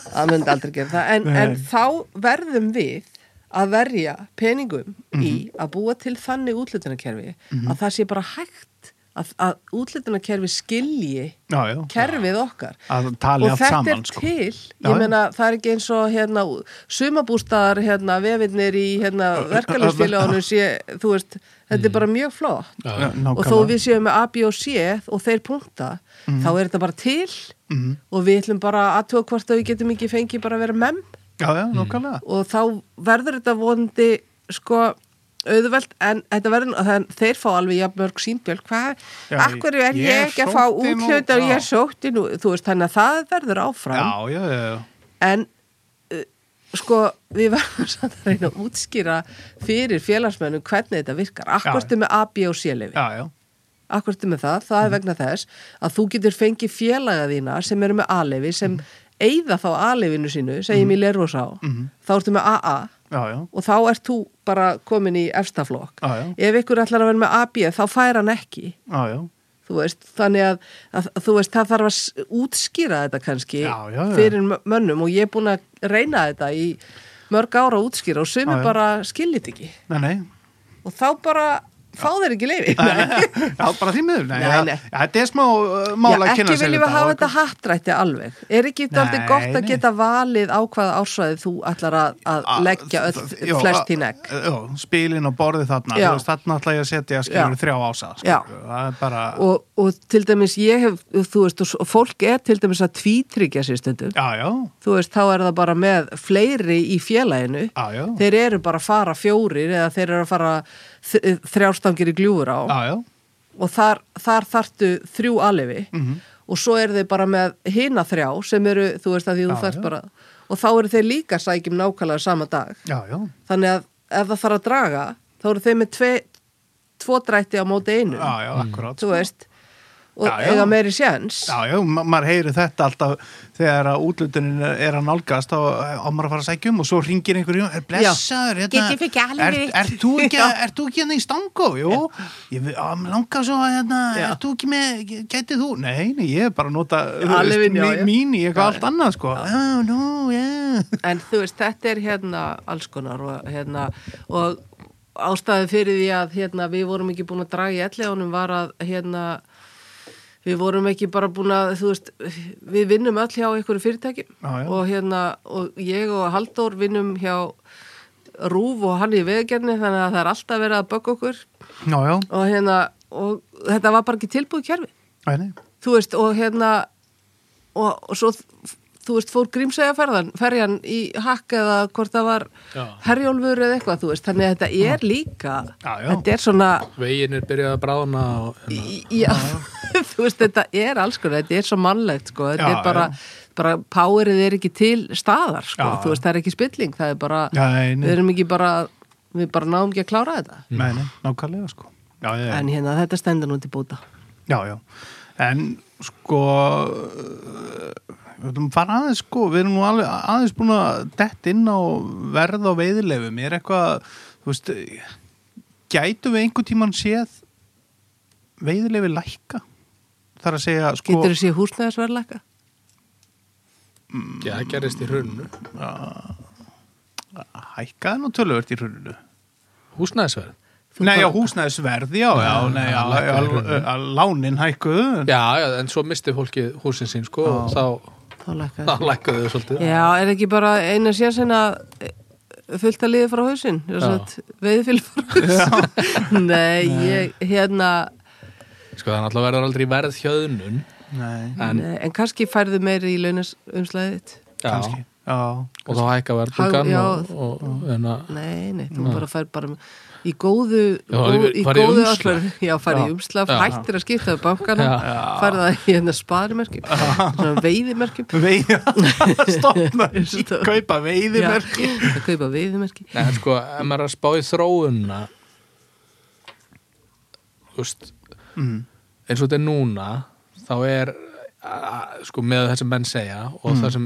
Speaker 3: að myndi aldrei gera það en, en þá verðum við að verja peningum í
Speaker 1: Mhm.
Speaker 3: að búa til þannig útlutunarkerfi að það sé bara hægt að, að útlutunarkerfi skilji
Speaker 1: Já, já.
Speaker 3: kerfið okkar
Speaker 1: Að tali
Speaker 3: og
Speaker 1: allt
Speaker 3: þetta
Speaker 1: saman,
Speaker 3: er
Speaker 1: sko.
Speaker 3: til
Speaker 1: Já, já.
Speaker 3: ég meina það er ekki eins og hérna sumabústaðar hérna vefinnir í hérna verkalýsfélagunum sé þú veist, þetta er bara mjög flott
Speaker 2: Já,
Speaker 1: Mm. Já,
Speaker 3: og
Speaker 1: nákvæmlega. Mm.
Speaker 3: þó við séum með A, B og C og þeir punkta, þá er þetta bara til og við ætlum bara aðtúa hvort að við getum ekki fengið bara að vera mem
Speaker 1: Já, já, nákvæmlega
Speaker 3: og þá verður þetta vonandi sko auðvelt en þetta verður, þann, þeir fá alveg jafnmörg sínbjörg, hvað,
Speaker 1: Já,
Speaker 3: akkur er
Speaker 1: ég
Speaker 3: ég, ekki að fá
Speaker 1: sótti nú,
Speaker 3: útlönd og
Speaker 1: já.
Speaker 3: ég sótti nú, þú veist, þannig að það verður áfram
Speaker 1: Já, já, já, já
Speaker 3: en uh, sko við verðum samt að reyna að útskýra fyrir félagsmennum hvernig þetta virkar
Speaker 1: Já.
Speaker 3: akkur stu með A, B og C lefi
Speaker 1: Já, Mhm. já,
Speaker 3: akkur til með það, það er vegna þess að þú getur fengið félaga þína sem eru með A-leifi sem
Speaker 1: Mhm.
Speaker 3: eigða þá A-leifinu sínu, segjum í Lerosá
Speaker 1: Mhm.
Speaker 3: þá ertu með AA
Speaker 1: já, já
Speaker 3: og þá ert þú bara komin í efstaflokk.
Speaker 1: Já, já.
Speaker 3: Ef ykkur ætlar að vera með AB þá fær hann ekki
Speaker 1: Já, já,
Speaker 3: þú veist, þannig að, að þú veist, það þarf að s- útskýra þetta kannski
Speaker 1: Já, já, já.
Speaker 3: fyrir mö- mönnum og ég er búin að reyna þetta í mörg ára að útskýra og
Speaker 1: Já,
Speaker 3: sumir
Speaker 1: já.
Speaker 3: bara skiljit ekki
Speaker 1: nei, nei
Speaker 3: og þá bara fá þeir ekki leifi
Speaker 1: Já, bara því miður Nei,
Speaker 3: Nei,
Speaker 1: já,
Speaker 3: nei.
Speaker 1: já, Þetta er smá uh, mála að
Speaker 3: Já,
Speaker 1: kynna
Speaker 3: ekki
Speaker 1: sér
Speaker 3: viljum við hafa
Speaker 1: og-
Speaker 3: þetta hattrætti alveg. Er ekki þetta aldrei
Speaker 1: Nei,
Speaker 3: gott að
Speaker 1: nei.
Speaker 3: geta valið á hvaða ársvæði þú ætlar að, að
Speaker 1: Að-
Speaker 3: leggja öll
Speaker 1: Ah, það- já,
Speaker 3: flest
Speaker 1: að-
Speaker 3: í negg?
Speaker 1: Já, spilin og borðið þarna
Speaker 3: Já.
Speaker 1: þú veist, Þarna ætla ég að setja skilur
Speaker 3: Já.
Speaker 1: þrjá ása skilur.
Speaker 3: Já.
Speaker 1: Það er bara
Speaker 3: Og, og til dæmis ég hef, þú veist, og s- og fólk er til dæmis að tvítryggja sér stundum.
Speaker 1: Já, já,
Speaker 3: Þú veist, þá er það bara með fleiri í félaginu.
Speaker 1: já, Ah, já
Speaker 3: Þeir eru bara að fara fjórir eða þeir eru að fara þ- þrjástangir í gljúfur á.
Speaker 1: Já, já,
Speaker 3: og þar, þar þartu þrjú alifi
Speaker 1: Mhm.
Speaker 3: og svo eru þeir bara með hina þrjá sem eru, þú veist að því þú
Speaker 1: Já,
Speaker 3: þarft
Speaker 1: Ah, já.
Speaker 3: bara og þá eru þeir líka sækjum nákvæmlega sama dag
Speaker 1: já, já
Speaker 3: þannig að ef það þarf að draga þá eru þeir með tve, tvo drætti á móti einu
Speaker 1: Ah, Já, já, akkurát
Speaker 3: þú veist og
Speaker 1: sko. Já, já.
Speaker 3: eiga meiri séns
Speaker 1: Já, já, ma maður heyri þetta alltaf þegar að útlutunin er að nálgast og, og maður að fara að sækja um og svo ringir einhverjum er blessaður, hérna,
Speaker 3: Get ég fengið
Speaker 1: er,
Speaker 3: alveg eitt?"
Speaker 1: er, þú ekki, er þú ekki hérna í stangó? Jú, ég vil- á, mig langar svo að hérna,
Speaker 3: Já.
Speaker 1: er þú ekki með, gætið þú? Nei, nei, ég er bara að nota þú veist,
Speaker 3: alveg, já,
Speaker 1: mí-
Speaker 3: já.
Speaker 1: mín í
Speaker 3: Já,
Speaker 1: eitthvað allt annað, sko Já, nú, já
Speaker 3: en þú veist, þetta er hérna alls konar og, hérna, og ástæði fyrir því að hérna, við vorum ekki búin að draga í ellegunum var að hérna, við vorum ekki bara búin að þú veist, við vinnum öll hjá einhverju fyrirtæki
Speaker 1: Já, já.
Speaker 3: og hérna og ég og Halldór vinnum hjá Rúf og hann í veðgerni þannig að það er alltaf verið að bögga okkur
Speaker 1: Já, já,
Speaker 3: og hérna og þetta var bara ekki tilbúið kjærfi
Speaker 1: já, nei
Speaker 3: þú veist, og hérna og, og svo, þú veist, fór grímsæja ferðan, ferjan í hakk eða hvort það var
Speaker 2: Já.
Speaker 3: herjólfur eða eitthvað, þú veist, þannig að þetta er líka
Speaker 1: Já, já.
Speaker 3: þetta er svona
Speaker 2: Vegin er byrjað að bráðna og hérna,
Speaker 3: í- já, þú veist, þetta er alls konar, þetta er svo mannlegt, sko þetta
Speaker 1: Já,
Speaker 3: er bara, bara powerið er ekki til staðar, sko,
Speaker 1: Já, já.
Speaker 3: þú veist, það er ekki spilling, það er bara,
Speaker 1: Já,
Speaker 3: við
Speaker 1: nei,
Speaker 3: erum ekki bara við bara náum ekki að klára þetta
Speaker 1: nei, nei, nákvæmlega, sko Já, já, já
Speaker 3: en hérna, þetta stendur nú til búta
Speaker 1: Já, já, en sko eh, við ætlum að fara aðeins sko, við erum nú alveg aðeins búin að dett inn á verð á veiðilefum, er eitthvað þú veist, eh, gætum við einhvern tíman séð veiðilefi lækka? Þar að segja sko,
Speaker 3: getur þessi húsnæðisverðleika?
Speaker 2: já, það gerist í hrunnu.
Speaker 1: hækkaði nú töluvert í hruninu
Speaker 2: Húsnæðisverð.
Speaker 1: Nei, já, húsnæðisverð, já, já, nei, já,
Speaker 2: lækkaði í
Speaker 1: já,
Speaker 2: hruninu.
Speaker 1: já lánin hækkuðu en-
Speaker 2: Já, já, en svo misti fólki húsin sín, sko, og þá,
Speaker 3: þá lækka
Speaker 2: þá lækkaðu þau svolítið.
Speaker 3: Já, er ekki bara eina sjansin að fullt að liði frá hausinn veiðfél frá hausinn Nei, ég hérna
Speaker 2: Sko, það náttúrulega verður aldrei verð hjöðnun.
Speaker 1: Nei,
Speaker 2: En-
Speaker 3: en, en kannski færðu meiri í launasumslæðið
Speaker 1: kannski, já,
Speaker 2: Og þá hækka verðbungan
Speaker 3: Já.
Speaker 2: og, og, og hérna,
Speaker 3: Nei, nei, þú bara fær bara í góðu,
Speaker 2: Já,
Speaker 3: góð,
Speaker 2: farið-
Speaker 3: í
Speaker 2: farið í
Speaker 3: góðu
Speaker 2: umslag.
Speaker 3: áslöf Já, farið í umslag,
Speaker 2: Já.
Speaker 3: hættir að skipta af bankana, farið það í hérna sparimerkjum, svona veiðimerkjum
Speaker 1: veiða, stopna
Speaker 3: Stopp.
Speaker 1: kaupa veiðimerk
Speaker 3: Já, að kaupa veiðimerki
Speaker 2: Nei, en sko, ef maður er að spá í þróunna Þú veist
Speaker 1: Mm.
Speaker 2: eins og þetta er núna þá er, a- a- sko, með það sem menn segja og það sem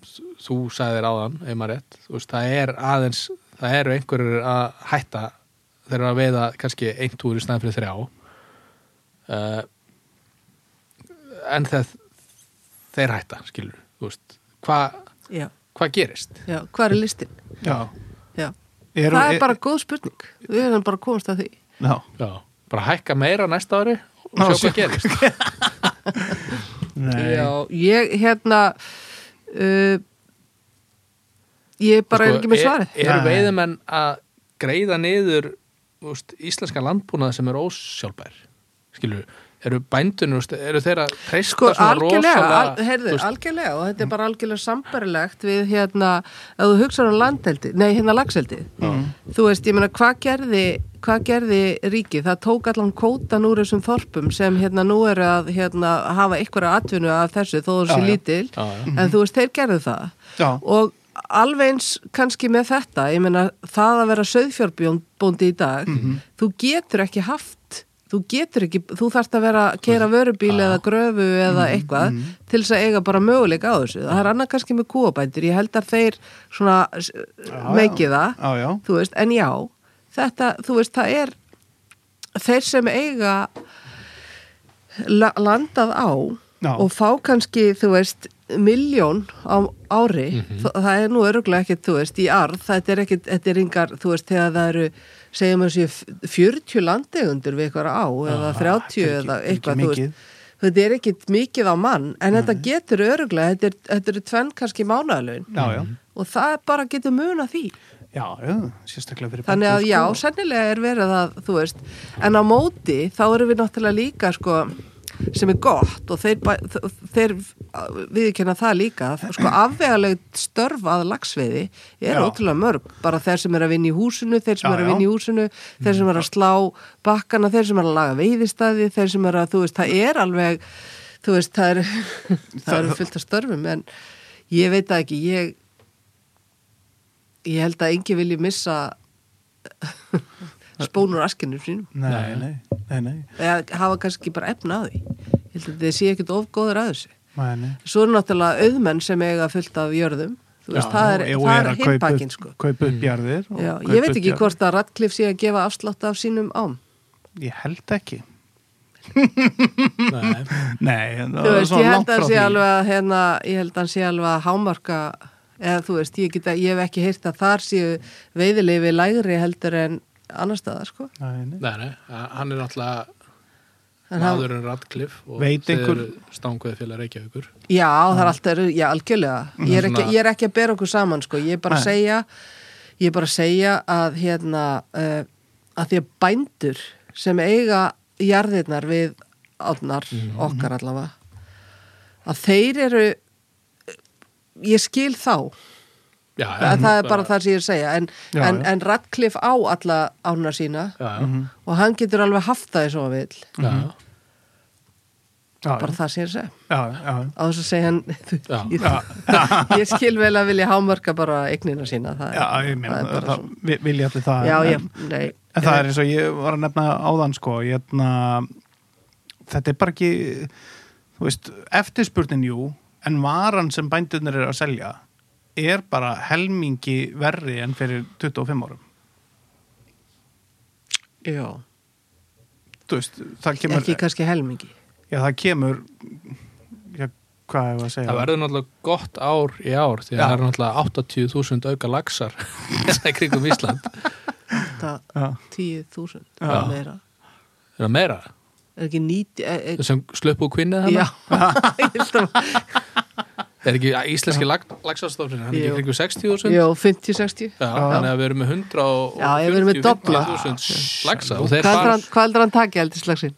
Speaker 2: s- þú sagðir áðan, ef maður rétt þú veist, það er aðeins, það eru einhverjur að hætta þeir eru að veiða kannski einn úr í snæðan fyrir þrjá uh, en það þeir hætta, skilur þú veist, hvað
Speaker 3: já,
Speaker 2: hva gerist?
Speaker 3: já, hvað er listin?
Speaker 1: Já.
Speaker 3: Já,
Speaker 1: Eru-
Speaker 3: það
Speaker 1: e-
Speaker 3: er bara góð spurning við erum bara komast að því
Speaker 1: Já.
Speaker 2: Já, bara hækka meira næsta ári
Speaker 1: Ná,
Speaker 2: og sjá
Speaker 1: sjá
Speaker 2: hvað gerist
Speaker 1: Nei.
Speaker 3: já, ég hérna uh, ég
Speaker 2: Sko,
Speaker 3: bara er ekki
Speaker 2: e-
Speaker 3: með svarið
Speaker 2: er, Eru
Speaker 1: Nei.
Speaker 2: veiðumenn að greiða niður úst, íslenska landbúnað sem er ósjálfbær skilur, eru bændunir úst, eru þeir að treysta
Speaker 3: Sko,
Speaker 2: svona
Speaker 3: algjörlega,
Speaker 2: rosalega
Speaker 3: al, heyrðu,
Speaker 2: þú veist, Mm.
Speaker 3: algjörlega og þetta er bara algjörlega sambarilegt við hérna, að þú hugsar um landeldi nei, hérna lagseldi þú veist, ég meina, hvað gerði hvað gerði ríkið? Það tók allan kótan úr þessum þorpum sem hérna nú er að hérna, hafa einhverja atvinnu af þessu þó þessi
Speaker 2: Já, já.
Speaker 3: lítil
Speaker 2: Já, já.
Speaker 3: en þú veist, þeir gerðu það
Speaker 1: Mhm. Já.
Speaker 3: og alveg eins kannski með þetta, ég meina það að vera söðfjárbóndi í dag
Speaker 1: Mhm.
Speaker 3: þú getur ekki haft þú getur ekki, þú þarft að vera að keira vörubíl eða gröfu eða
Speaker 1: Mhm,
Speaker 3: eitthvað til þess að eiga bara möguleika á þessu það er annað kannski með kúabændur, ég held að þeir svona s-
Speaker 1: já.
Speaker 3: meiki það
Speaker 1: Já, já.
Speaker 3: þú veist, en já þetta, þú veist, það er þeir sem eiga la landað á
Speaker 1: Já.
Speaker 3: og fá kannski, þú veist, miljón á ári, mm
Speaker 1: Mhm.
Speaker 3: það er nú öruglega ekkit, þú veist, í arð, þetta er ekkit, þetta er yngar, þú veist, þegar það eru segjum að séu f- 40 landegundur við eitthvað á, eða 30
Speaker 1: þetta er ekki-
Speaker 3: eða
Speaker 1: ekki
Speaker 3: eitthvað, þú
Speaker 1: mikið. Mhm.
Speaker 3: veist þetta er ekkit mikið á mann, en þetta getur öruglega, þetta er, þetta er tvenn kannski mánaðalögin
Speaker 1: Já, já.
Speaker 3: og það bara getur muna því
Speaker 1: Já, já. Sérstaklega fyrir
Speaker 3: Þannig að
Speaker 1: bændur,
Speaker 3: já,
Speaker 1: sko.
Speaker 3: sennilega er verið að, þú veist, en á móti þá erum við náttúrulega líka, sko, sem er gott og þeir, bæ- þ- þeir viðkenna það líka, sko, afvegalegt störf að lagsveiði er
Speaker 1: Já.
Speaker 3: ótrúlega mörg, bara þeir sem er að vinna í húsinu, þeir sem
Speaker 1: Já, Mm.
Speaker 3: er
Speaker 1: já.
Speaker 3: að vinna í húsinu, þeir sem er að slá bakkana, þeir sem er að laga veiðistæði, þeir sem er að, þú veist, það er alveg, þú veist, það er, það er fullt af störfum, en ég veit það ekki, ég, ég held að engi vilji missa spónur askinum sínum
Speaker 1: Nei, nei, nei, nei.
Speaker 3: eða hafa kannski bara efna á því ég held að þið séu ekkert ofgóður að þessu
Speaker 1: Nei, nei.
Speaker 3: svo er náttúrulega auðmenn sem eiga fullt af jörðum þú veist,
Speaker 1: Já,
Speaker 3: það er,
Speaker 1: og- og
Speaker 3: það
Speaker 1: er
Speaker 3: er
Speaker 1: að kaupa upp-
Speaker 3: hittpakkin sko
Speaker 1: kaupa upp jarðir og
Speaker 3: Já,
Speaker 1: kaupa
Speaker 3: ég veit
Speaker 1: upp
Speaker 3: ekki
Speaker 1: jarðir.
Speaker 3: hvort að Radcliffe sé að gefa afslátt af sínum ám
Speaker 1: ég held ekki
Speaker 2: Nei.
Speaker 1: nei, það
Speaker 3: þú
Speaker 1: var
Speaker 3: veist,
Speaker 1: svona
Speaker 3: ég held
Speaker 1: langt
Speaker 3: að
Speaker 1: frá
Speaker 3: hann sé
Speaker 1: því.
Speaker 3: alveg að hérna, ég held að hann sé alveg að hámarka eða þú veist, ég, geta, ég hef ekki heyrt að þar séu veiðilefi lægri heldur en annar staðar sko
Speaker 1: Nei, nei.
Speaker 2: Nei, nei, hann er náttúrulega
Speaker 3: En hann-
Speaker 2: maðurinn Radcliffe og
Speaker 1: Veit
Speaker 2: þið
Speaker 1: einhver-
Speaker 2: eru stanguði félag Reykjavíkur
Speaker 3: Já, það er alltaf, já, algjörlega ég er, ekki, ég er ekki að bera okkur saman, sko ég er bara að
Speaker 1: Mhm. Nei.
Speaker 3: segja ég er bara að segja að hérna uh, að því að bændur sem eiga jarðirnar við átnar,
Speaker 1: Mhm.
Speaker 3: okkar allavega að þeir eru ég skil þá
Speaker 2: Já,
Speaker 3: að það er bara það sem ég er að segja en,
Speaker 1: Já,
Speaker 3: en,
Speaker 1: já.
Speaker 3: en Radcliffe á alla ána sína
Speaker 2: Já, já,
Speaker 1: Mhm.
Speaker 3: og hann getur alveg haft það eins og að vil
Speaker 2: já,
Speaker 1: já,
Speaker 3: bara það sem ég er að segja
Speaker 1: já, já,
Speaker 3: á þess að segja hann
Speaker 2: já, já.
Speaker 3: ég skil vel að vilja hámörka bara eignina sína það
Speaker 1: já,
Speaker 3: er,
Speaker 1: ég meina
Speaker 3: það er
Speaker 1: það,
Speaker 3: bara svona.
Speaker 1: vi- vilja allir það
Speaker 3: já,
Speaker 1: en,
Speaker 3: já, nei
Speaker 1: en það er eins og ég var að nefna áðan sko, ég hefna þetta er bara ekki þú veist, eftirspurnin jú en varan sem bændurnir eru að selja er bara helmingi verri enn fyrir 25 árum
Speaker 3: Eh, já,
Speaker 1: þú veist, það kemur
Speaker 3: ekki kannski helmingi
Speaker 1: já, það kemur já, hvað hefur að segja
Speaker 2: Það verður náttúrulega gott ár í ár því að
Speaker 1: Já.
Speaker 2: það eru náttúrulega 80.000 auka laxar í kringum Ísland
Speaker 3: það
Speaker 1: já,
Speaker 3: tíu þúsund
Speaker 2: Já.
Speaker 3: meira
Speaker 2: Er það meira?
Speaker 3: er ekki nýti er, er,
Speaker 2: Þessum slöpu og kvinni
Speaker 3: já
Speaker 2: þannig?
Speaker 3: Ég held að-
Speaker 2: Er ekki að íslenski lag, lagsastofnir hann er ekki
Speaker 3: Jú.
Speaker 2: í kringum 60.000?
Speaker 3: já, 50-60
Speaker 2: Já, þannig að við erum með 100 og
Speaker 3: Já, ég verið með dobla.
Speaker 2: 50.000 laxa og þeir
Speaker 3: hvað heldur
Speaker 2: fara
Speaker 3: hann, hvað heldur hann takja heldur slagsin?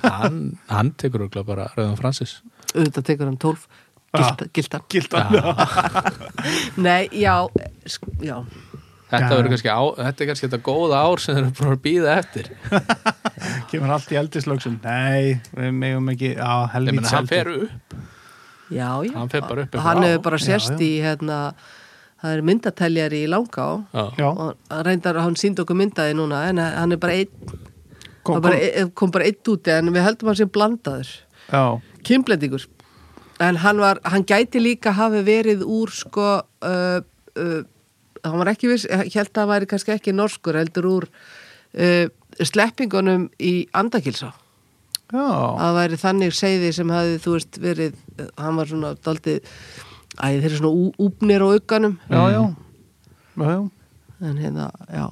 Speaker 2: hann, hann tekur okkur bara Rauðan Francis
Speaker 3: auðvitað tekur hann 12
Speaker 1: Ah.
Speaker 3: gilda, gildan
Speaker 1: gildan
Speaker 3: nei, já, eh, sk- já
Speaker 2: Þetta
Speaker 1: Já.
Speaker 2: verður kannski, á, þetta er kannski þetta góða ár sem þeir eru bara að býða eftir
Speaker 1: kemur allt í eldislöksum nei, við megum ekki á
Speaker 2: Ég
Speaker 1: helvít
Speaker 2: meina, hann fer upp
Speaker 3: Já, já.
Speaker 2: Hann fer bara upp eitthvað
Speaker 3: Hann
Speaker 2: á.
Speaker 3: hefur bara
Speaker 1: Já,
Speaker 3: sérst
Speaker 1: já.
Speaker 3: í hérna, það er myndateljari í Langá
Speaker 2: Já,
Speaker 1: já,
Speaker 3: og hann reyndar hann síndi okkur myndaði núna en hann er bara einn
Speaker 1: kom,
Speaker 3: kom, bara, kom. kom bara einn úti en við heldum hann sem blandaður
Speaker 1: já,
Speaker 3: kynblendingur en hann var, hann gæti líka hafi verið úr sko uh, uh, hann var ekki viss, ég held að hann væri kannski ekki norskur heldur úr uh, sleppingunum í andakilsá
Speaker 1: já,
Speaker 3: að væri þannig seiði sem hafði þú veist verið, hann var svona daldið, æ þeir eru svona ú- úpnir á auganum
Speaker 1: já, já, já, já.
Speaker 3: en hérna, já,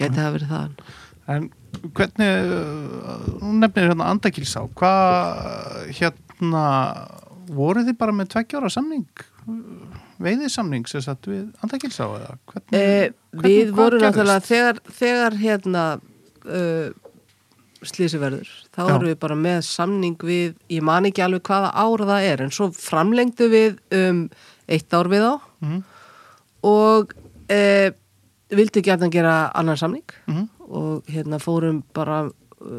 Speaker 3: geti það verið það
Speaker 1: En hvernig, uh, nú nefnir hérna Andakilsá, hvað hérna, voruð þið bara með tveggjóra samning, uh, veiðisamning sem sagt við Andakilsá eða hvernig?
Speaker 3: e,
Speaker 1: Mm, hvernig-
Speaker 3: Við
Speaker 1: hvað
Speaker 3: vorum
Speaker 1: gerðist?
Speaker 3: náttúrulega þegar, þegar hérna uh, slísi verður þá
Speaker 1: Já.
Speaker 3: erum við bara með samning við ég man ekki alveg hvaða ára það er en svo framlengdu við um, eitt ár við á
Speaker 1: Mhm.
Speaker 3: og e, vildi gætna gera annan samning
Speaker 1: Mhm.
Speaker 3: og hérna fórum bara uh,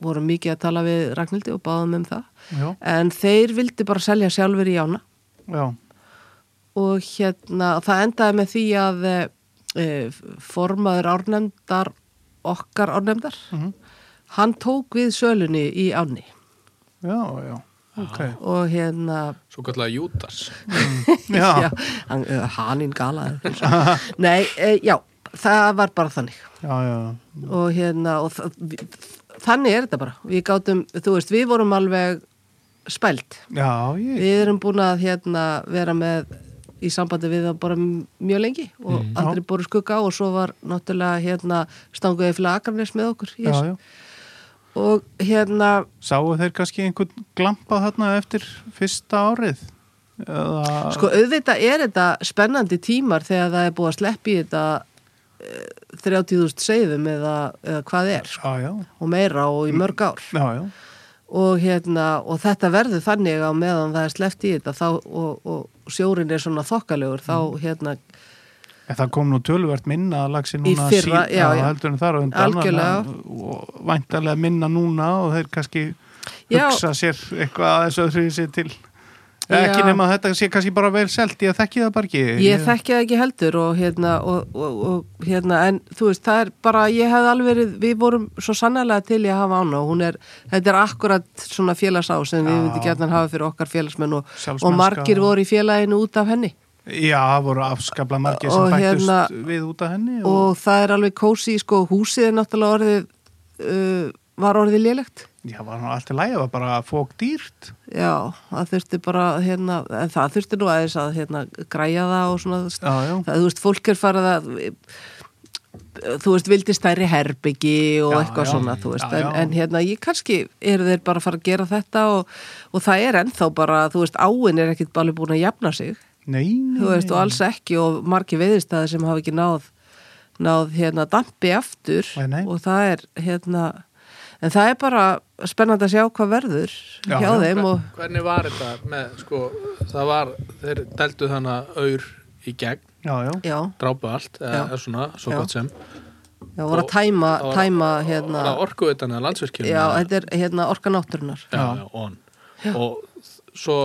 Speaker 3: vorum mikið að tala við Ragnhildi og báðum um það
Speaker 1: Já,
Speaker 3: en þeir vildi bara selja sjálfur í ána
Speaker 1: já,
Speaker 3: og hérna það endaði með því að e, formaður árnefndar okkar árnefndar
Speaker 1: Mhm.
Speaker 3: hann tók við sölunni í áni
Speaker 1: já, já, ok.
Speaker 3: og hérna
Speaker 2: Svo kallega Júdas
Speaker 1: Já, já,
Speaker 3: hann, hanninn galaði nei, e, já, það var bara þannig
Speaker 1: já, já,
Speaker 3: og hérna og þa- vi- þannig er þetta bara við gátum, þú veist, við vorum alveg spælt,
Speaker 1: já, ég,
Speaker 3: við erum búin að hérna vera með í sambandi við það bara m- mjög lengi og
Speaker 1: Mm. Já.
Speaker 3: aldrei bóru skugga á og svo var náttúrulega hérna stanguði fyrir Akarnes með okkur í
Speaker 1: já,
Speaker 3: þessu.
Speaker 1: já.
Speaker 3: og hérna
Speaker 1: Sáu þeir kannski einhvern glampa þarna eftir fyrsta árið? Eða,
Speaker 3: sko auðvitað er þetta spennandi tímar þegar það er búið að sleppi þetta eh, 30.000 seiðum eða, eða hvað er sko,
Speaker 1: já, já,
Speaker 3: og meira og í mörg ár
Speaker 1: já, já,
Speaker 3: og, hérna, og þetta verður þannig á meðan það er sleppt í þetta þá, og, og sjórin er svona þokkalegur þá
Speaker 1: Mm.
Speaker 3: hérna
Speaker 1: En það kom nú tölvert minna að lagsi
Speaker 3: Í
Speaker 1: núna
Speaker 3: fyrra, já, já.
Speaker 1: heldur en þar á undan
Speaker 3: Algjörlega.
Speaker 1: þannig að- og væntalega minna núna og þeir kannski
Speaker 3: Já.
Speaker 1: hugsa sér eitthvað að þessu öðru sér til Eða ekki
Speaker 3: Já.
Speaker 1: nema að þetta sé kannski bara vel selt ég þekki það bara ekki
Speaker 3: ég þekki það ekki heldur og hérna, og, og, og, hérna en þú veist það er bara ég hef alveg verið, við vorum svo sannlega til í að hafa ána og hún er, þetta er akkurat svona félagsá sem við
Speaker 1: Já.
Speaker 3: myndi gætnan hafa fyrir okkar félagsmenn og,
Speaker 1: Sjálfsmennska.
Speaker 3: og margir voru í félaginu út af henni
Speaker 1: já, það voru afskabla margir
Speaker 3: Og
Speaker 1: sem bættust
Speaker 3: hérna-
Speaker 1: við út af henni og,
Speaker 3: og það er alveg kósi sko húsið er náttúrulega orðið uh, var orðið lélegt
Speaker 1: já, var nú allt í lægi, það var bara fók dýrt
Speaker 3: Já, það þurfti bara hérna, en það þurfti nú aðeins að hérna, græja það og svona
Speaker 1: já, já,
Speaker 3: það, þú veist, fólk er farið að þú veist, vildi stærri herbyggi og
Speaker 1: Já,
Speaker 3: eitthvað
Speaker 1: já.
Speaker 3: svona, þú veist
Speaker 1: Já,
Speaker 3: En,
Speaker 1: já.
Speaker 3: en hérna, ég kannski eru þeir bara að fara að gera þetta og, og það er ennþá bara, þú veist, áin er ekkit bara búin að jafna sig,
Speaker 1: nei, nei,
Speaker 3: þú veist,
Speaker 1: nei.
Speaker 3: og alls ekki og margir veðistæði sem hafa ekki náð náð hérna dampi aftur
Speaker 1: Nei, nei.
Speaker 3: og það er hérna en það er bara spennandi að sjá hvað verður
Speaker 1: Já,
Speaker 3: hjá
Speaker 1: já.
Speaker 3: þeim og
Speaker 2: Hvernig var þetta með, sko, það var, þeir deldu þannig aur í gegn,
Speaker 1: já, já,
Speaker 3: já,
Speaker 2: drápa allt, eða
Speaker 3: Já.
Speaker 2: svona, svo
Speaker 3: Já.
Speaker 2: gott sem.
Speaker 3: Já, voru
Speaker 2: Og-
Speaker 3: að tæma,
Speaker 2: Það var-
Speaker 3: tæma
Speaker 2: Og
Speaker 3: hérna,
Speaker 2: það orkuðutan eða landsvirkjum.
Speaker 3: já, þetta er hérna orka náttúrunar.
Speaker 2: Já, já, on. Og svo,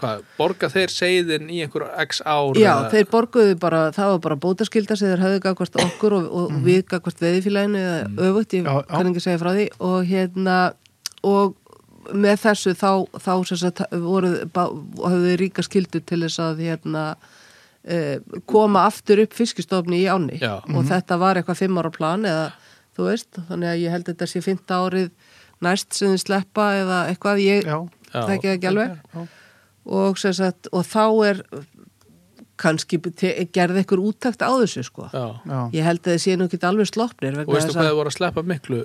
Speaker 2: hvað, borga þeir seiðin í einhver x ár?
Speaker 3: Já,
Speaker 2: eða-
Speaker 3: þeir borguðu bara, það var bara bótaskylda sem þeir höfðu gagvart okkur og, og við gagvart veðifélaginu eða öfugt, ég
Speaker 1: Mhm. Já, já.
Speaker 3: kann ekki segja frá því og hérna, og með þessu þá, þá sem sagt voru, bá- höfðu þeir ríka skyldu til þess að hérna eh, koma aftur upp fiskistofni í áni
Speaker 2: Já.
Speaker 3: og
Speaker 1: Mhm.
Speaker 3: þetta var eitthvað fimm ára plan eða þú veist, þannig að ég held að þetta sé fymta árið næst sem þið sleppa eða eitthvað, ég
Speaker 1: já,
Speaker 2: Já.
Speaker 3: þekki það ekki alveg
Speaker 1: já.
Speaker 3: og, sem sagt, og þá er kannski te- gerði ykkur úttakt á þessu sko.
Speaker 2: Já.
Speaker 1: já.
Speaker 3: ég held að þið séu nú ekki alveg sloppnir
Speaker 2: Og
Speaker 3: vegna
Speaker 2: veistu
Speaker 3: þess
Speaker 2: hvað
Speaker 3: að
Speaker 2: þeir voru að sleppa miklu?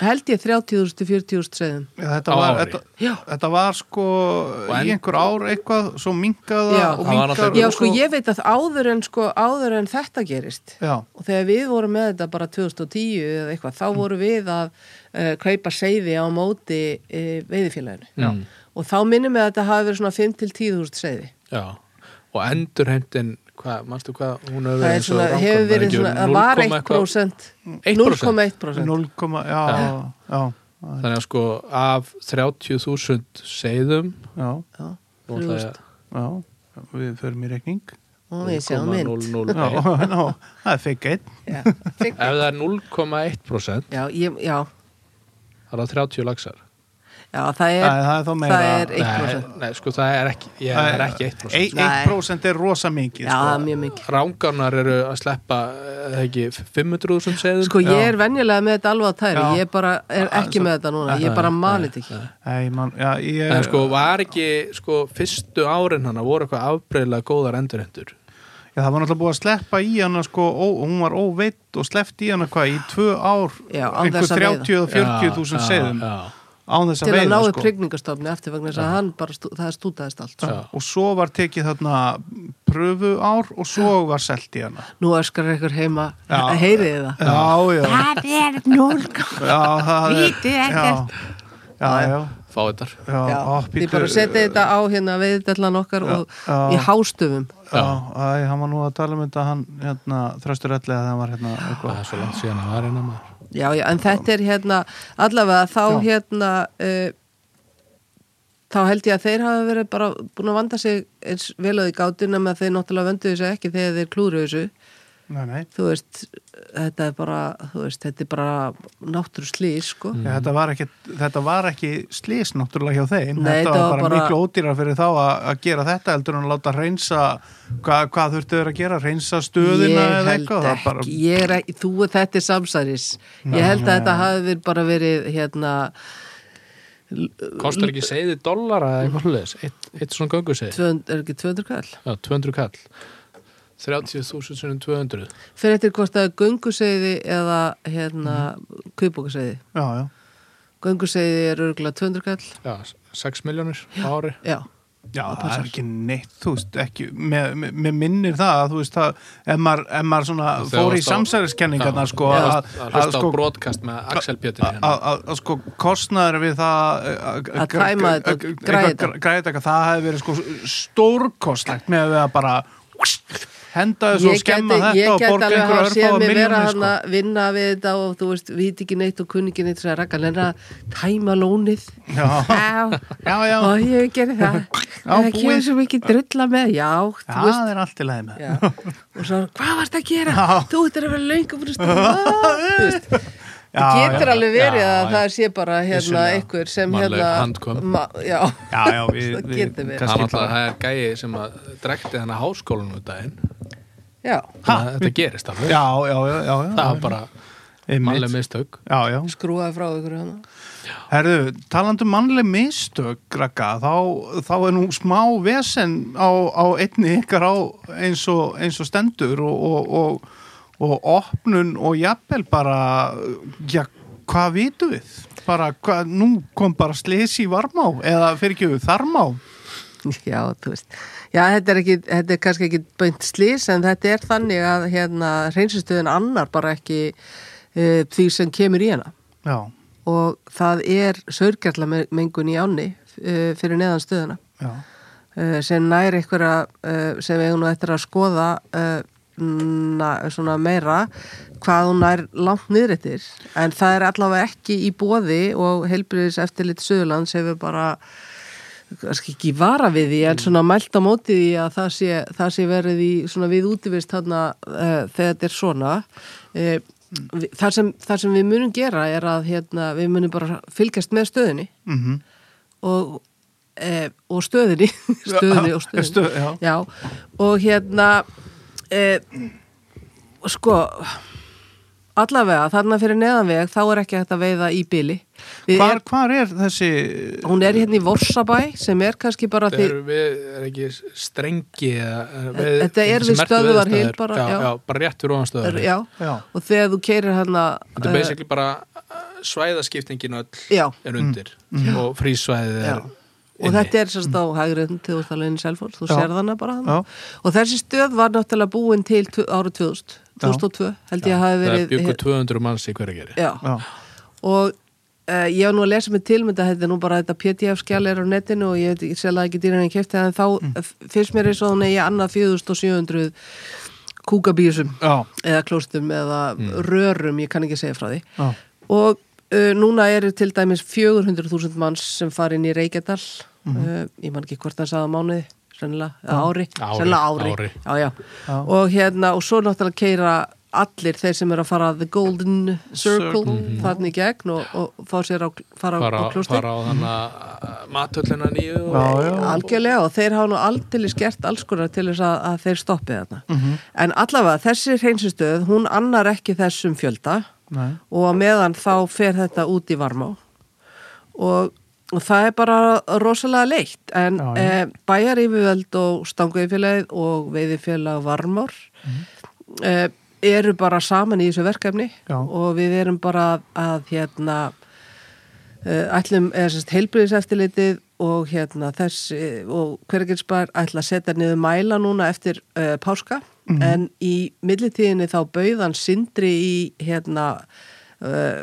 Speaker 3: held ég 30.000 til 40.000 segðum
Speaker 1: Já, Þetta
Speaker 2: Á
Speaker 1: var,
Speaker 2: ári.
Speaker 1: þetta,
Speaker 3: Já.
Speaker 1: þetta var sko
Speaker 2: Og en-
Speaker 1: í einhver ár eitthvað, svo minkaða
Speaker 3: Já.
Speaker 1: og
Speaker 2: Það var
Speaker 1: minkar
Speaker 2: náttúrulega-
Speaker 3: já
Speaker 1: og
Speaker 3: sko
Speaker 1: svo-
Speaker 3: ég veit að áður en, sko, áður en þetta gerist
Speaker 1: Já,
Speaker 3: og þegar við vorum með þetta bara 2010 eða eitthvað,
Speaker 2: Mm.
Speaker 3: þá vorum við að uh, kaupa seiði á móti uh, veiðifélaginu
Speaker 2: Já.
Speaker 3: og þá minnum við að þetta hafi verið svona 5-10.000 seiði
Speaker 2: Já, og endurheimtin, hvað, manstu hvað, hún hefur
Speaker 3: það
Speaker 2: verið
Speaker 3: er svona, hefur verið
Speaker 2: um
Speaker 3: svona, það var 1%
Speaker 2: 1%.
Speaker 3: 0,1%
Speaker 1: 0, já, já, já,
Speaker 2: Þannig að sko af 30.000 seiðum,
Speaker 1: já,
Speaker 3: Já,
Speaker 2: og
Speaker 3: þrjú
Speaker 2: það er
Speaker 3: þúsund.
Speaker 1: já, við förum í rekning.
Speaker 3: og ég sjá mynd
Speaker 2: 0,001.
Speaker 1: Já, já, það er fikk einn.
Speaker 3: Já,
Speaker 2: Ef það er 0,1%
Speaker 3: já, ég, já,
Speaker 2: það er það 30 laxar.
Speaker 3: Já, það er,
Speaker 1: Æ, það er þá meira-
Speaker 3: það er 1%.
Speaker 2: nei, nei, sko það er ekki, ég,
Speaker 1: Það
Speaker 2: er ekki 1%
Speaker 1: Eitt-
Speaker 3: Nei.
Speaker 1: 1% er rosa mikið
Speaker 3: Já, það er
Speaker 1: sko.
Speaker 3: mjög mikil.
Speaker 2: Rángarnar eru að sleppa eða ekki 500.000 segðum
Speaker 3: Sko, ég
Speaker 1: Já.
Speaker 3: er venjulega með þetta alveg á tæri,
Speaker 1: Já.
Speaker 3: ég bara er ekki
Speaker 1: svo-
Speaker 3: með þetta núna, ég bara mani þetta ekki.
Speaker 1: Nei, man, já, ég,
Speaker 2: En sko, var ekki, sko, fyrstu árin hana voru eitthvað afbreyðlega góðar endurhendur
Speaker 1: já, það var náttúrulega búið að sleppa í hana sko, ó, hún var óveitt og sleppt í hana hvað, í tvö ár
Speaker 3: Já, án
Speaker 1: einhver
Speaker 3: þess að
Speaker 1: 30 og 40 Sko, þúsund
Speaker 2: Já,
Speaker 1: segðum
Speaker 2: já,
Speaker 1: án þess
Speaker 3: Til
Speaker 1: að
Speaker 3: að
Speaker 1: veiða
Speaker 3: náðu
Speaker 1: sko.
Speaker 3: prigningastofni eftir vegna þess að hann bara, stú, það stútaðist allt. sko.
Speaker 2: Já.
Speaker 1: og svo var tekið þarna pröfu ár og svo var selt í hana
Speaker 3: Nú öskar ykkur heima,
Speaker 1: Já.
Speaker 3: heyriði það.
Speaker 1: já, já, já,
Speaker 4: Það er núlgóð.
Speaker 1: það er
Speaker 4: Vitið
Speaker 1: já,
Speaker 4: ekkert.
Speaker 1: já, já,
Speaker 2: Fáðar
Speaker 1: já,
Speaker 3: Já,
Speaker 1: ó,
Speaker 3: Þið
Speaker 1: Pétur,
Speaker 3: bara setja þetta á hérna veiðdellan okkar og
Speaker 1: Já.
Speaker 3: í hástöfum.
Speaker 1: já, æ, hann var nú að tala um þetta hann, hérna, þröstur öllega þegar hann var hérna eitthvað
Speaker 2: Það er svo langt síðan að var eina maður
Speaker 3: Já, já, en þetta er hérna, allavega
Speaker 1: Já.
Speaker 3: þá hérna, uh, þá held ég að þeir hafa verið bara búin að vanda sig eins vel á því gátina með að þeir náttúrulega vöndu þessu ekki þegar þeir klúru þessu.
Speaker 1: nei, nei,
Speaker 3: Þú veist, þetta er bara, þú veist, þetta er bara náttúru slýr, sko.
Speaker 1: Já, þetta, var ekki, þetta var ekki slís náttúrulega hjá þeim,
Speaker 3: Nei,
Speaker 1: þetta
Speaker 3: þetta
Speaker 1: var
Speaker 3: var
Speaker 1: bara,
Speaker 3: bara-
Speaker 1: miklu ódýrar fyrir þá að, að gera þetta heldur en að láta reynsa hvað, hvað þurftu þeir að gera, reynsa stöðina
Speaker 3: ég
Speaker 1: eða
Speaker 3: held
Speaker 1: eitthvað, það
Speaker 3: ekki,
Speaker 1: bara
Speaker 3: ég er ekki, þú þetta er samsæris. Ég held að þetta hafi verið bara verið, hérna,
Speaker 2: Kostar ekki segði dollara eða eitthvað hlutis Eitt, eitt svona göngu segði
Speaker 3: 200, er ekki 200 kall?
Speaker 2: Já, 200 kall 30.000 sinni 200
Speaker 3: Fyrir eftir hvort það er gönguseiði eða, hérna,
Speaker 1: Mhm.
Speaker 3: mm. kaupókaseiði.
Speaker 1: já, já,
Speaker 3: Gönguseiði er örgulega 200 kall.
Speaker 2: Já, 6 miljónir á ári
Speaker 3: Já,
Speaker 1: já, það er ekki neitt þú veist, ekki, með, með- með minnir það að þú veist, það, ef maður, ef maður svona
Speaker 2: Þegar
Speaker 1: fór í
Speaker 2: varst á-
Speaker 1: samsæriskenningarna
Speaker 2: Já,
Speaker 1: sko,
Speaker 2: já,
Speaker 1: að,
Speaker 2: varst að hlusta á broadcast með Axel Pétur
Speaker 1: að-
Speaker 2: hérna
Speaker 1: að að sko kostnaður við það að- að-
Speaker 3: Að tæma þetta og
Speaker 1: að-
Speaker 3: græja
Speaker 1: eitthvað
Speaker 3: þetta.
Speaker 1: græja þetta, það hefði verið sko stórkostlegt með að við að bara henda þessu og
Speaker 3: ég
Speaker 1: skemma
Speaker 3: gæti, ég
Speaker 1: þetta og
Speaker 3: gæti
Speaker 1: borga
Speaker 3: alveg
Speaker 1: einhverja
Speaker 3: hafa séð
Speaker 1: örfáða
Speaker 3: mig vera
Speaker 1: miljónir
Speaker 3: hann
Speaker 1: sko.
Speaker 3: að vinna við þetta og þú veist, viti ekki neitt og kunni ekki neitt svo að rakka lenna tæma lónið
Speaker 1: Já,
Speaker 4: Já,
Speaker 1: já, já,
Speaker 3: og ég gerði það
Speaker 1: Já,
Speaker 3: það
Speaker 1: búið.
Speaker 3: kemur svo mikið drulla með, já,
Speaker 1: Já,
Speaker 3: þú veist
Speaker 1: það er allt í lagi með
Speaker 3: Já. og svo, hvað varst að gera?
Speaker 1: Já.
Speaker 3: þú ert að vera löngu fyrir stöðum
Speaker 1: Já,
Speaker 3: það getur
Speaker 1: já.
Speaker 3: alveg verið
Speaker 2: Já,
Speaker 3: að
Speaker 2: já.
Speaker 3: það sé bara hérna
Speaker 2: Vissulega.
Speaker 3: einhver sem
Speaker 2: Mannleg
Speaker 3: hérna
Speaker 2: handkömm.
Speaker 3: ma, já,
Speaker 1: Já, já, við-
Speaker 3: það
Speaker 1: við-
Speaker 3: getur verið
Speaker 1: kannski-
Speaker 2: Það var alltaf það er gæi sem að drekti hennar háskólanum um daginn
Speaker 3: já,
Speaker 1: Ha?
Speaker 2: Þannig að Þetta gerist alveg
Speaker 1: Já, já, já, já, já.
Speaker 2: Það var bara
Speaker 1: Einmitt.
Speaker 2: mannleg mistök
Speaker 1: Já, já.
Speaker 3: skrúaði frá ykkur hérna. hana
Speaker 1: Herðu, talandu mannleg mistök, Raka, þá, þá er nú smá vesen á, á einni ykkar á eins og, eins og stendur og, og, og, og opnun og jafnvel bara, já, hvað vitum við? Bara, hvað, nú kom bara slesi í varmá eða fyrir ekki við þarmá.
Speaker 3: Já, þú veist. Já, þetta er, ekki, þetta er kannski ekki bönt slís en þetta er þannig að hérna, reynsistöðin annar bara ekki uh, því sem kemur í hana.
Speaker 1: Já,
Speaker 3: Og það er sörgjallamengun í áni uh, fyrir neðan stöðuna
Speaker 1: já,
Speaker 3: uh, sem nær einhverja uh, sem við eigum nú eftir að skoða uh, na, svona meira hvað hún nær langt niður eftir en það er allavega ekki í bóði og heilbriðis eftir lit Suðurlands hefur bara kannski ekki vara við því en svona mælt á móti því að það sé, það sé verið í svona við útivist þarna uh, þegar þetta er svona uh, það, sem, það sem við munum gera er að hérna, við munum bara fylgjast með stöðinni
Speaker 1: mhm.
Speaker 3: og, e, og stöðinni stöðinni og stöðinni
Speaker 1: Stöð- já.
Speaker 3: og hérna e, sko allavega þarna fyrir neðanveg þá er ekki hægt að veiða í byli
Speaker 1: Hvar,
Speaker 3: er,
Speaker 1: hvar er þessi
Speaker 3: hún er hérna í Vorsabæ sem er kannski bara
Speaker 2: Það
Speaker 3: því
Speaker 2: eru við, er ekki strengi eða-
Speaker 3: Þetta-
Speaker 2: við-
Speaker 3: þetta er
Speaker 2: sem
Speaker 3: við
Speaker 2: merktu
Speaker 3: stöðvarhil
Speaker 2: veiðistæður.
Speaker 3: bara,
Speaker 2: já,
Speaker 3: já.
Speaker 2: já, bara rétt fyrir ofan stöðvar
Speaker 3: já,
Speaker 1: Já.
Speaker 3: og þegar þú keirir hérna
Speaker 2: Þetta er basically bara uh, svæðaskiptingin öll
Speaker 3: Já. Mm,
Speaker 2: er undir og frísvæðið er
Speaker 3: Já. og þetta er sérst á hægri til þú talaðin sjálfór, þú
Speaker 1: Já.
Speaker 3: sér þarna bara þarna.
Speaker 1: Já.
Speaker 3: og þessi stöð var náttúrulega búin til tu- ára 2000,
Speaker 1: Já.
Speaker 3: 2002 held ég að hafi
Speaker 2: það
Speaker 3: verið
Speaker 2: er byggur
Speaker 3: hér-
Speaker 2: 200 manns í hverju geri
Speaker 3: Já.
Speaker 1: Já,
Speaker 3: og uh, ég var nú að lesa mig til með þetta þetta er nú bara þetta PDF-skjál er á netinu og ég veit ekki sérlega ekki dýran en kæfti en þá mm. fyrst mér eins og hún eigi annað 4700 kúkabísum
Speaker 1: já,
Speaker 3: eða klóstum eða rörum, ég kann ekki segja frá því
Speaker 1: já,
Speaker 3: og uh, núna eru til dæmis 400.000 manns sem fari inn í Reykjadal
Speaker 2: Mhm.
Speaker 3: uh, ég man ekki hvort það sagði á mánuði sennilega, eða ári,
Speaker 2: Ári,
Speaker 3: sennilega ári,
Speaker 2: ári.
Speaker 3: Já, já.
Speaker 1: Já.
Speaker 3: og hérna, og svo náttúrulega keira allir þeir sem eru að fara að The Golden Circle,
Speaker 1: Circle.
Speaker 3: þarna í gegn og, og fá sér á, fara,
Speaker 2: Mhm. fara,
Speaker 3: á klóstir
Speaker 2: fara á þannig matöllina Mm. nýju
Speaker 1: Já,
Speaker 2: og,
Speaker 1: já.
Speaker 3: algjörlega og þeir hafa nú aldeilis gert alls konar til þess að, að þeir stoppi þarna
Speaker 2: Mhm.
Speaker 3: en allavega þessi hreinsistöð hún annar ekki þessum fjölda
Speaker 1: Nei.
Speaker 3: og á meðan þá fer þetta út í varmá og, og það er bara rosalega leitt en
Speaker 1: Já,
Speaker 3: e,
Speaker 1: já.
Speaker 3: bæjarífjöld og stanguðfélagið og veiðifélag varmár eh, eru bara saman í þessu
Speaker 1: Mhm.
Speaker 3: verkefni
Speaker 1: Já.
Speaker 3: og við erum bara að, að hérna eh, ætlum eða sérst heilbriðiseftilitið og hérna þessi og hvergilsbær ætla að setja niður mæla núna eftir uh, páska
Speaker 1: Mhm.
Speaker 3: en í millitíðinni þá bauðan sindri í hérna uh,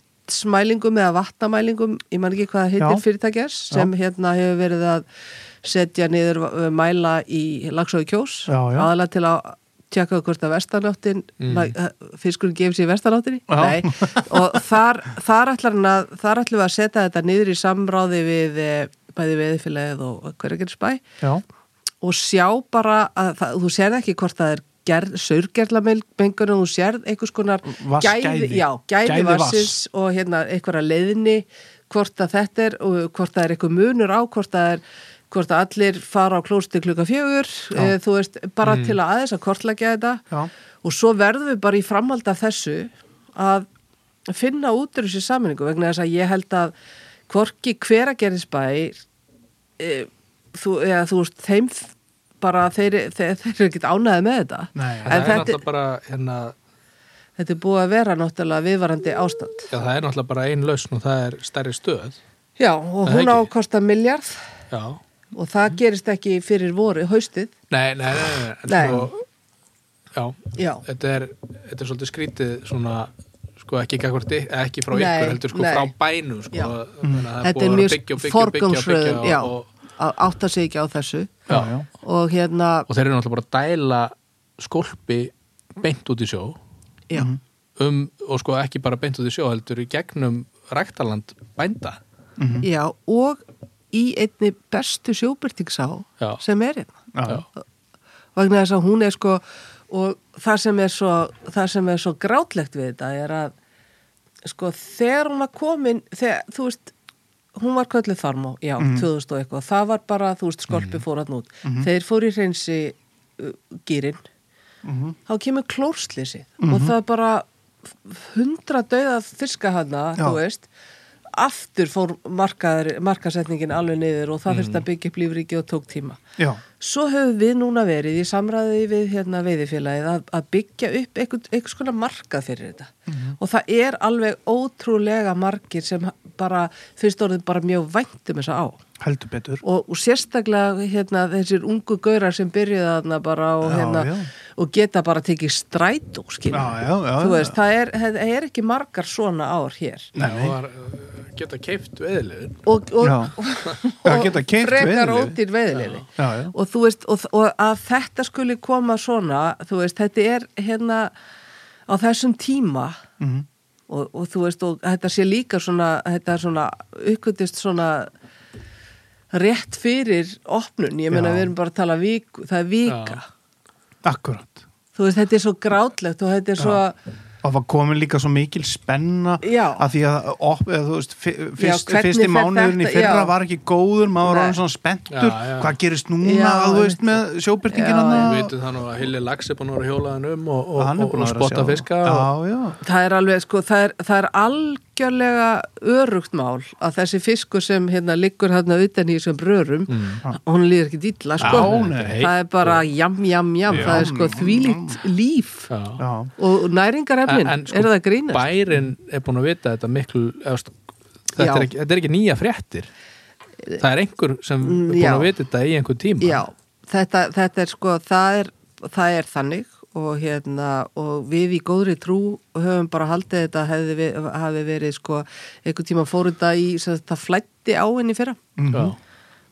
Speaker 3: vatnsmælingum eða vatnamælingum, ég man ekki hvað það heitir
Speaker 1: Já.
Speaker 3: fyrirtækjars sem hérna hefur verið að setja niður eh, mæla í lagsóðu kjós
Speaker 1: Já, já.
Speaker 3: aðalega til að tjekka hvort að vestanáttin mm. fiskurinn gefur sér í vestanáttinni
Speaker 1: Já.
Speaker 3: Nei, og þar, þar, ætlar hann að, þar ætlum við að setja þetta niður í samráði við eh, bæði veðifélagið og hverjargerðsbæ
Speaker 1: Já,
Speaker 3: og sjá bara að það, þú sérð ekki hvort það er gerð, saurgerðlamengun og þú sérð einhvers konar
Speaker 1: Vatnsgæði.
Speaker 3: gæði, já, gæði,
Speaker 1: Gæði vatns.
Speaker 3: vassins og hérna einhverja leiðni hvort að þetta er og hvort það er eitthvað munur á hvort það er hvort að allir fara á klósti klukka fjögur e, þú veist, bara til að aðeins að kortleggja þetta
Speaker 1: Já.
Speaker 3: og svo verðum við bara í framhald af þessu að finna út úr þessu sammenningu vegna þess að ég held að hvorki eh, hver að þú, eða, þú veist, þeim f- bara þeir, þeir, þeir eru ekkert ánæði með þetta
Speaker 1: Nei.
Speaker 3: en
Speaker 2: það er
Speaker 3: þetta,
Speaker 2: náttúrulega bara hérna,
Speaker 3: þetta er búið að vera náttúrulega viðvarandi ástand
Speaker 2: já, það er náttúrulega bara ein lausn og það er stærri stöð
Speaker 3: já, og
Speaker 2: Það
Speaker 3: hún
Speaker 2: ekki. Mhm.
Speaker 3: ákosta miljard
Speaker 2: já,
Speaker 3: og það gerist ekki fyrir voru haustið,
Speaker 2: nei, nei, nei, nei, en
Speaker 3: Nei.
Speaker 2: Svo, já,
Speaker 3: já
Speaker 2: þetta er, þetta er svolítið skrítið svona, sko ekki, gagvart, ekki frá
Speaker 3: Nei,
Speaker 2: ykkur, heldur sko
Speaker 3: nei.
Speaker 2: frá bænum sko,
Speaker 3: Já.
Speaker 1: Mm.
Speaker 2: þannig að það
Speaker 3: þetta
Speaker 2: búið
Speaker 3: er
Speaker 2: að
Speaker 3: mjög
Speaker 2: byggja og byggja og byggja og
Speaker 3: forgangsröðun
Speaker 2: byggja
Speaker 3: já,
Speaker 2: og,
Speaker 3: að átta sig ekki á þessu
Speaker 1: já,
Speaker 2: já.
Speaker 1: já.
Speaker 3: og hérna,
Speaker 2: og þeir eru náttúrulega bara að dæla skolpi beint út í sjó
Speaker 3: já
Speaker 2: um, og sko ekki bara beint út í sjó heldur í gegnum ræktaland bænda mhm.
Speaker 3: já, og í einni bestu sjóbyrtingsá
Speaker 2: Já.
Speaker 3: sem er hérna
Speaker 1: Já.
Speaker 3: vegna þess að hún er sko og það sem er svo, það sem er svo grátlegt við þetta er að sko þegar hún var komin þegar, þú veist, hún var kölluð farmó já, 2000 og eitthvað, það var bara þú veist, skolpi fór hann út þeir fóru í hreinsi uh, gýrin þá kemur klórslisið og það er bara hundra döða fiska hana,
Speaker 1: Já.
Speaker 3: þú veist aftur fór markaður, markasetningin alveg niður og það þurfti að byggja upp lífriki og tók tíma
Speaker 1: Já,
Speaker 3: Svo höfum við núna verið í samræði við hérna veiðifélagið að, að byggja upp einhvern- einhvers konar markað fyrir þetta
Speaker 1: Mhm.
Speaker 3: og það er alveg ótrúlega margir sem ha- bara fyrst orðið bara mjög væntum þessa á
Speaker 1: heldur betur.
Speaker 3: og, og sérstaklega hérna þessir ungu gaurar sem byrjuða þarna bara og,
Speaker 1: Já,
Speaker 3: hérna,
Speaker 1: já.
Speaker 3: og geta bara tekið strætó skilur.
Speaker 1: Já, já, já,
Speaker 3: þú
Speaker 1: já.
Speaker 3: veist, það er, það er ekki margar svona ár hér
Speaker 2: Nei, og var, uh, geta keift veðilegðin
Speaker 3: og, og,
Speaker 1: Já. Já, geta keypt
Speaker 3: frekar
Speaker 1: veiðileyfi.
Speaker 3: ódýr veiðilegði
Speaker 1: Já, já.
Speaker 3: og þú veist og, og að þetta skuli koma svona þú veist, þetta er hérna á þessum tíma
Speaker 1: Mhm.
Speaker 3: og, og þú veist, og þetta sé líka svona, þetta er svona, uppgötist svona rétt fyrir opnun, ég meina
Speaker 1: Já.
Speaker 3: við erum bara að tala viku, það er vika
Speaker 1: Akkurat.
Speaker 3: þú veist, þetta er svo grátlegt og þetta er svo
Speaker 1: og var komin líka svo mikil spenna
Speaker 3: Já.
Speaker 1: að því að op, eða, þú veist, fi- fyrst,
Speaker 3: hvernig
Speaker 1: fyrsti
Speaker 3: fer
Speaker 1: mánuðurinn í
Speaker 3: þetta-
Speaker 1: fyrra
Speaker 3: já.
Speaker 1: var ekki góður maður
Speaker 3: Nei.
Speaker 1: var svona spenntur,
Speaker 2: Já, já.
Speaker 1: hvað gerist núna
Speaker 3: Já,
Speaker 1: að, þú veist með
Speaker 3: Já,
Speaker 1: sjóbyrtingin
Speaker 2: Við
Speaker 1: hann
Speaker 2: veitum það nú að Hilli Lax er búin að vera hjólaðan um og, og,
Speaker 1: hann er
Speaker 2: og,
Speaker 1: búin
Speaker 2: og
Speaker 1: að vera að
Speaker 2: spotta
Speaker 1: sjá.
Speaker 2: fiska og,
Speaker 1: já, já,
Speaker 3: Það er alveg, sko, það er, það er algjörlega örugt mál að þessi fiskur sem hérna liggur hérna utan í þessum brörum, hún líður ekki dilla, sko.
Speaker 1: Já, nei.
Speaker 3: Það er bara jam, jam, jam,
Speaker 1: Já,
Speaker 3: það er sko
Speaker 1: mm,
Speaker 3: þvílíkt líf
Speaker 2: já.
Speaker 1: já,
Speaker 3: og næringarefnin,
Speaker 2: En- en, sko,
Speaker 3: er það að grínast?
Speaker 2: Bærin er búin að vita þetta miklu eðst,
Speaker 3: Já.
Speaker 2: þetta, er ekki, þetta er ekki nýja fréttir Það er einhver sem er
Speaker 3: Mm,
Speaker 2: búin
Speaker 3: já.
Speaker 2: að vita þetta í einhver tíma
Speaker 3: Já, þetta, þetta er sko, það er, það er þannig og hérna, og við í góðri trú höfum bara haldið þetta hefði, við- hafi verið sko, einhvern tíma fórunda í, sem sagt, það flætti á henni fyrra.
Speaker 2: já.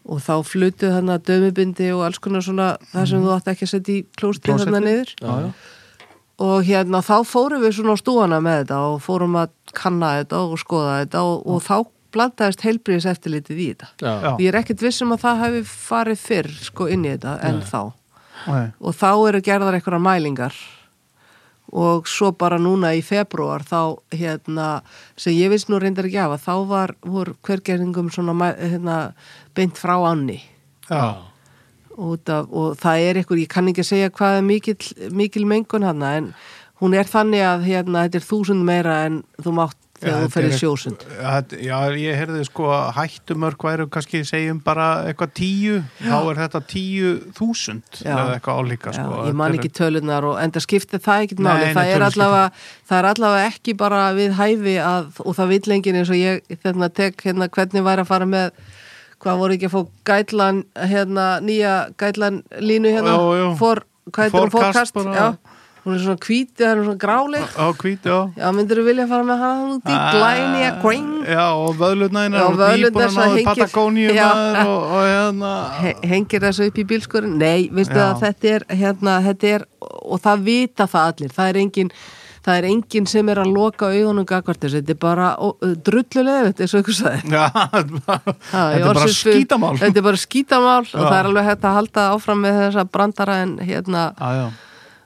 Speaker 3: og þá flutuð hann að dömubindi og alls konar svona það sem þú átt ekki að setja í klóstið
Speaker 1: Mhm. Klósettið.
Speaker 3: þarna niður
Speaker 2: Já, já.
Speaker 3: og hérna þá fórum við svona á stúana með þetta og fórum að kanna þetta og skoða þetta og, og þá blandaðist heilbriðis eftirlitið í þetta
Speaker 2: Já.
Speaker 1: Já.
Speaker 3: ég er ekkert vissum að það hefði farið fyrr sko inn í þetta en þá
Speaker 1: Nei.
Speaker 3: og þá eru gerðar einhverjar mælingar og svo bara núna í februar þá hérna, sem ég vissi nú reyndar ekki af að þá var, voru hvergerðingum svona mæ- hérna, beint frá anni
Speaker 2: Já.
Speaker 3: út af, og það er einhver, ég kann ekki að segja hvað er mikil, mikil mengun hann en hún er þannig að hérna, þetta er þúsund meira en þú mátt þegar þú ferði sjósund
Speaker 1: Þetta- Já, ég heyrði sko að hættumörk væru kannski segjum bara eitthvað tíu, þá er þetta tíu þúsund
Speaker 3: Já.
Speaker 1: eða eitthvað álíka
Speaker 3: Já,
Speaker 1: sko.
Speaker 3: ég man
Speaker 1: Þetta er-
Speaker 3: ekki tölunar og enda skipti það ekkit
Speaker 1: Nei,
Speaker 3: máli,
Speaker 1: nei,
Speaker 3: það, er
Speaker 1: tölur skipta.
Speaker 3: allavega, það er allavega ekki bara við hæfi að, og það vill enginn eins og ég þarna, tek hérna hvernig væri að fara með hvað voru ekki að fá gætlan hérna nýja gætlan línu hérna
Speaker 1: Jú, jú.
Speaker 3: For, hvað heitir hún?
Speaker 1: Forecast
Speaker 3: Forecast,
Speaker 1: bara.
Speaker 3: já, hún er svona hvíti, það er svona gráleg
Speaker 1: Á hvít, já.
Speaker 3: já, myndirðu vilja fara með hana út
Speaker 1: Ah.
Speaker 3: í glænýja græn
Speaker 1: Já, og vöðlutnæðin
Speaker 3: Já,
Speaker 1: er nýbúin
Speaker 3: vöðlurnar
Speaker 1: að
Speaker 3: sem
Speaker 1: náðu
Speaker 3: hengir-
Speaker 1: Patagóníu
Speaker 3: Já.
Speaker 1: maður og, og hérna
Speaker 3: He- hengir þessu upp í bílskurinn nei, veistu
Speaker 1: Já.
Speaker 3: að þetta er, hérna, þetta er og það vita það allir það er engin, það er engin sem er að loka augunum gagvart þessu, þetta er bara ó, drullulega, þetta er svo ykkur sagði
Speaker 1: Já, þetta
Speaker 3: Já, í
Speaker 1: er bara
Speaker 3: orðsins við-
Speaker 1: skítamál
Speaker 3: þetta er bara skítamál og
Speaker 1: Já.
Speaker 3: það er alveg hægt að halda áfram með þessa brandara en hérna
Speaker 1: Já, já,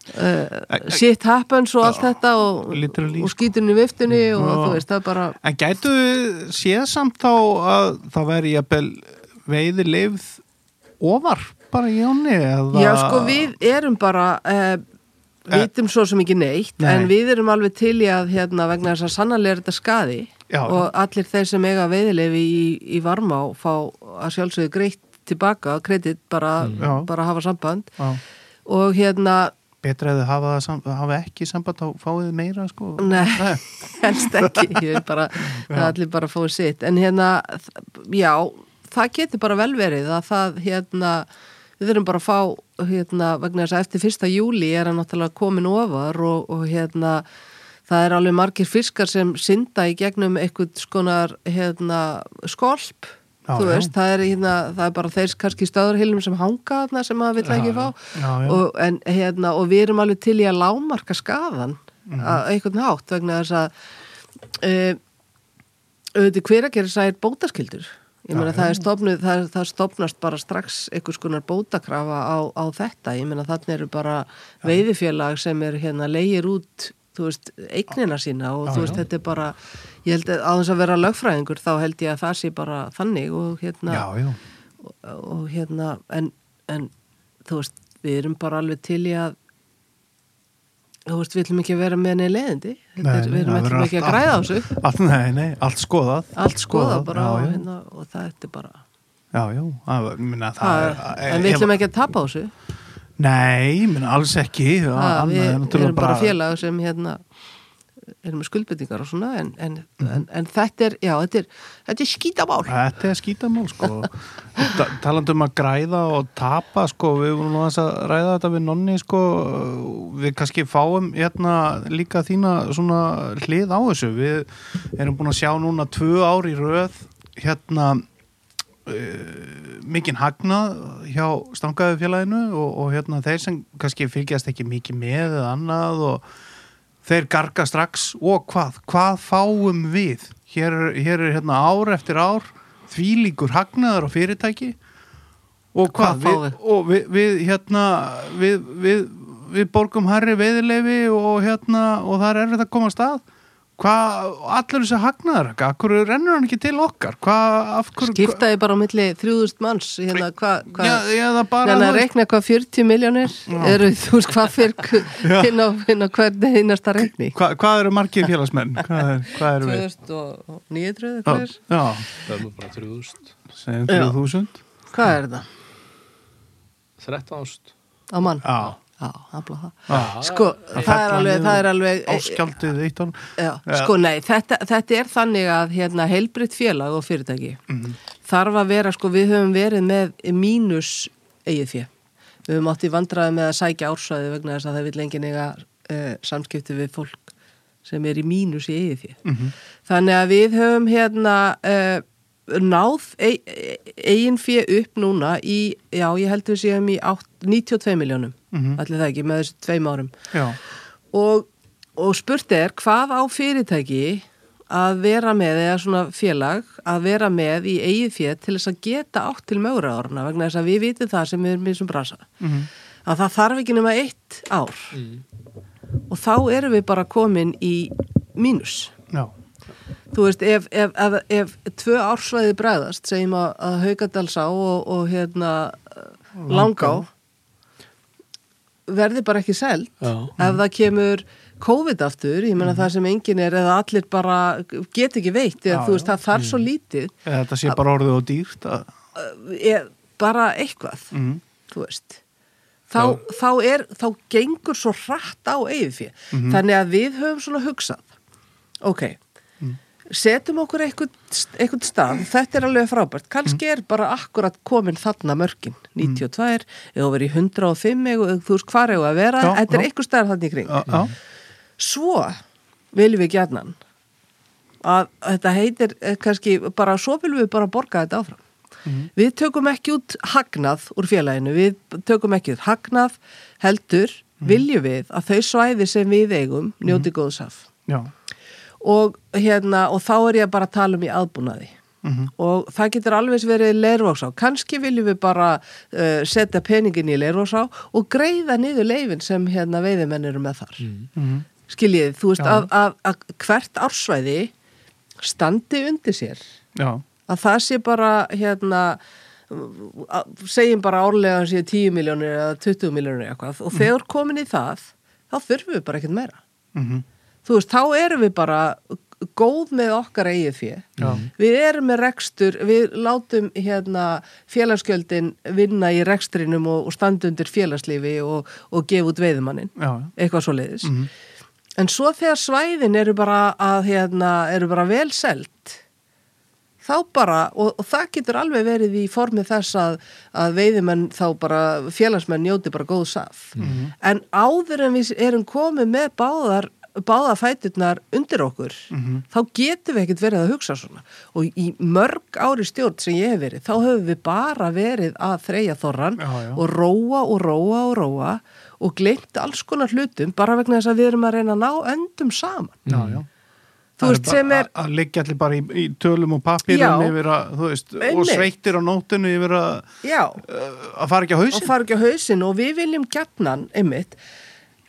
Speaker 1: e-
Speaker 3: shit happens og allt þetta og,
Speaker 1: Literally,
Speaker 3: og skítunni viftunni og
Speaker 1: Mm, Já.
Speaker 3: þú veist, það er bara
Speaker 1: En gætu við séð samt þá að það væri jafnvel veiði leifð ofar bara í áni eða...
Speaker 3: Já, sko, við erum bara uh, vitum svo sem ekki neitt
Speaker 1: Eh. Nei.
Speaker 3: en við erum alveg til í að hérna, vegna þess að sannarlega er þetta skaði
Speaker 1: Já.
Speaker 3: og allir þeir sem eiga veiðilefi í, í varmá fá að sjálfsögðu greitt tilbaka, kredit bara,
Speaker 1: Já.
Speaker 3: bara hafa samband
Speaker 1: Já,
Speaker 3: og hérna,
Speaker 1: betra að þið hafa, það sam- hafa ekki samband þá fáið þið meira sko
Speaker 3: nei, helst ekki ég vil bara, það allir bara fóðu sitt en hérna, þ- já það getur bara vel verið að það hérna, við þurfum bara að fá hérna, vegna þess að eftir fyrsta júli er hann náttúrulega komin ofar og, og hérna, það er alveg margir fiskar sem synda í gegnum einhvern skonar hérna, skolp
Speaker 1: Já,
Speaker 3: þú
Speaker 1: já.
Speaker 3: veist, það er, hérna, það er bara þeir kannski stöðurhilum sem hanga þarna sem maður vill ekki fá
Speaker 1: Já, já.
Speaker 3: Og, en, hérna, og við erum alveg til í að lámarka skaðan
Speaker 1: Mhm.
Speaker 3: mm. að einhvern hátt vegna þess að e, auðvitað hveragerðsa er bótaskildur ég meina það er stopnud það, það stopnast bara strax einhvers konar bótakrafa á, á þetta ég meina þannig eru bara veiðifélag sem er hérna leigir út þú veist, eignina sína og þú veist, þetta er bara ég held að á þess að vera lögfræðingur þá held ég að það sé bara þannig og hérna
Speaker 1: Já, já,
Speaker 3: og, og hérna en, en þú veist, við erum bara alveg til í að þú veist, við ætlum ekki að vera með neði leiðindi Þetta
Speaker 1: Nei,
Speaker 3: er,
Speaker 1: nei,
Speaker 3: við erum
Speaker 1: það verður
Speaker 3: ekki, ekki að
Speaker 1: allt-
Speaker 3: græða á þessu
Speaker 1: allt, nei, nei, allt skoðað
Speaker 3: allt skoða bara
Speaker 1: já,
Speaker 3: og,
Speaker 1: já.
Speaker 3: hérna, og það er bara
Speaker 1: Já, já, það, var- ég meina, það eh,
Speaker 3: það, en við
Speaker 1: ef-
Speaker 3: ætlum ekki að tapa á þessu
Speaker 1: Nei, ég meina, alls ekki það,
Speaker 3: það,
Speaker 1: annað
Speaker 3: við
Speaker 1: er náttúrulega
Speaker 3: erum bara félag sem hérna erum með skuldbyttingar og svona en, en,
Speaker 1: Mhm.
Speaker 3: en, en þetta er, já, þetta er þetta er skítamál
Speaker 1: Þetta er skítamál sko Ta talandi um að græða og tapa sko, við vorum nú aðeins að ræða þetta við nonni sko, við kannski fáum hérna líka þína svona hlið á þessu við erum búin að sjá núna tvö ár í röð hérna e, mikinn hagnað hjá stangaðu félaginu og, og hérna þeir sem kannski fylgjast ekki mikið með eða annað og þeir garga strax og hvað, hvað fáum við hér, er- hér er hérna ár eftir ár þvílíkur hagnaðar á fyrirtæki og
Speaker 3: Hvað
Speaker 1: hvað,
Speaker 3: fáum við?
Speaker 1: og við, við hérna við, við, við borgum herri veiðileifi og hérna og það er erfitt að koma að stað hvað, allir þessi hagnaðar akkur rennur hann ekki til okkar hvað, af hverju
Speaker 3: skiptaði bara á milli 3000 manns hérna, hvað hva,
Speaker 1: Já, já, það bara
Speaker 3: Þannig
Speaker 1: þú
Speaker 3: að
Speaker 1: veist-
Speaker 3: reikna hvað 40 miljónir eru þú veist hvað fyrir inn á, inn á hvernig einasta reikni
Speaker 1: Hva, hvað eru margir félagsmenn? Hvað, er, hvað eru við?
Speaker 3: 2009
Speaker 1: Já,
Speaker 3: hvað er,
Speaker 1: já,
Speaker 2: Það er nú bara 3000,
Speaker 1: segjum
Speaker 3: Já.
Speaker 1: 3000
Speaker 3: hvað er það?
Speaker 2: 13000
Speaker 3: Á mann?
Speaker 1: Já,
Speaker 3: Já, afla það
Speaker 1: já
Speaker 3: Sko, það er
Speaker 1: fellur
Speaker 3: alveg,
Speaker 1: niður
Speaker 3: það er alveg
Speaker 1: Áskjaldið eitt honum
Speaker 3: já,
Speaker 1: Já.
Speaker 3: Sko, nei, þetta, þetta er þannig að hérna, heilbritt félag og fyrirtæki þarf að vera, sko, við höfum verið með mínus eigið fjö við höfum átt í vandræði með að sækja ársæði vegna þess að það vil engin eiga uh, samskipti við fólk sem er í mínus í eigið fjö þannig að við höfum hérna uh, náð e- e- eigin fjö upp núna í, já, ég heldur við séum í átt- 92 miljónum allir það ekki, með þessu tveim árum
Speaker 1: Já,
Speaker 3: og, og spurt er hvað á fyrirtæki að vera með, eða svona félag að vera með í eigið fér til þess að geta átt til möguraðorna vegna þess að við
Speaker 1: mhm,
Speaker 3: vitum það sem við erum í þessum brasa að það þarf ekki nema eitt ár og þá erum við bara komin í mínus
Speaker 1: já,
Speaker 3: þú veist, ef, ef, ef, ef tvö ársvæði bregðast, segjum að, að Haugadalsá og, og hérna Langá verði bara ekki seld
Speaker 2: Já.
Speaker 3: ef það kemur COVID aftur, ég
Speaker 1: Mhm.
Speaker 3: meina það sem engin er eða allir bara get ekki veitt eða
Speaker 1: Já, Mhm.
Speaker 3: þú veist, það þarf svo lítið
Speaker 1: Eða þetta sé bara orðið og dýrt að,
Speaker 3: eh, er bara eitthvað
Speaker 1: mm,
Speaker 3: þú veist þá, þá, er, þá gengur svo hratt á eigið
Speaker 1: Mhm.
Speaker 3: þannig að við höfum svona hugsað ok,
Speaker 1: Mhm.
Speaker 3: setjum okkur eitthvað, eitthvað stað, þetta er alveg frábært kannski
Speaker 1: Mhm.
Speaker 3: er bara akkurat komin þarna mörkin, 92, eða verið 105, eða þú veist hvar eða að vera
Speaker 1: Já,
Speaker 3: þetta er
Speaker 1: já.
Speaker 3: eitthvað staðar þarna í kring
Speaker 1: já, já,
Speaker 3: svo viljum við gjarnan að þetta heitir eh, kannski bara svo viljum við bara borga þetta áfram
Speaker 1: Mhm.
Speaker 3: við tökum ekki út hagnað úr félaginu, við tökum ekki út hagnað heldur
Speaker 1: Mhm.
Speaker 3: viljum við að þau svæði sem við eigum njóti góðs af
Speaker 1: já,
Speaker 3: og, hérna, og þá er ég bara að tala um í aðbúnaði
Speaker 1: Mhm.
Speaker 3: og það getur alveg verið leirvóksá kannski viljum við bara uh, setja peningin í leirvóksá og greiða niður leifin sem hérna, veiðimenn eru með þar
Speaker 1: mhm,
Speaker 3: skiljiði, þú veist
Speaker 1: Já.
Speaker 3: að, að, að hvert ársvæði standi undir sér
Speaker 1: já,
Speaker 3: að það sé bara hérna að- segjum bara árlega að sé 10 miljónir eða 20 miljónir eitthvað og þegar komin í það þá þurfum við bara ekkert meira
Speaker 1: mhm,
Speaker 3: þú veist, þá erum við bara góð með okkar eigið
Speaker 1: Já.
Speaker 3: fjö við erum með rekstur, við látum hérna félagsgjöldin vinna í rekstrinum og, og standundir félagslífi og, og gefa út veiðumannin
Speaker 1: já,
Speaker 3: eitthvað svo leiðis
Speaker 1: Mhm.
Speaker 3: en svo þegar svæðin eru bara að hérna, eru bara vel selt þá bara, og, og það getur alveg verið í formi þess að, að veiðimenn þá bara, félagsmenn njóti bara góð saf,
Speaker 1: Mhm.
Speaker 3: en áður en við erum komið með báðar báða fæturnar undir okkur
Speaker 1: Mhm.
Speaker 3: þá getum við ekkert verið að hugsa svona og í mörg ári stjórn sem ég hef verið, þá höfum við bara verið að þreyja þorran
Speaker 1: Já, já.
Speaker 3: og róa og róa og róa og gleymt alls konar hlutum bara vegna þess að við erum að reyna að ná öndum saman.
Speaker 1: já, já.
Speaker 3: Þú
Speaker 1: Það
Speaker 3: veist,
Speaker 1: bara
Speaker 3: sem er-
Speaker 1: að- Að liggja allir bara í, í tölum og pappirum
Speaker 3: Já.
Speaker 1: yfir að, þú veist, og
Speaker 3: Einmitt.
Speaker 1: sveittir á nótinu yfir að, eh,
Speaker 3: Já,
Speaker 1: að fara ekki á
Speaker 3: og
Speaker 1: hausin.
Speaker 3: fara ekki á hausin og við viljum gjarnan, einmitt,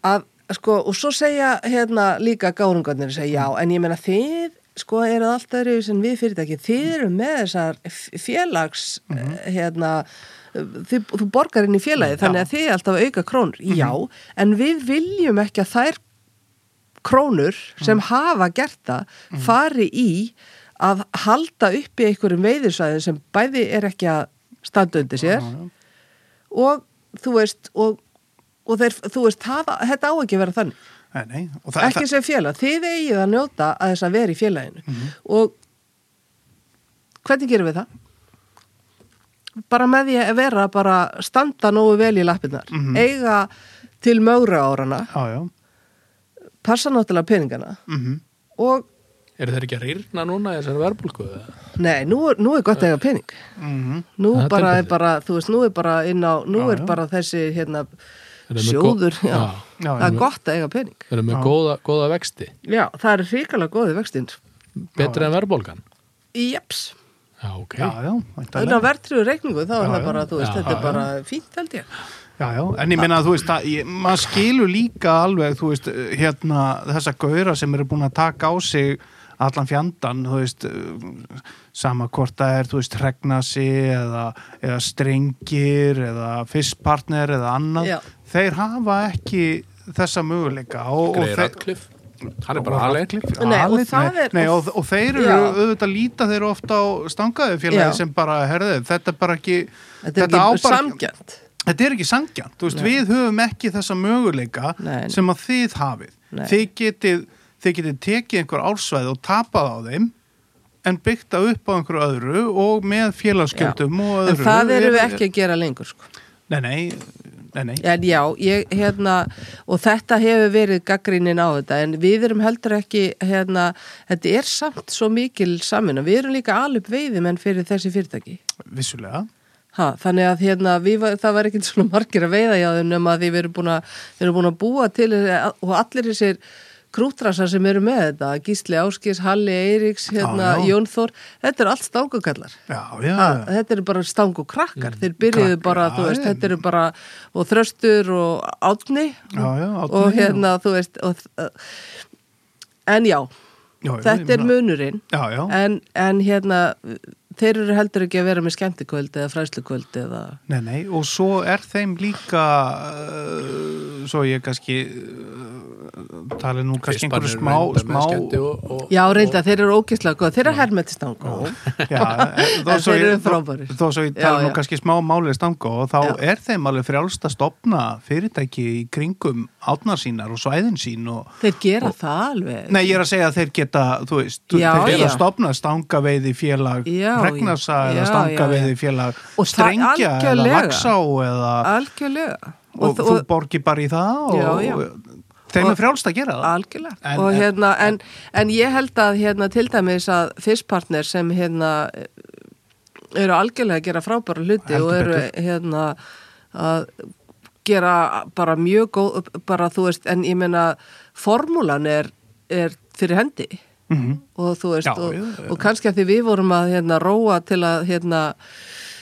Speaker 3: að, sko, og svo segja hérna líka gárungarnir segja já, en ég meina þið, sko, eru alltaf reyðu sem við fyrirtæki, þið eru með þessar f- félags, hérna, þið, þú borgar inn í félagið, þannig að þið er alltaf að auka krónur. Já, en við viljum ekki að þær krónur sem hafa gert það fari í að halda upp í einhverjum veiðisvæðin sem bæði er ekki að standa undir sér og þú veist og, og þeir, þú veist, hafa, þetta á ekki að vera þannig
Speaker 1: Nei, nei. Og það,
Speaker 3: ekki sem félag, þið eigið að njóta að þess að vera í félaginu og hvernig gerum við það? bara með því að vera bara standa nógu vel í lappirnar eiga til mögra árana
Speaker 1: það, já, já.
Speaker 3: passa náttúrulega peningana
Speaker 1: mhm.
Speaker 3: og
Speaker 2: Eru þeir ekki að rýrna núna í þessari verbulgu?
Speaker 3: Nei, nú, er- nú er gott að eiga pening.
Speaker 1: Mhm.
Speaker 3: Nú
Speaker 2: Þetta er
Speaker 3: bara er
Speaker 2: betur.
Speaker 3: bara, þú veist, nú er bara inn á, nú
Speaker 1: Já,
Speaker 3: er
Speaker 1: já.
Speaker 3: bara þessi, hérna,
Speaker 2: Þetta er með
Speaker 3: sjóður,
Speaker 2: gó-
Speaker 3: já.
Speaker 2: Já.
Speaker 1: Já,
Speaker 3: Það er
Speaker 1: já.
Speaker 3: gott að eiga pening.
Speaker 2: Þeir eru með
Speaker 1: Já.
Speaker 2: góða, góða vexti,
Speaker 3: Já, það er hrikalega góði vextinn.
Speaker 2: betri en verbulgan.
Speaker 3: Jeps.
Speaker 2: Já, ok.
Speaker 1: Já, já,
Speaker 3: Þannig
Speaker 1: væntanlega.
Speaker 3: að verðtriðu reikningu, þá er
Speaker 1: Já,
Speaker 3: það
Speaker 1: já.
Speaker 3: bara, þú veist,
Speaker 2: Já,
Speaker 3: þetta er
Speaker 2: já.
Speaker 3: bara fínt, held ég.
Speaker 1: Já, já, en ég minna að þú veist að ég, maður skilur líka alveg, þú veist, hérna þessa gauðra sem eru búin að taka á sig allan fjandan, þú veist eh, sama hvort það er, þú veist regnasi eða, eða strengir eða fisspartner eða annað,
Speaker 3: Já.
Speaker 1: þeir hafa ekki þessa möguleika og, og
Speaker 2: Greir
Speaker 1: þeir-
Speaker 2: Radcliffe, hann er bara
Speaker 1: og
Speaker 2: alveg.
Speaker 1: Radcliffe,
Speaker 3: Nei, og
Speaker 1: alinn,
Speaker 3: það er-
Speaker 1: nei, og, og þeir eru
Speaker 3: Já.
Speaker 1: auðvitað líta þeir eru ofta á stangaði
Speaker 3: Já.
Speaker 1: félagi sem bara, herðu, þetta er bara ekki
Speaker 3: Þetta er
Speaker 1: á
Speaker 3: ekki
Speaker 1: bara-
Speaker 3: samgjönd.
Speaker 1: þetta er ekki sangjarn, þú veist,
Speaker 3: Nei.
Speaker 1: við höfum ekki þessa möguleika
Speaker 3: Nei, nei.
Speaker 1: sem að þið hafið.
Speaker 3: Nei.
Speaker 1: Þið getið, þið getið tekið einhver ársvæð og tapað á þeim en byggt það upp á einhverju öðru og með félagsgjöldum og
Speaker 3: En
Speaker 1: öðru.
Speaker 3: það erum við ekki að gera lengur, sko.
Speaker 1: Nei, nei, nei, nei.
Speaker 3: En já, ég, hérna, og þetta hefur verið gaggrínin á þetta, en við erum heldur ekki, hérna, þetta er samt svo mikil samin og við erum líka alveg veiðimenn fyrir þessi fyrirtæki.
Speaker 1: vissulega.
Speaker 3: Ha, þannig að hérna, við, var- það var ekkert svona margir að veiða hjá þeim nema að því við erum búin að, við erum búin að búa til þessi- og allir þessir krútrasar sem eru með þetta Gísli Áskis, Halli Eiríks, hérna,
Speaker 1: Já, já.
Speaker 3: Jón Þór þetta eru allt stangukallar
Speaker 1: já, já,
Speaker 3: Ha, þetta eru bara stangu krakkar þeir byrjuðu
Speaker 1: Krakkar,
Speaker 3: bara, þú
Speaker 1: já,
Speaker 3: veist,
Speaker 1: já.
Speaker 3: þetta eru bara og þröstur og átni
Speaker 1: Já, já, Árni
Speaker 3: og hérna, þú veist og, en já,
Speaker 1: já, já, ég
Speaker 3: þetta er
Speaker 1: meina-
Speaker 3: munurinn
Speaker 1: Já, já,
Speaker 3: en, en hérna þeir eru heldur ekki að vera með skemmtikvöld eða fræslukvöld eða
Speaker 1: nei, nei, og svo er þeim líka uh, svo ég kannski uh, tali nú kannski
Speaker 2: Fyrst bara
Speaker 1: einhverju
Speaker 2: eru
Speaker 1: smá,
Speaker 2: reyndar með
Speaker 1: smá
Speaker 2: skemmti og- og-
Speaker 3: já,
Speaker 2: og-
Speaker 3: reynda, þeir eru ógislega góð þeir eru hermetistangu
Speaker 1: Já, en þó
Speaker 3: En
Speaker 1: svo
Speaker 3: þeir
Speaker 1: ég-
Speaker 3: eru
Speaker 1: þó-
Speaker 3: frábærir.
Speaker 1: Þó svo ég
Speaker 3: Já,
Speaker 1: tala nú
Speaker 3: já.
Speaker 1: kannski smá málið stanga og þá
Speaker 3: Já.
Speaker 1: er þeim alveg frjálst að stopna fyrirtæki í kringum átnar sínar og svæðin sín og
Speaker 3: þeir gera það alveg
Speaker 1: Nei, ég er að segja að þeir geta, þú veist,
Speaker 3: Já,
Speaker 1: þeir geta
Speaker 3: já.
Speaker 1: stopna stangaveiði félag,
Speaker 3: Já,
Speaker 1: regnasa
Speaker 3: já.
Speaker 1: eða
Speaker 3: Já,
Speaker 1: stangaveiði félag,
Speaker 3: Og það
Speaker 1: strengja eða
Speaker 3: algjörlega.
Speaker 1: laxá eða,
Speaker 3: algjörlega
Speaker 1: og, þú borgir bara í það og,
Speaker 3: Já, já.
Speaker 1: þeim
Speaker 3: Og-
Speaker 1: er frjálst að gera það.
Speaker 3: Algjörlega.
Speaker 1: En-
Speaker 3: og
Speaker 1: en-
Speaker 3: hérna, en, en ég held að hérna til dæmis að fyrstpartner sem hérna eru algjörlega að gera frábæra hluti
Speaker 1: Heldur
Speaker 3: og eru
Speaker 1: betur.
Speaker 3: hérna að gera bara mjög góð, bara þú veist, en ég meina formúlan er, er fyrir hendi -hmm. og þú veist,
Speaker 1: Mhm. Já,
Speaker 3: og,
Speaker 1: já, já.
Speaker 3: og kannski að því við vorum að hérna róa til að hérna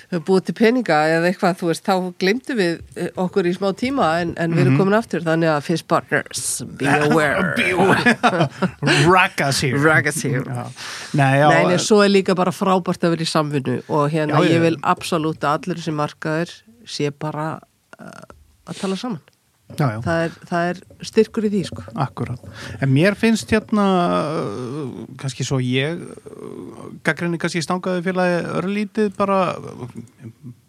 Speaker 3: búið til peninga eða eitthvað, þú veist, þá glemdu við eh, okkur í smá tíma en, en við
Speaker 1: Mhm.
Speaker 3: erum komin aftur, þannig að Fish Partners, be aware.
Speaker 1: Raggas here.
Speaker 3: Ragas here.
Speaker 1: Já. Nei, já,
Speaker 3: Nei, en svo er líka bara frábært að vera í samvinnu og hérna
Speaker 1: Já, já.
Speaker 3: ég vil absolutt að allir sem markaður sé bara uh, að tala saman.
Speaker 1: já, já.
Speaker 3: Það er, það er styrkur í því, sko.
Speaker 1: Akkurat. En mér finnst hérna, uh, kannski svo ég, gaggrinni kannski stangaði félagi örlítið bara, uh,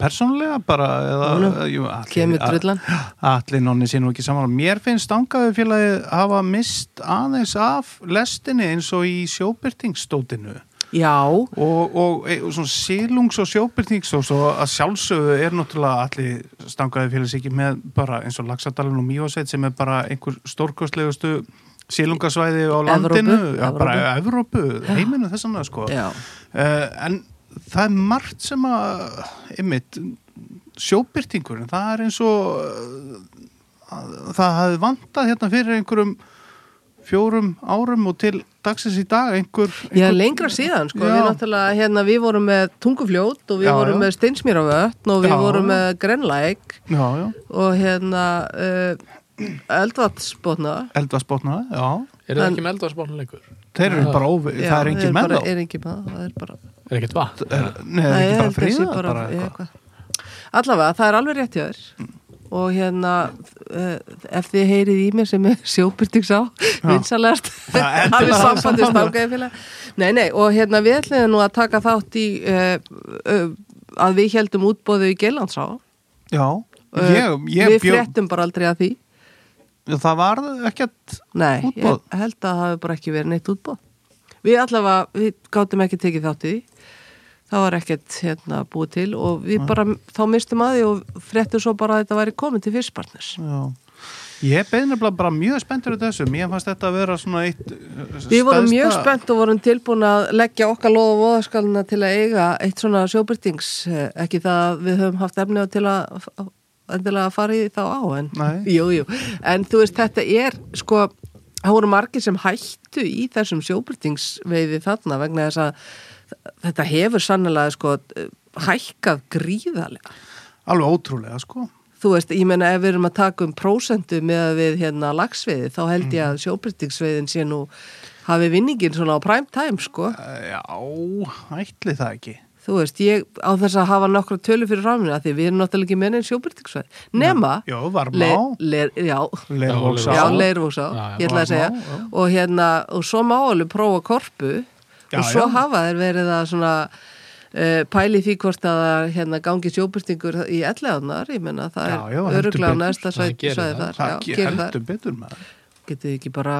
Speaker 1: persónlega bara, eða... uh,
Speaker 3: Nú, nú,
Speaker 1: jú, Atli-
Speaker 3: kemur
Speaker 1: A-
Speaker 3: drullan.
Speaker 1: Atli nonni sé nú ekki saman. Mér finnst stangaði félagi hafa mist aðeins af lestinni eins og í sjóbyrtingsstótinu.
Speaker 3: Já,
Speaker 1: Og, og, e, og svona sílungs og sjóbyrtings og svo að sjálfsögðu er náttúrulega allir stangaði félags ekki með bara eins og Laxadalun og Mjósveit sem er bara einhver stórkostlegustu sílungasvæði á landinu já,
Speaker 3: Evrópu.
Speaker 1: bara Evrópu, heiminu þessan sko.
Speaker 3: já,
Speaker 1: uh, en það er margt sem að einmitt, sjóbyrtingurinn það er eins og uh, að- það hafði vantað hérna fyrir einhverjum fjórum árum og til dagsins í dag einhver,
Speaker 3: já,
Speaker 1: einhver
Speaker 3: lengra síðan, sko.
Speaker 1: Já.
Speaker 3: Við náttúrulega, hérna, við vorum með tungufljót og við
Speaker 1: Já,
Speaker 3: vorum
Speaker 1: já.
Speaker 3: með steinsmýravötn og við
Speaker 1: Já,
Speaker 3: vorum
Speaker 1: já.
Speaker 3: með grenlæk
Speaker 1: já, já.
Speaker 3: og hérna uh, eldvatsbótna.
Speaker 1: Eldvarsbótnaði, já.
Speaker 2: Eru það
Speaker 3: en-
Speaker 2: ekki með eldvarsbónu lengur?
Speaker 1: Þeir eru
Speaker 2: Já.
Speaker 1: bara óvið,
Speaker 3: Já,
Speaker 1: það er engin með þá.
Speaker 3: bara- Er engin með þá, það er bara...
Speaker 2: Er ekkert vatn?
Speaker 1: Er- Nei, það er
Speaker 3: Nei,
Speaker 1: ekki
Speaker 3: ég
Speaker 1: bara
Speaker 3: held að sé
Speaker 1: fríða,
Speaker 3: bara-
Speaker 1: bara
Speaker 3: ég-
Speaker 1: eitthvað. Mm.
Speaker 3: eitthvað. Allavega, það er alveg rétt hjá þér og hérna eh, ef þið heyrið í mér sem er sjóbyrtings á vinsalegt
Speaker 1: Já,
Speaker 3: hafið
Speaker 1: endilega hafa
Speaker 3: sambandið
Speaker 1: samband.
Speaker 3: stangaði félag Nei, nei, og hérna við ætlum nú að taka þátt í uh, uh, að við heldum útbóðu í Geilandsá
Speaker 1: Já, ég, ég
Speaker 3: Við
Speaker 1: bjóð,
Speaker 3: fréttum bara aldrei að því
Speaker 1: það var ekkert,
Speaker 3: Nei,
Speaker 1: Útboð?
Speaker 3: ég held að það hafi bara ekki verið neitt útbóð Við allavega, við gátum ekki tekið þátt í því Það var ekkert hérna búið til og við bara, þá mistum að því og fréttum svo bara að þetta væri komið til fyrstpartners
Speaker 1: já. Ég beði nefnilega bara mjög spenntur í þessu, mér fannst þetta að vera svona eitt eh, stæðsta...
Speaker 3: Við vorum mjög spennt og vorum tilbúin að leggja okkar loð og voðaskalina til að eiga eitt svona sjóbyrtings eh, ekki það að við höfum haft efni á til að endilega að fara í þá á en,
Speaker 1: Nei.
Speaker 3: jú, jú. en þú veist þetta er sko, það voru margir sem hættu í þessum sjóbyrtingsveiði þarna vegna þess að þetta hefur sannlega sko hækkað gríðarlega
Speaker 1: Alveg ótrúlega, sko.
Speaker 3: þú veist, ég meina ef við erum að taka um prósentu með að við hérna lagsveiði þá held ég að sjóbyrtingsveiðin sé nú hafi vinningin svona á prime time sko,
Speaker 1: Já, ætli það ekki.
Speaker 3: þú veist, ég á þess að hafa nokkra tölu fyrir ráminu að því við erum náttúrulega ekki með neinn sjóbyrtingsveið, nema
Speaker 1: Já, varmá.
Speaker 3: le, le, já,
Speaker 1: Leirvogsá.
Speaker 3: já,
Speaker 2: Leirvogsá.
Speaker 3: leirvóksá
Speaker 2: Já, já,
Speaker 3: ég ætla að segja,
Speaker 1: Varmá, já.
Speaker 3: og hérna og svo má alveg prófa korpu
Speaker 1: Já,
Speaker 3: og svo
Speaker 1: já.
Speaker 3: hafa þeir verið að svona uh, pæli því hvort að það, hérna gangi sjóbyrtingur í ellegaðnar, ég menna það
Speaker 1: Já, já,
Speaker 3: er
Speaker 1: heldur
Speaker 3: öruglega
Speaker 1: betur.
Speaker 3: næsta
Speaker 2: Það
Speaker 3: sæti
Speaker 2: gerir
Speaker 3: sæði
Speaker 2: það.
Speaker 3: þar,
Speaker 1: Það
Speaker 3: já,
Speaker 1: ekki
Speaker 3: gerir það
Speaker 1: heldur betur með það.
Speaker 3: getur þið ekki bara,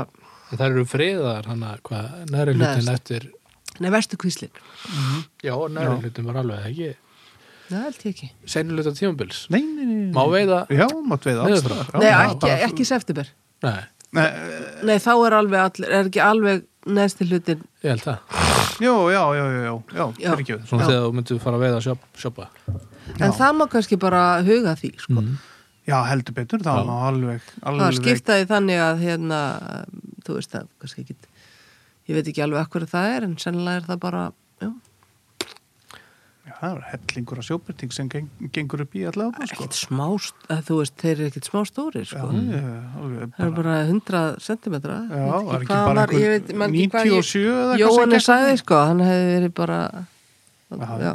Speaker 2: En Það eru friðar, hann að hvað, næri hlutin
Speaker 3: Neðst.
Speaker 2: eftir
Speaker 3: nei, verstu kvíslin
Speaker 2: Já, næri hlutin var alveg ekki
Speaker 3: það held ég ekki,
Speaker 2: Senni hlutin tímabils
Speaker 1: Nei, nei, nei. nei.
Speaker 2: Má veiða-
Speaker 1: Já, mátt veiða alls
Speaker 2: Niður frá.
Speaker 1: staðar.
Speaker 3: nei,
Speaker 1: Já,
Speaker 3: ekki,
Speaker 1: bara-
Speaker 3: ekki í september
Speaker 2: Nei,
Speaker 1: Nei,
Speaker 3: Nei, þá er alveg allir, er ekki alveg neðsti hlutin,
Speaker 2: ég held það
Speaker 1: Jú, já, já, já, já, já,
Speaker 3: Já.
Speaker 1: fyrirgefðu.
Speaker 2: Svona
Speaker 3: Já.
Speaker 2: þegar þú myndir fara að veiða að sjopp, sjoppa
Speaker 3: en það má kannski bara huga því, sko.
Speaker 1: Já, heldur betur, það var alveg,
Speaker 3: Það er
Speaker 1: alveg
Speaker 3: skiptaði þannig að, hérna, þú þú veist að kannski ekki ég veit ekki alveg akkur það er en sennilega er það bara já,
Speaker 1: Já, það er hellingur af sjóbyrting sem geng, gengur upp í allavega sko.
Speaker 3: ekkit smá að þú veist, þeir eru ekkit smá stórir
Speaker 1: Já,
Speaker 3: sko.
Speaker 1: ég, alveg
Speaker 3: það eru
Speaker 1: bara
Speaker 3: bara 100 cm
Speaker 1: Já, það er ekki bara
Speaker 3: ég
Speaker 1: einhver
Speaker 3: veit, man ekki hvað ég
Speaker 1: 97 eða eitthvað sem
Speaker 3: Jóhann
Speaker 1: gekk
Speaker 3: sagði sko, hann hefði verið bara
Speaker 1: Já.
Speaker 3: já.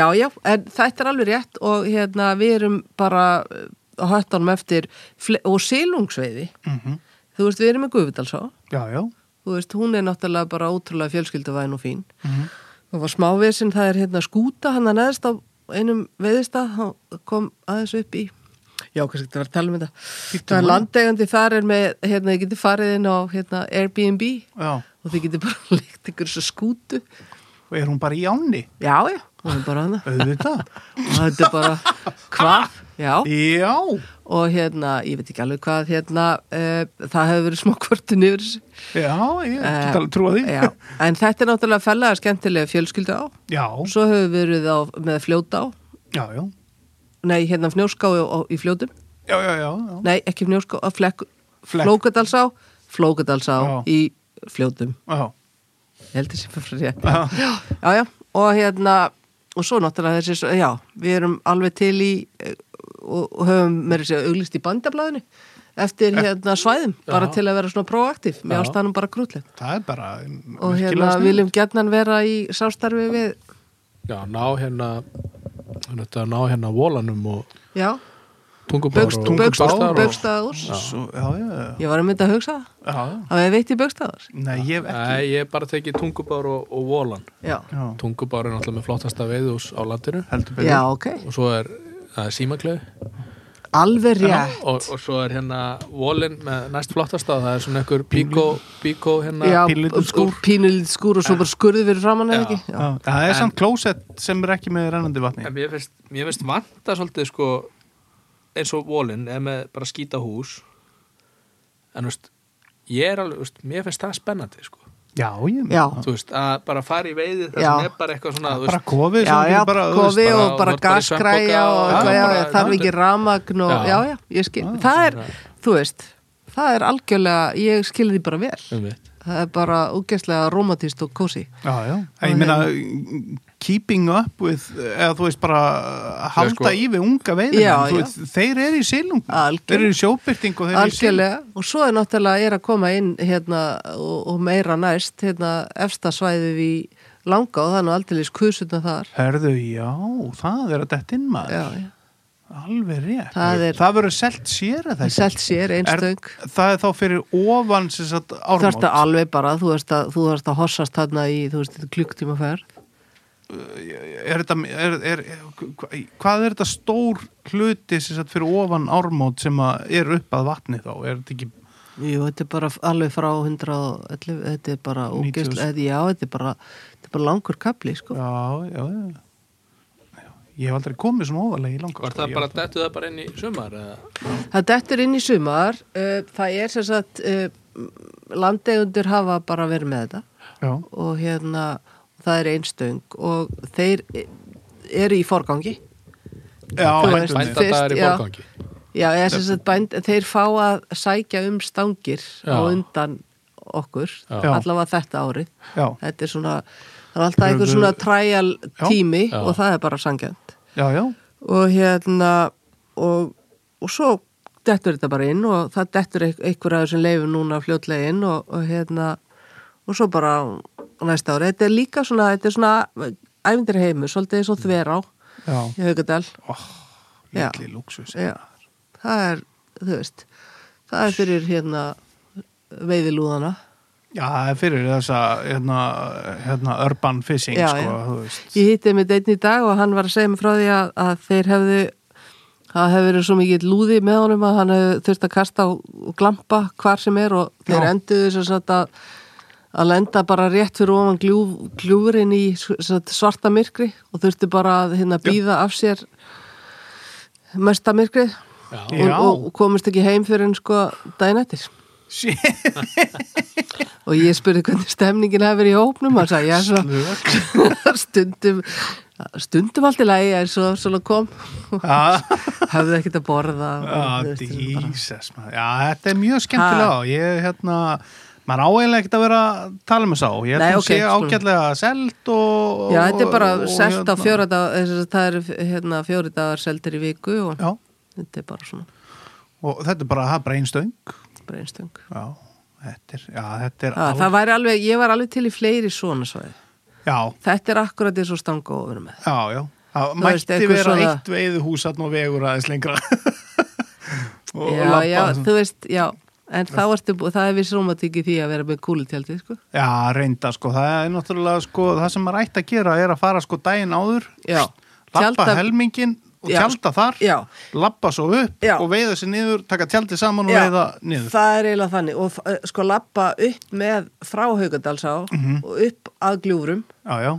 Speaker 3: já, já, en þetta er alveg rétt og hérna við erum bara eh, á höttanum eftir fle- og silungsveiði,
Speaker 1: Mhm.
Speaker 3: þú veist við erum með Guðvindalsá,
Speaker 1: Já, já
Speaker 3: þú veist hún er náttúrulega bara ótrúlega fjölskylduvæn og fín
Speaker 1: Mhm.
Speaker 3: það var smávesin, það er hérna skúta hann að neðist á einum veiðistað hann kom aðeins upp í já, kannski þetta var að tala um þetta það er
Speaker 1: núna.
Speaker 3: landegandi þar er með, hérna, þið getur farið inn á hérna, Airbnb
Speaker 1: Já,
Speaker 3: og þið getur bara leikt ykkur þessu skútu
Speaker 1: og er hún bara í áni?
Speaker 3: já, já, hún er bara hana
Speaker 1: Auðvitað
Speaker 3: og þetta er bara, hvað? já,
Speaker 1: Já,
Speaker 3: og hérna, ég veit ekki alveg hvað hérna, uh, það hefur verið smá kvortin yfir þessu
Speaker 1: já, ég
Speaker 3: Eh,
Speaker 1: get alveg trúa því
Speaker 3: já, en þetta er náttúrulega fellega skemmtilega fjölskyldu á
Speaker 1: já,
Speaker 3: svo hefur við verið á, með fljóta á
Speaker 1: já, já
Speaker 3: nei, hérna fnjóská á, á, í fljótum
Speaker 1: Já, já, já, já.
Speaker 3: Nei, ekki Fnjóská, að flekk
Speaker 1: Flekk.
Speaker 3: Flókadalsá, Flókadalsá
Speaker 1: Já.
Speaker 3: í fljótum,
Speaker 1: já.
Speaker 3: ég held þessi bara frá rétt
Speaker 1: Já.
Speaker 3: já, já, já, og hérna og svo náttúrulega þessi, svo- já, við erum alveg til í eh, og og höfum meira sér auglist í bandablaðinu eftir hérna svæðum, bara
Speaker 2: Já.
Speaker 3: til að vera svona proaktíf,
Speaker 2: Já.
Speaker 3: mér ástæðanum bara krútlegt
Speaker 1: Það er bara
Speaker 3: og
Speaker 1: virkilega
Speaker 3: hérna
Speaker 1: sniðugt.
Speaker 3: viljum gjarnan vera í sástarfi við,
Speaker 2: Já, ná hérna þetta, ná hérna volanum og
Speaker 3: já
Speaker 2: tungubár
Speaker 3: Baugst-
Speaker 2: og
Speaker 1: Tungubátar
Speaker 3: Baugst-
Speaker 1: og-
Speaker 3: Baugstaðurs
Speaker 1: Svo, já, já, já,
Speaker 3: ég var að mynda að hugsa það
Speaker 1: já.
Speaker 3: að við veit í Baugstaðurs
Speaker 1: Nei, ég hef ekki
Speaker 2: Nei, ég hef bara tekið tungubár og, og volan
Speaker 3: já,
Speaker 1: já.
Speaker 2: Tungubár er náttúrulega með flottasta veiðús á landinu
Speaker 1: Heldur betur
Speaker 3: já, ok,
Speaker 2: og svo er, það er símaklegu
Speaker 3: alveg rétt
Speaker 2: og, og svo er hérna volin með næst flottasta og það er svona einhver bíkó, bíkó hérna
Speaker 3: Já,
Speaker 1: pínulítið skúr.
Speaker 3: pínulítið skúr og svo bara skurði fyrir framann eða
Speaker 2: Já.
Speaker 3: ekki já.
Speaker 1: Já, það er
Speaker 2: En-
Speaker 1: samt klósett sem er ekki með rennandi vatni
Speaker 2: En mér finnst, mér finnst vanta svolítið sko eins og volin eða með bara skýta hús en þú veist ég er alveg, þú veist, mér finnst það spennandi sko
Speaker 1: Já, ég
Speaker 3: Já.
Speaker 2: þú veist, að bara fara í veiði það
Speaker 3: Já.
Speaker 2: sem er bara eitthvað svona, þú
Speaker 1: Bara
Speaker 2: veist
Speaker 1: kofið
Speaker 3: Já,
Speaker 1: sem
Speaker 3: já,
Speaker 1: þú bara, þú
Speaker 3: kofi
Speaker 1: veist,
Speaker 2: bara-
Speaker 3: og bara
Speaker 2: þú ert bara í
Speaker 3: gaskræja
Speaker 2: svefnpoka
Speaker 3: og
Speaker 2: og-
Speaker 3: eitthvað,
Speaker 1: Já,
Speaker 3: já,
Speaker 1: bara-
Speaker 3: já, þarf ekki ramagn og,
Speaker 2: Já.
Speaker 3: já, já, ég skil.
Speaker 1: Ah,
Speaker 3: það er, þú veist, það er algjörlega, ég skil því bara vel.
Speaker 2: um veit
Speaker 3: Það er bara úgeðslega romantist og kósi.
Speaker 1: Já, já, ég
Speaker 3: Og
Speaker 1: meina keeping up with, eða þú veist bara halda
Speaker 2: sko-
Speaker 1: í við unga veiðin
Speaker 3: Já, já.
Speaker 1: veist, þeir eru í silung
Speaker 3: Algjörlega.
Speaker 1: þeir eru í sjóbyrting og þeir eru í silung
Speaker 3: Algjörlega, og svo er náttúrulega er að koma inn hérna og, og meira næst, hérna, efsta svæðið í langa og það er nú aldrei kusutna þar.
Speaker 1: Herðu, já, það er að detta inn maður
Speaker 3: Já, já.
Speaker 1: Alveg rétt
Speaker 3: Það er-
Speaker 1: verður selt sér að
Speaker 3: Það
Speaker 1: það
Speaker 3: selt sér einstöng.
Speaker 1: Það er þá fyrir ofan sem sagt
Speaker 3: Þú ert
Speaker 1: ármót
Speaker 3: að alveg bara, þú ert að, þú ert að hossast þarna í, þú veist, klukktíma ferð.
Speaker 1: er þetta, er, er, hva- hvað er þetta stór hluti sem sagt fyrir ofan ármót sem að er upp að vatni þá er þetta ekki
Speaker 3: Jú, þetta er bara f- alveg frá 111, þetta er bara
Speaker 1: 90.
Speaker 3: ógeðslega, þetta- já, þetta er bara, þetta er bara langur kapli, sko.
Speaker 1: já, já, já. ég hef aldrei komið svona ofalega í sko, langa
Speaker 2: Var það bara, dættu það bara inn í sumar eða?
Speaker 3: Það dettur inn í sumar, uh, það er sem sagt, uh, landegundur hafa bara verið með þetta
Speaker 1: já,
Speaker 3: og hérna, það er einstöng og þeir eh, eru í forgangi.
Speaker 1: já,
Speaker 3: Þú
Speaker 1: heldur
Speaker 3: veist,
Speaker 1: betur.
Speaker 3: fyrst,
Speaker 2: Bændadagar í
Speaker 3: já.
Speaker 2: borgangi
Speaker 3: Já, eða sem sagt, bænd, þeir fá að sækja um stangir
Speaker 2: Já.
Speaker 3: á undan okkur,
Speaker 2: Já.
Speaker 3: allavega þetta árið.
Speaker 1: já,
Speaker 3: þetta er svona það er alltaf
Speaker 1: Eru
Speaker 3: einhver
Speaker 1: þau-
Speaker 3: svona trial
Speaker 1: Já.
Speaker 3: tími
Speaker 2: Já.
Speaker 3: og það er bara sangjönd
Speaker 1: já, já,
Speaker 3: og hérna og, og svo dettur þetta bara inn og það dettur eik- einhver að þessum leifum núna fljótlega inn og, og hérna og svo bara á næsta ári þetta er líka svona, þetta er svona æfindir heimur, svolítið svo þver á
Speaker 1: já,
Speaker 3: í Haugadal, Já.
Speaker 1: mikli lúksus
Speaker 3: já það er, þú veist það er fyrir hérna veiðilúðana
Speaker 1: já, það er fyrir þessa hérna, hérna urban fishing
Speaker 3: Já,
Speaker 1: sko,
Speaker 3: já.
Speaker 1: þú veist
Speaker 3: Ég hitti mitt einn í dag og hann var að segja mig frá því að, að þeir hefðu það hefur verið svo mikið lúði með honum að hann hefur þurft að kasta og og glampa hvar sem er og þeir
Speaker 1: Já.
Speaker 3: enduðu sem sagt að, að lenda bara rétt fyrir ofan gljúf, gljúfurinn í s- sem sagt, svarta myrkri og þurftu bara að hérna býða af sér mesta myrkrið
Speaker 2: Já,
Speaker 1: Já.
Speaker 3: og, og komist ekki heim fyrir en sko daginn eftir
Speaker 1: Shit,
Speaker 3: og ég spurði hvernig stemningin hefur í hópnum hann sagði, já, svo
Speaker 1: lök.
Speaker 3: stundum stundum allt í lagi eins og svona kom
Speaker 1: Ah,
Speaker 3: höfðu ekkert að borða
Speaker 1: ah,
Speaker 3: þú veist, þetta er bara-
Speaker 1: Jesus, maður. Já, þetta er mjög skemmtilega. Ég, hérna, maður áeiginlega ekkert að vera að tala með sá. Ég
Speaker 3: Nei,
Speaker 1: held að hún
Speaker 3: ok,
Speaker 1: sé
Speaker 3: skulum.
Speaker 1: ágætlega selt og...
Speaker 3: Já, þetta er bara
Speaker 1: og-
Speaker 3: selt á
Speaker 1: hérna-
Speaker 3: fjóra dagar það eru hérna, fjóra dagar seldir í viku og
Speaker 1: Já,
Speaker 3: þetta er bara svona
Speaker 1: og þetta er bara, það er bara einstöng.
Speaker 3: bara einstöng
Speaker 1: Já, þetta er, já, þetta er...
Speaker 3: Að,
Speaker 1: alveg-
Speaker 3: Það væri alveg, ég var alveg til í fleiri svona svæði
Speaker 1: Já,
Speaker 3: Þetta er akkurat eins og stanga ofur með
Speaker 1: já, já. Það
Speaker 3: Þú veist,
Speaker 1: mætti
Speaker 3: eitthvað
Speaker 1: vera
Speaker 3: svona-
Speaker 1: eitt veiðuhús hann og vegur aðeins lengra. og
Speaker 3: Já,
Speaker 1: labba
Speaker 3: já,
Speaker 1: aðeins.
Speaker 3: þú veist, já En þá ertu, bú- það er viss rúmatík í því að vera með kúlutjaldið, sko
Speaker 1: Já, reynda sko, það er náttúrulega sko, það sem maður ætti að gera er að fara sko daginn áður,
Speaker 3: Já,
Speaker 1: lappa
Speaker 3: Tjalda-
Speaker 1: helmingin og
Speaker 3: Já.
Speaker 1: tjálta þar,
Speaker 3: Já.
Speaker 1: lappa svo upp
Speaker 3: Já.
Speaker 1: og veiða sér niður, taka tjaldið saman og
Speaker 3: Já,
Speaker 1: veiða niður.
Speaker 3: það er eiginlega þannig og eh, sko lappa upp með frá Haugadalsá og upp að gljúfrum
Speaker 1: Já, já,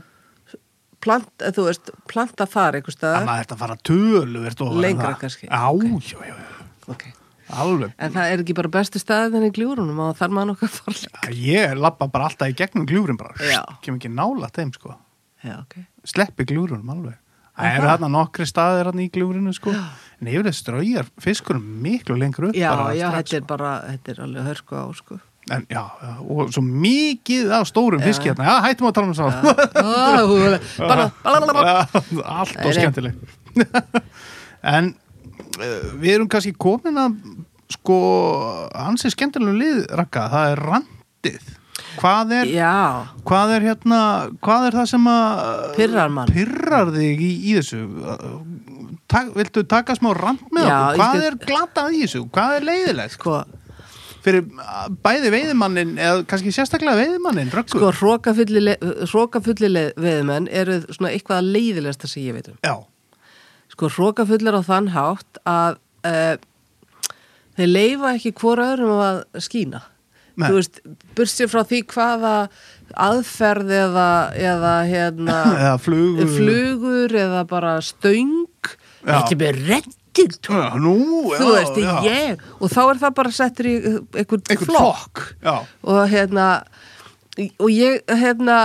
Speaker 3: plant, eh, þú veist, planta þar einhvers
Speaker 1: það
Speaker 3: staðar
Speaker 1: maður ætti að fara töluvert og
Speaker 3: Lengra kannski.
Speaker 1: Já, já, já, já,
Speaker 3: okay.
Speaker 1: alveg.
Speaker 3: en það er ekki bara bestu staðið en í gljúfrunum og þar maður nokkað farlega
Speaker 1: Já, Ég lappa bara alltaf í gegnum gljúrin bara,
Speaker 3: Já.
Speaker 1: kem ekki nála þeim sko,
Speaker 3: Já, ok
Speaker 1: sleppi gljúrunum alveg.
Speaker 3: Er
Speaker 1: Það eru
Speaker 3: það?
Speaker 1: þarna nokkri staðir hann í gljúrinu sko, en yfirlega straujar fiskurum miklu lengur upp
Speaker 3: Já,
Speaker 1: bara
Speaker 3: já,
Speaker 1: strax,
Speaker 3: þetta er bara, þetta er alveg hörku á, sko
Speaker 1: En, já, já, og svo mikið af stórum fiski hérna, já, hættum að tala um það
Speaker 3: Á, hún- bara- bara- bara- bara-
Speaker 1: allt og
Speaker 3: Nei, nei.
Speaker 1: skemmtileg en uh, við erum kannski komin að sko, hans er skemmtilegum lið rakka, það er randið hvað er,
Speaker 3: Já,
Speaker 1: hvað er hérna hvað er það sem að
Speaker 3: Pirrar mann.
Speaker 1: pirrar þig í, í þessu Tak, viltu taka smá rand með
Speaker 3: Já,
Speaker 1: okkur hvað
Speaker 3: ég
Speaker 1: er glatað í þessu, hvað er leiðilegt
Speaker 3: sko,
Speaker 1: fyrir uh, bæði veiðimannin eða kannski sérstaklega veiðimannin rökkur
Speaker 3: sko hrókafulli veðumenn eru svona eitthvað leiðilegsta sem ég veit um
Speaker 1: já,
Speaker 3: sko hrókafullir á þann hátt að uh, þeir leifa ekki hvora öðrum að skína
Speaker 1: Nei.
Speaker 3: þú veist, bursið frá því hvaða aðferð eða, eða hérna
Speaker 1: eða flugur
Speaker 3: flugur eða bara stöng
Speaker 1: Já.
Speaker 3: ekki með redding
Speaker 1: já, nú, já,
Speaker 3: þú veist,
Speaker 1: já.
Speaker 3: ég og þá er það bara settur í einhvern,
Speaker 1: Einhvern
Speaker 3: flokk
Speaker 1: já,
Speaker 3: og hérna og ég hérna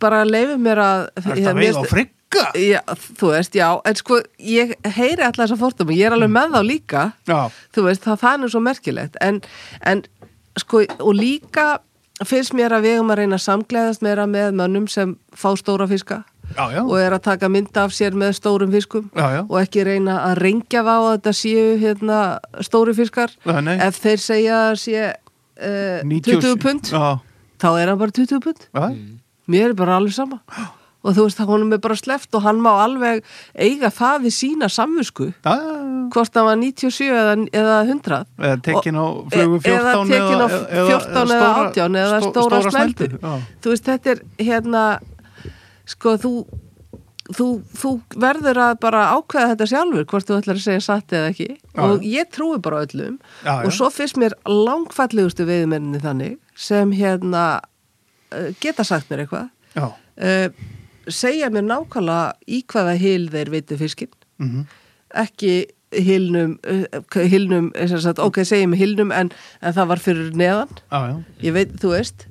Speaker 3: bara leifi mér að
Speaker 1: það er þetta veið á frigga
Speaker 3: Já, þú veist, já, en sko ég heyri alltaf þessa fórtum og ég er alveg með þá líka
Speaker 1: já,
Speaker 3: þú veist, það, það er nú svo merkilegt en, en sko, og líka finnst mér að við um að reyna að samgleðast meira með mönnum sem fá stóra fiska
Speaker 1: já, já,
Speaker 3: og er að taka mynda af sér með stórum fiskum
Speaker 1: Já, já.
Speaker 3: og ekki reyna að rengja þá að þetta séu hérna, stóri fiskar
Speaker 1: Nei, nei.
Speaker 3: ef þeir segja að sé uh,
Speaker 1: 90
Speaker 3: 20 pund
Speaker 1: já,
Speaker 3: þá er hann bara 20 pund
Speaker 1: já,
Speaker 3: mér er bara alveg sama og þú veist að honum er bara sleft og hann má alveg eiga það við sína samvisku
Speaker 1: já, já.
Speaker 3: hvort það var 97 eða, eða 100
Speaker 1: eða tekin á flugu
Speaker 3: Og- e-
Speaker 1: 14
Speaker 3: eða tekin á 14 eða 18 eða
Speaker 1: stó-
Speaker 3: stóra, snældu
Speaker 1: já,
Speaker 3: þú veist þetta er hérna sko þú Þú, þú verður að bara ákveða þetta sjálfur hvort þú ætlar að segja satt eða ekki
Speaker 1: Já,
Speaker 3: og
Speaker 1: já.
Speaker 3: ég trúi bara á öllum
Speaker 1: Já, já.
Speaker 3: og svo finnst mér langfallegustu veiðmenninni þannig sem hérna eh, geta sagt mér eitthvað
Speaker 1: já,
Speaker 3: Eh, segja mér nákvæmlega í hvaða hil þeir veitu fiskinn
Speaker 1: mhm,
Speaker 3: ekki hilnum, eh, hilnum eh, sem sagt, ok, segjum hilnum en, en það var fyrir neðan
Speaker 1: já, já,
Speaker 3: ég veit, þú veist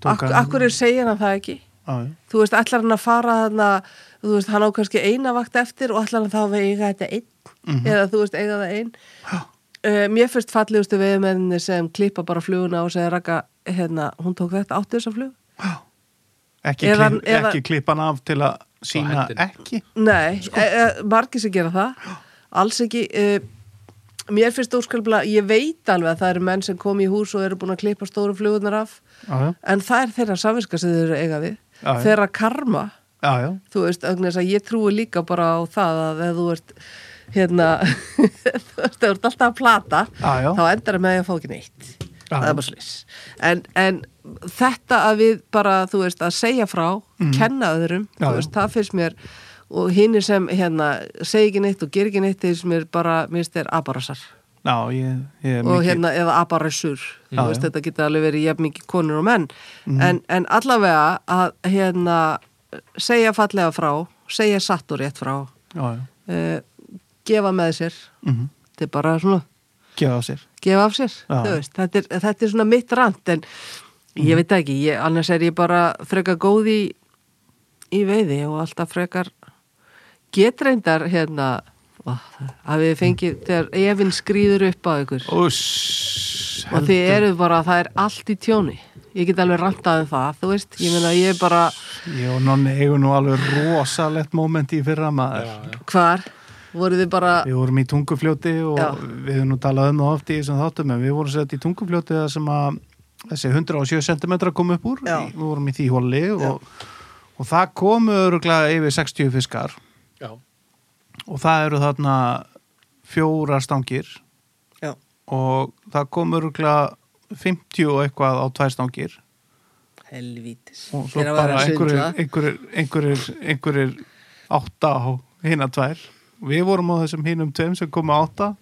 Speaker 1: Tók
Speaker 3: ak
Speaker 1: hann-
Speaker 3: akkur er segja hann það ekki
Speaker 1: já, já.
Speaker 3: þú veist, ætlar hann að fara þarna þú veist, hann á kannski eina vakt eftir og ætlar hann þá að eiga þetta einn eða þú veist, eiga það einn uh, mér fyrst fallegustu veðmenni sem klippa bara fluguna og segja raka hérna, hún tók þetta átti þessa flug
Speaker 1: ekki,
Speaker 3: Eða-
Speaker 1: klipp,
Speaker 3: eða-
Speaker 1: ekki klippan af til að sína
Speaker 2: hendin.
Speaker 1: ekki
Speaker 3: Nei, sko. e, e, margir sem gera það alls ekki e, mér finnst óskalbla, ég veit alveg að það eru menn sem kom í hús og eru búin að klippa stóru flugunar af
Speaker 1: já, já,
Speaker 3: en það er þeirra samviska sem þeir eru að eiga við
Speaker 1: Já, já.
Speaker 3: þeirra karma,
Speaker 1: já, já,
Speaker 3: þú veist ögnis að ég trúi líka bara á það að ef þú ert hérna þú veist, þú ert alltaf að plata
Speaker 1: Já, já.
Speaker 3: þá endar það með því að fá ekki neitt
Speaker 1: Já,
Speaker 3: það
Speaker 1: já.
Speaker 3: er bara slis en, en þetta að við bara, þú veist, að segja frá kenna öðrum,
Speaker 1: Mhm. Já,
Speaker 3: þú
Speaker 1: já.
Speaker 3: veist, það finnst mér og hinnir sem, hérna, segi ekki neitt og ger ekki neitt, þeir sem er bara minnst þeir abarasar
Speaker 1: já, ég, ég er
Speaker 3: og
Speaker 1: mikið-
Speaker 3: hérna, eða abarasur
Speaker 1: Já,
Speaker 3: þú
Speaker 1: já.
Speaker 3: veist,
Speaker 1: Mhm.
Speaker 3: þetta geta alveg verið jafn mikið konur og menn en, en allavega að, hérna, segja fallega frá segja satt og rétt frá
Speaker 1: já, já,
Speaker 3: uh, gefa með sér
Speaker 1: mhm,
Speaker 3: þetta er bara svona
Speaker 1: gefa sér
Speaker 3: gefa af sér,
Speaker 1: Já. Mhm.
Speaker 3: þú veist, þetta er, þetta er svona mitt rand en ég veit það ekki, ég, annars er ég bara freka góð í í veiði og alltaf frekar getreindar hérna ó, það- að við fengið þegar efinn skrýður upp á ykkur
Speaker 1: Úss,
Speaker 3: og þið eruð bara, það er allt í tjóni ég get alveg rantað um það, þú veist ég meina ég er bara,
Speaker 1: Ég og nonni eigum nú alveg rosalett moment í fyrra maður.
Speaker 3: hvar voruð þið bara,
Speaker 1: Við vorum í tungufljóti og
Speaker 3: Já.
Speaker 1: við höfum nú talað um það oft í þessum þáttum en við vorum sett í tungufljóti það sem að þessi 107 cm kom upp úr.
Speaker 3: Já.
Speaker 1: Við vorum í því hóli og, og það komu öruglega yfir 60 fiskar
Speaker 2: já,
Speaker 1: og það eru þarna fjórar stangir
Speaker 3: já,
Speaker 1: og það kom öruglega 50 og eitthvað á tvær stangir
Speaker 3: helvítis
Speaker 1: og svo bara einhverjir, einhverjir, einhverjir, einhverjir átta á hinna tvær við vorum á þessum hinum tveim sem komu átta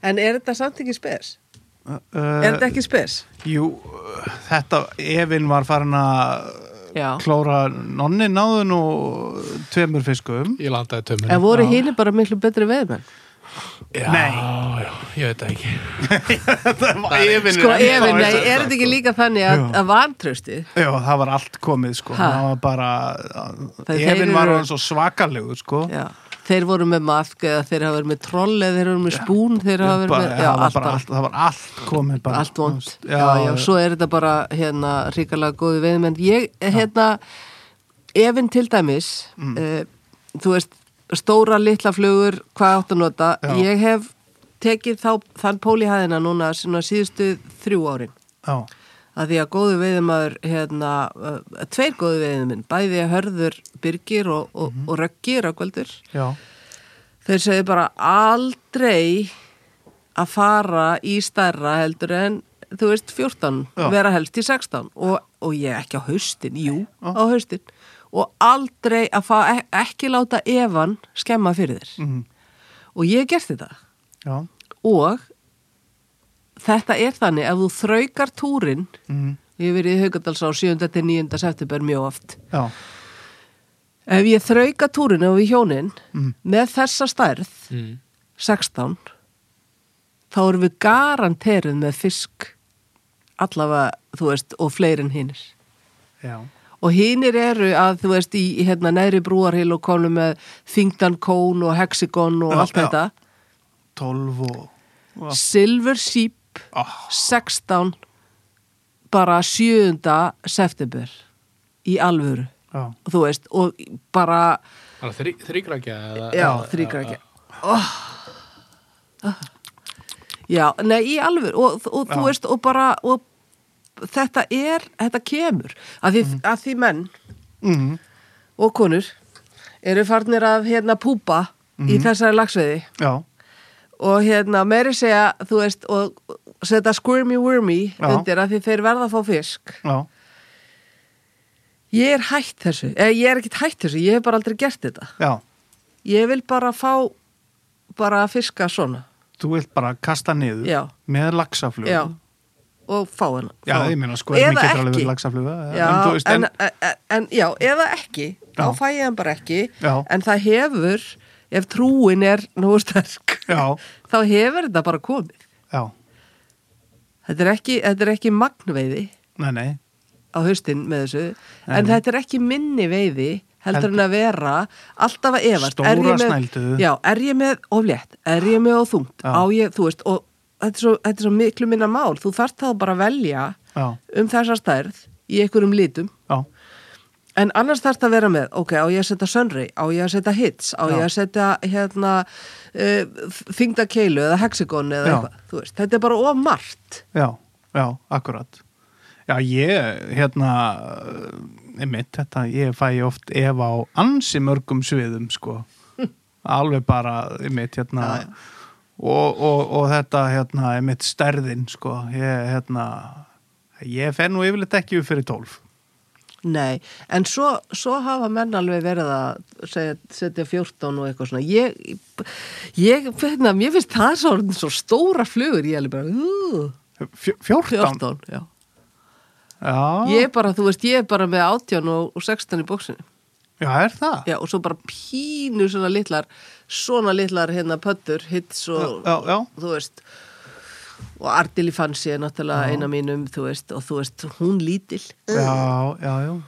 Speaker 3: en er þetta samt ekki spes?
Speaker 1: uh,
Speaker 3: er þetta ekki spes?
Speaker 1: jú, uh, þetta Evin var farin að
Speaker 3: Já.
Speaker 1: klóra nonni náðu nú tveimur fiskum
Speaker 2: ég landaði tömmin
Speaker 3: En voru hínir bara miklu betri veiðmenn?
Speaker 2: já,
Speaker 1: Nei.
Speaker 2: já, ég veit það ekki
Speaker 1: Evin
Speaker 3: Sko, ef, nei, er þetta ekki líka þannig að, að vantrösti?
Speaker 1: Já, það var allt komið sko,
Speaker 3: Ha.
Speaker 1: það var bara,
Speaker 3: Það- þeir
Speaker 1: Evin
Speaker 3: eru-
Speaker 1: var hann svo svakalegur sko.
Speaker 3: Já. Þeir voru með maðk eða þeir hafa verið með troll eða þeir hafa verið með spún, þeir hafa verið
Speaker 1: bara,
Speaker 3: með, já,
Speaker 1: það, var
Speaker 3: allt,
Speaker 1: bara,
Speaker 3: bara,
Speaker 1: allt, það var allt komið bara.
Speaker 3: allt vond.
Speaker 1: Já,
Speaker 3: Já, já, svo er þetta bara, hérna, ríkalega góði veiðmenn. Ég, hérna, efinn til dæmis,
Speaker 1: Mm.
Speaker 3: eh, þú veist, stóra litla flugur, hvað áttu að nota,
Speaker 1: Já.
Speaker 3: ég hef tekið þá, þann pól í hæðina núna svona síðustu þrjú árin.
Speaker 1: já.
Speaker 3: að því að góðu veiðumadur hérna, uh, tveir góðu veiðuminn bæði að hörður Birgir og, og,
Speaker 1: Mhm.
Speaker 3: og Röggi Röggveldur
Speaker 1: Já,
Speaker 3: þeir segja bara aldrei að fara í stærra heldur en þú veist 14,
Speaker 1: Já.
Speaker 3: vera helst í 16 og, og ég ekki á haustin, jú á haustin og aldrei að fá, ek- ekki láta evan skemma fyrir þér
Speaker 1: Mhm.
Speaker 3: og ég hef gert þetta
Speaker 1: já,
Speaker 3: og þetta er þannig ef þú þraukar túrin
Speaker 1: Mhm.
Speaker 3: ég hef verið í Haugardals á 7. til 9. september mjög oft
Speaker 1: já,
Speaker 3: ef ég þrauka túrin og við hjónin
Speaker 1: Mhm.
Speaker 3: með þessa stærð
Speaker 2: mm.
Speaker 3: 16 þá erum við garanterið með fisk allavega, þú veist, og fleirin hinnir
Speaker 1: já.
Speaker 3: og hinnir eru að, þú veist, í í, hérna neðri brúarhil og konum með þingdan kón og hexagon og
Speaker 1: Já,
Speaker 3: allt
Speaker 1: já.
Speaker 3: þetta
Speaker 1: 12 og... og-
Speaker 3: Silver Sheep
Speaker 1: Ah,
Speaker 3: 16 bara 7. september í alvöru
Speaker 1: já,
Speaker 3: þú veist, og bara
Speaker 2: bara þrí, þríkrakja eða-
Speaker 3: já,
Speaker 2: eða-
Speaker 3: þrýkrakja já, nei, í alvöru og, og þú
Speaker 1: Já.
Speaker 3: veist, og bara og þetta er, þetta kemur að því,
Speaker 1: Mhm.
Speaker 3: að því menn
Speaker 1: mm,
Speaker 3: og konur eru farnir að hérna púpa
Speaker 1: Mhm.
Speaker 3: í þessari lagsveiði
Speaker 1: já,
Speaker 3: og hérna meiri segja, þú veist og og setja squirmy wormy
Speaker 1: Já.
Speaker 3: undir að því þeir verða að fá fisk
Speaker 1: já,
Speaker 3: Ég er hætt þessu, eða ég er ekkert hætt þessu, ég hef bara aldrei gert þetta.
Speaker 1: já.
Speaker 3: Ég vil bara fá, bara að fiska svona,
Speaker 1: Þú vilt bara kasta niður
Speaker 3: Já.
Speaker 1: með laxaflug.
Speaker 3: já, og fá hana.
Speaker 1: Já,
Speaker 3: fá.
Speaker 1: ég meina sko, er
Speaker 3: Eða
Speaker 1: mikið alveg
Speaker 3: ekki.
Speaker 1: verið laxafluga.
Speaker 3: Já,
Speaker 1: en þú veist, en,
Speaker 3: en, en, en já, eða ekki, þá
Speaker 1: Já.
Speaker 3: fæ ég hann bara ekki,
Speaker 1: Já.
Speaker 3: en það hefur, ef trúin er nú sterk,
Speaker 1: Já.
Speaker 3: þá hefur þetta bara komið.
Speaker 1: já,
Speaker 3: Þetta er ekki, þetta er ekki magnveiði
Speaker 1: nei, nei,
Speaker 3: á haustin með þessu, en þetta er ekki minni veiði heldur en að vera alltaf að efast.
Speaker 1: Stóra
Speaker 3: Er ég með-
Speaker 1: snældu.
Speaker 3: Já, er ég með oflétt, er ég með óþungt,
Speaker 1: Já.
Speaker 3: á ég, þú veist, og þetta er svo, þetta er svo miklu minna mál, þú þarft þá bara að velja
Speaker 1: já,
Speaker 3: um þessa stærð í einhverjum litum,
Speaker 1: já,
Speaker 3: en annars þarft að vera með, ok, á ég að setja sönri, á ég að setja hits, á ég
Speaker 1: Já.
Speaker 3: að setja hérna uh, þingdakeilu eða hexagon eða
Speaker 1: Já.
Speaker 3: eitthvað, þú veist, þetta er bara ómart.
Speaker 1: já, já, akkurat. Já, ég, hérna, einmitt, þetta, ég fæ oft ef á ansi mörgum sviðum, sko. Alveg bara, einmitt, hérna,
Speaker 3: Já, já.
Speaker 1: Og, og, og þetta, hérna, einmitt stærðin, sko. Ég, hérna, ég fer nú yfirleitt ekki upp fyrir tólf.
Speaker 3: Nei, en svo, svo hafa menn alveg verið að segja, setja 14 og eitthvað svona. Ég, ég, finna, ég finnst það svo, svo stóra flugur, ég er alveg bara, uh,
Speaker 1: Fjó- 14?
Speaker 3: 14, já.
Speaker 1: Já,
Speaker 3: Ég er bara, þú veist, ég er bara með 18 og, og 16 í bóksinu.
Speaker 1: já, er það?
Speaker 3: Já, og svo bara pínu svona litlar, svona litlar hérna pöttur, hits og,
Speaker 1: Já, já,
Speaker 3: þú veist, og Ardili Fansi er náttúrulega eina mínum, þú veist, og þú veist, hún lítil.
Speaker 1: já, já, já.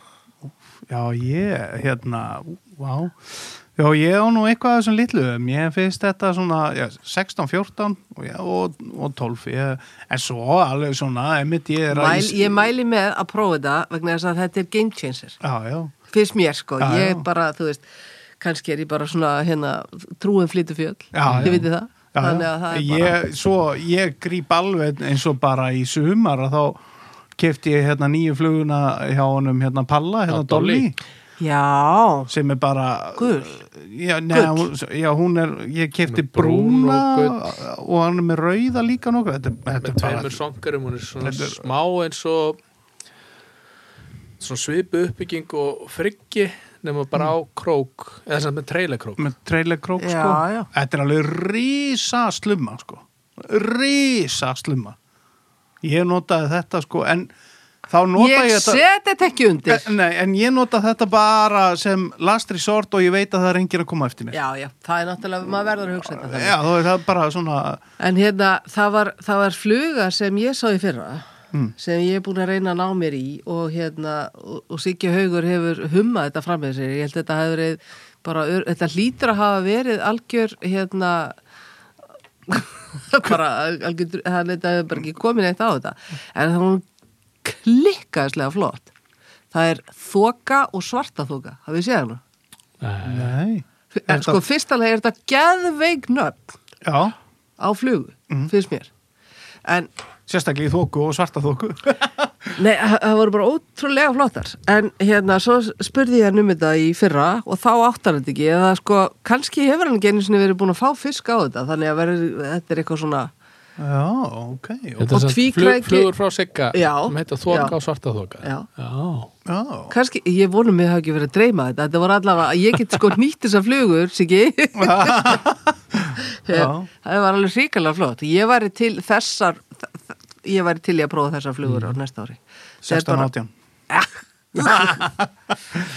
Speaker 1: já, ég, hérna, vá. Já, ég á nú eitthvað af þessum litlu. Mér finnst þetta svona, já, 16, 14 og, já, og, og 12. Ég, en svo alveg svona, emitt ég er
Speaker 3: Mæl,
Speaker 1: í-
Speaker 3: ég mæli með að prófa þetta vegna þess að þetta er game changer
Speaker 1: Já, já,
Speaker 3: fyrst mér sko,
Speaker 1: Já,
Speaker 3: ég
Speaker 1: já.
Speaker 3: bara, þú veist kannski er ég bara svona hérna trúin flytu fjöll,
Speaker 1: Já, já.
Speaker 3: ég veit það
Speaker 1: já,
Speaker 3: þannig
Speaker 1: já.
Speaker 3: að það er
Speaker 1: ég,
Speaker 3: bara
Speaker 1: Svo ég gríp alveg eins og bara í sumar að þá kefti ég hérna nýju fluguna hjá honum hérna Palla, hérna
Speaker 2: Já, Dolly.
Speaker 1: Dolly
Speaker 3: já,
Speaker 1: sem er bara
Speaker 3: Gul.
Speaker 1: já,
Speaker 3: Gull.
Speaker 1: neða, hún, já, hún er, ég kefti
Speaker 2: Hún er brún
Speaker 1: brúna
Speaker 2: og
Speaker 1: og, hann er með rauða líka nokkuð þetta, þetta
Speaker 2: með
Speaker 1: er
Speaker 2: tveimur
Speaker 1: bara,
Speaker 2: songarum hún er svona
Speaker 1: Þetta er-
Speaker 2: smá eins og svona svipu uppbygging og friggi nema bara á krók eða sem með trailerkrók
Speaker 1: með trailerkrók
Speaker 3: Já,
Speaker 1: sko.
Speaker 3: já.
Speaker 1: þetta er alveg rísa slumma sko. rísa slumma ég notaði þetta sko en þá nota ég,
Speaker 3: ég
Speaker 1: þetta
Speaker 3: set þetta ekki undir
Speaker 1: En, nei, en ég nota þetta bara sem last resort og ég veit að það er enginn að koma eftir mér.
Speaker 3: já, já, það er náttúrulega, maður verður að hugsa þetta þannig.
Speaker 1: Já, þá er það bara svona,
Speaker 3: En hérna, það var, það var fluga sem ég sá í fyrra, sem ég er búin að reyna að ná mér í og hérna, og, og Siggi Haugur hefur hummað þetta fram með sér. Ég held að þetta hafi verið bara, ör- þetta hlýtur að hafa verið algjör, hérna, bara, algjör, hann þetta hefur bara ekki komin eitt á þetta. En það var klikkaðislega flott. Það er þoka og svarta þoka, hafið séð hana?
Speaker 1: nei,
Speaker 3: En sko, fyrst alveg er þetta geðveik nöfn
Speaker 1: já,
Speaker 3: á flugu, finnst mér. En
Speaker 1: sérstaklega í þóku og svarta þóku.
Speaker 3: Nei, það það voru bara ótrúlega flottar en hérna, svo spurði ég hann um þetta í fyrra og þá áttar þetta ekki eða sko, kannski hefur hann ekki einu sinni verið búin að fá fisk á þetta, þannig að verið, þetta er eitthvað svona,
Speaker 1: já, ok, ok,
Speaker 3: Og tvíkræki-
Speaker 2: flugur frá sigga
Speaker 3: Já,
Speaker 2: sem heita
Speaker 3: já.
Speaker 2: þoka og svarta þoka
Speaker 3: Já.
Speaker 1: já,
Speaker 3: kannski, ég vonum mig að hafa ekki verið að dreyma þetta, þetta voru allavega, ég get sko nýtt þessar flugur, Siggi
Speaker 1: Já.
Speaker 3: það var alveg ríkalega flott, ég væri til þessar ég væri til í að prófa þessar flugur á næsta ári Þetta er
Speaker 1: 16
Speaker 3: bara-
Speaker 1: 18.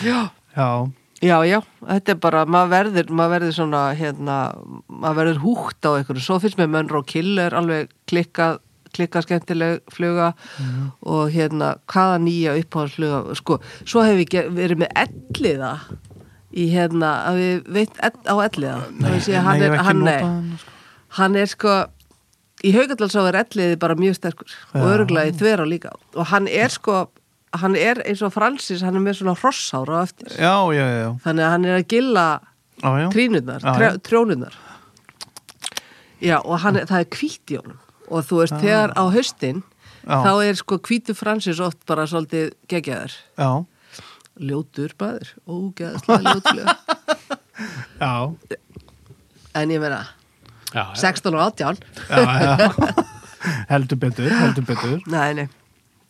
Speaker 3: Já,
Speaker 1: Já,
Speaker 3: Já, já, þetta er bara, maður verður, maður verður svona, hérna, maður verður húgt á einhverju, svo finnst mér Mönro Killer alveg klikkað, klikkað skemmtileg fluga og hérna, hvaða nýja uppáhaldsfluga, sko, svo hef ég ge- verið með elliða í hérna, að við veit ell, á elliða, þannig sé að hann
Speaker 1: ég
Speaker 3: er,
Speaker 1: hef ekki
Speaker 3: hann er,
Speaker 1: notað hann, sko.
Speaker 3: hann er sko í haugaldansá er elliði bara mjög sterkur og örgulega í þverá líka og hann er sko, hann er eins og Francis, hann er með svona hrossára á eftir
Speaker 1: Já, já, já,
Speaker 3: þannig að hann er að gilla
Speaker 1: já, já.
Speaker 3: trínurnar,
Speaker 1: Já,
Speaker 3: trjá,
Speaker 1: já.
Speaker 3: trjónurnar já og hann, er- það er hvít í honum og þú veist þegar á höstin
Speaker 1: Ah. Já.
Speaker 3: þá er sko hvítu Francis oft bara svolítið geggjaður
Speaker 1: Já,
Speaker 3: ljótur bæður, ógeðslega ljótlega
Speaker 1: já,
Speaker 3: en ég meina
Speaker 2: Já, já.
Speaker 3: 16 og 18
Speaker 1: já, já. heldur betur, heldur betur.
Speaker 3: nei, nei,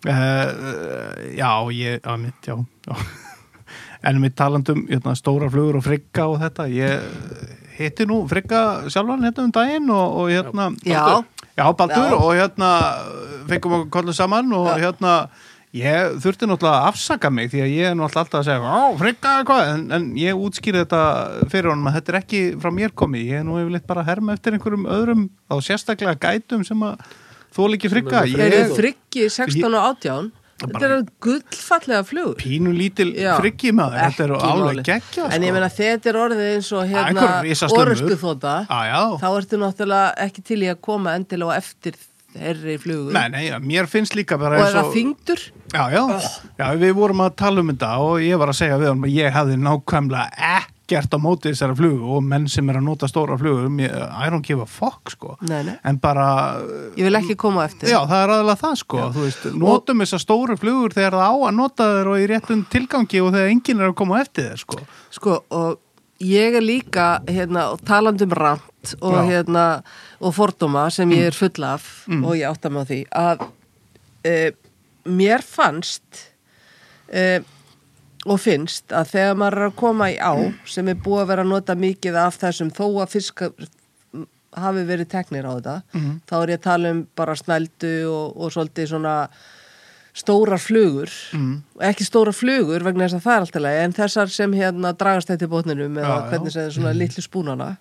Speaker 1: Uh, Eh, já, ég, já, mitt, já, já. En mitt talandum, hérna, stóra flugur og frigga og þetta, ég hitti nú frigga sjálfan hérna um daginn og, og hérna...
Speaker 3: Já.
Speaker 1: Já, Baldur
Speaker 3: Já.
Speaker 1: og hérna fengum okkur kollu saman og hérna ég þurfti náttúrulega að afsaka mig því að ég er náttúrulega alltaf að segja, á, frigga eitthvað, en, en ég útskýri þetta fyrir honum að þetta er ekki frá mér komið, ég er nú yfirleitt bara að herma eftir einhverjum öðrum á sérstaklega gætum sem að þóla ekki frigga.
Speaker 2: Sem
Speaker 3: þeir
Speaker 2: eru
Speaker 1: Ég-
Speaker 3: eru friggi 16 og 18 þetta eru gullfallega flugur
Speaker 1: pínu lítil
Speaker 3: Já.
Speaker 1: friggi maður, þetta eru
Speaker 3: Ekki
Speaker 1: alveg
Speaker 3: málið.
Speaker 1: geggja
Speaker 3: En ég meina þetta er orðið eins og hérna
Speaker 1: einhver risaslömmur.
Speaker 3: orustu þóta
Speaker 1: Á,
Speaker 3: þá ertu náttúrulega ekki til í að koma endilega á eftir herri flugur
Speaker 1: Nei, nei, já, mér finnst líka bara
Speaker 3: og
Speaker 1: eins
Speaker 3: er það Oh. þyngdur
Speaker 1: Já, já, já, við vorum að tala um þetta og ég var að segja við hann að ég hafði nákvæmlega ekkert á móti þessara flugu og menn sem er að nota stóra flugur, mér- I don't give a fuck, sko.
Speaker 3: Nei, nei.
Speaker 1: En bara,
Speaker 3: ég vil ekki koma á eftir
Speaker 1: já, það er aðalega það, sko, þú veist, notum þessar stóru flugur þegar það á að nota þeir og í réttum tilgangi og þegar enginn er að koma á eftir þeir, sko.
Speaker 3: sko og ég er líka hérna og talandi um rant
Speaker 1: Já.
Speaker 3: og
Speaker 1: Mm.
Speaker 3: hérna og fordóma sem ég er full af og ég átta mig á því að e, mér fannst e, og finnst að þegar maður er að koma í á sem er búið að vera að nota mikið af þessum þó að fiska hafi verið teknir á þetta
Speaker 1: Mhm.
Speaker 3: þá er ég að tala um bara snældu og, og svolítið svona stórar flugur
Speaker 1: Mhm.
Speaker 3: ekki stóra flugur vegna þess að það er alltaf leið en þessar sem hérna dragast þetta í botninum eða
Speaker 1: Já, Mhm. já.
Speaker 3: hvernig sem er svona litlu spúnana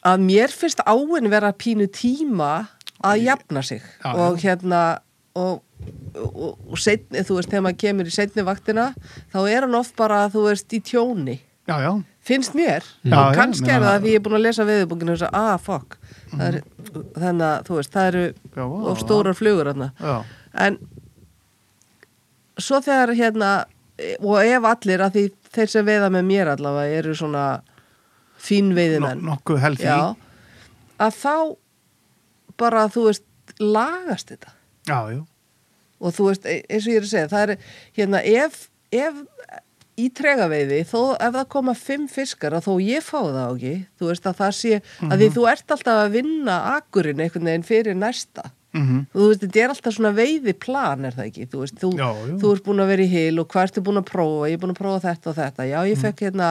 Speaker 3: að mér finnst áin vera pínu tíma að jafna sig
Speaker 1: Já, já.
Speaker 3: og hérna og og, og setni, þú veist, þegar maður kemur í setni vaktina, þá er hann oft bara, þú veist, í tjóni
Speaker 1: já, já,
Speaker 3: finnst mér,
Speaker 1: Mhm. Já,
Speaker 3: og
Speaker 1: já,
Speaker 3: kannski
Speaker 1: meina-
Speaker 3: er það að ég er búin að lesa veðurbókinu og þess að, ah, fuck það er, þannig að, þú veist, það eru
Speaker 1: Mhm. Já, vá.
Speaker 3: of stórar flugur hann
Speaker 1: já,
Speaker 3: en svo þegar hérna e- og ef allir, að því þeir sem veiða með mér allavega eru svona fín
Speaker 1: no,
Speaker 3: veiðimenn
Speaker 1: nokkuð helfi já,
Speaker 3: Já, að þá bara, þú veist, lagast þetta
Speaker 1: já,
Speaker 3: og þú veist, e- eins og ég er að segja það er, hérna, ef, ef í tregaveiði, þó ef það koma fimm fiskar að þó ég fá það á ekki þú veist að það sé, að því þú ert alltaf að vinna akkurinn einhvern veginn fyrir næsta
Speaker 1: mhm,
Speaker 3: þú veist, þetta er alltaf svona veiðiplan er það ekki, þú veist, þú,
Speaker 1: Já, já.
Speaker 3: þú ert búin að vera í hil og hvað ertu búin að prófa, ég er búin að prófa þetta og þetta, já,
Speaker 1: Mm.
Speaker 3: ég fekk hérna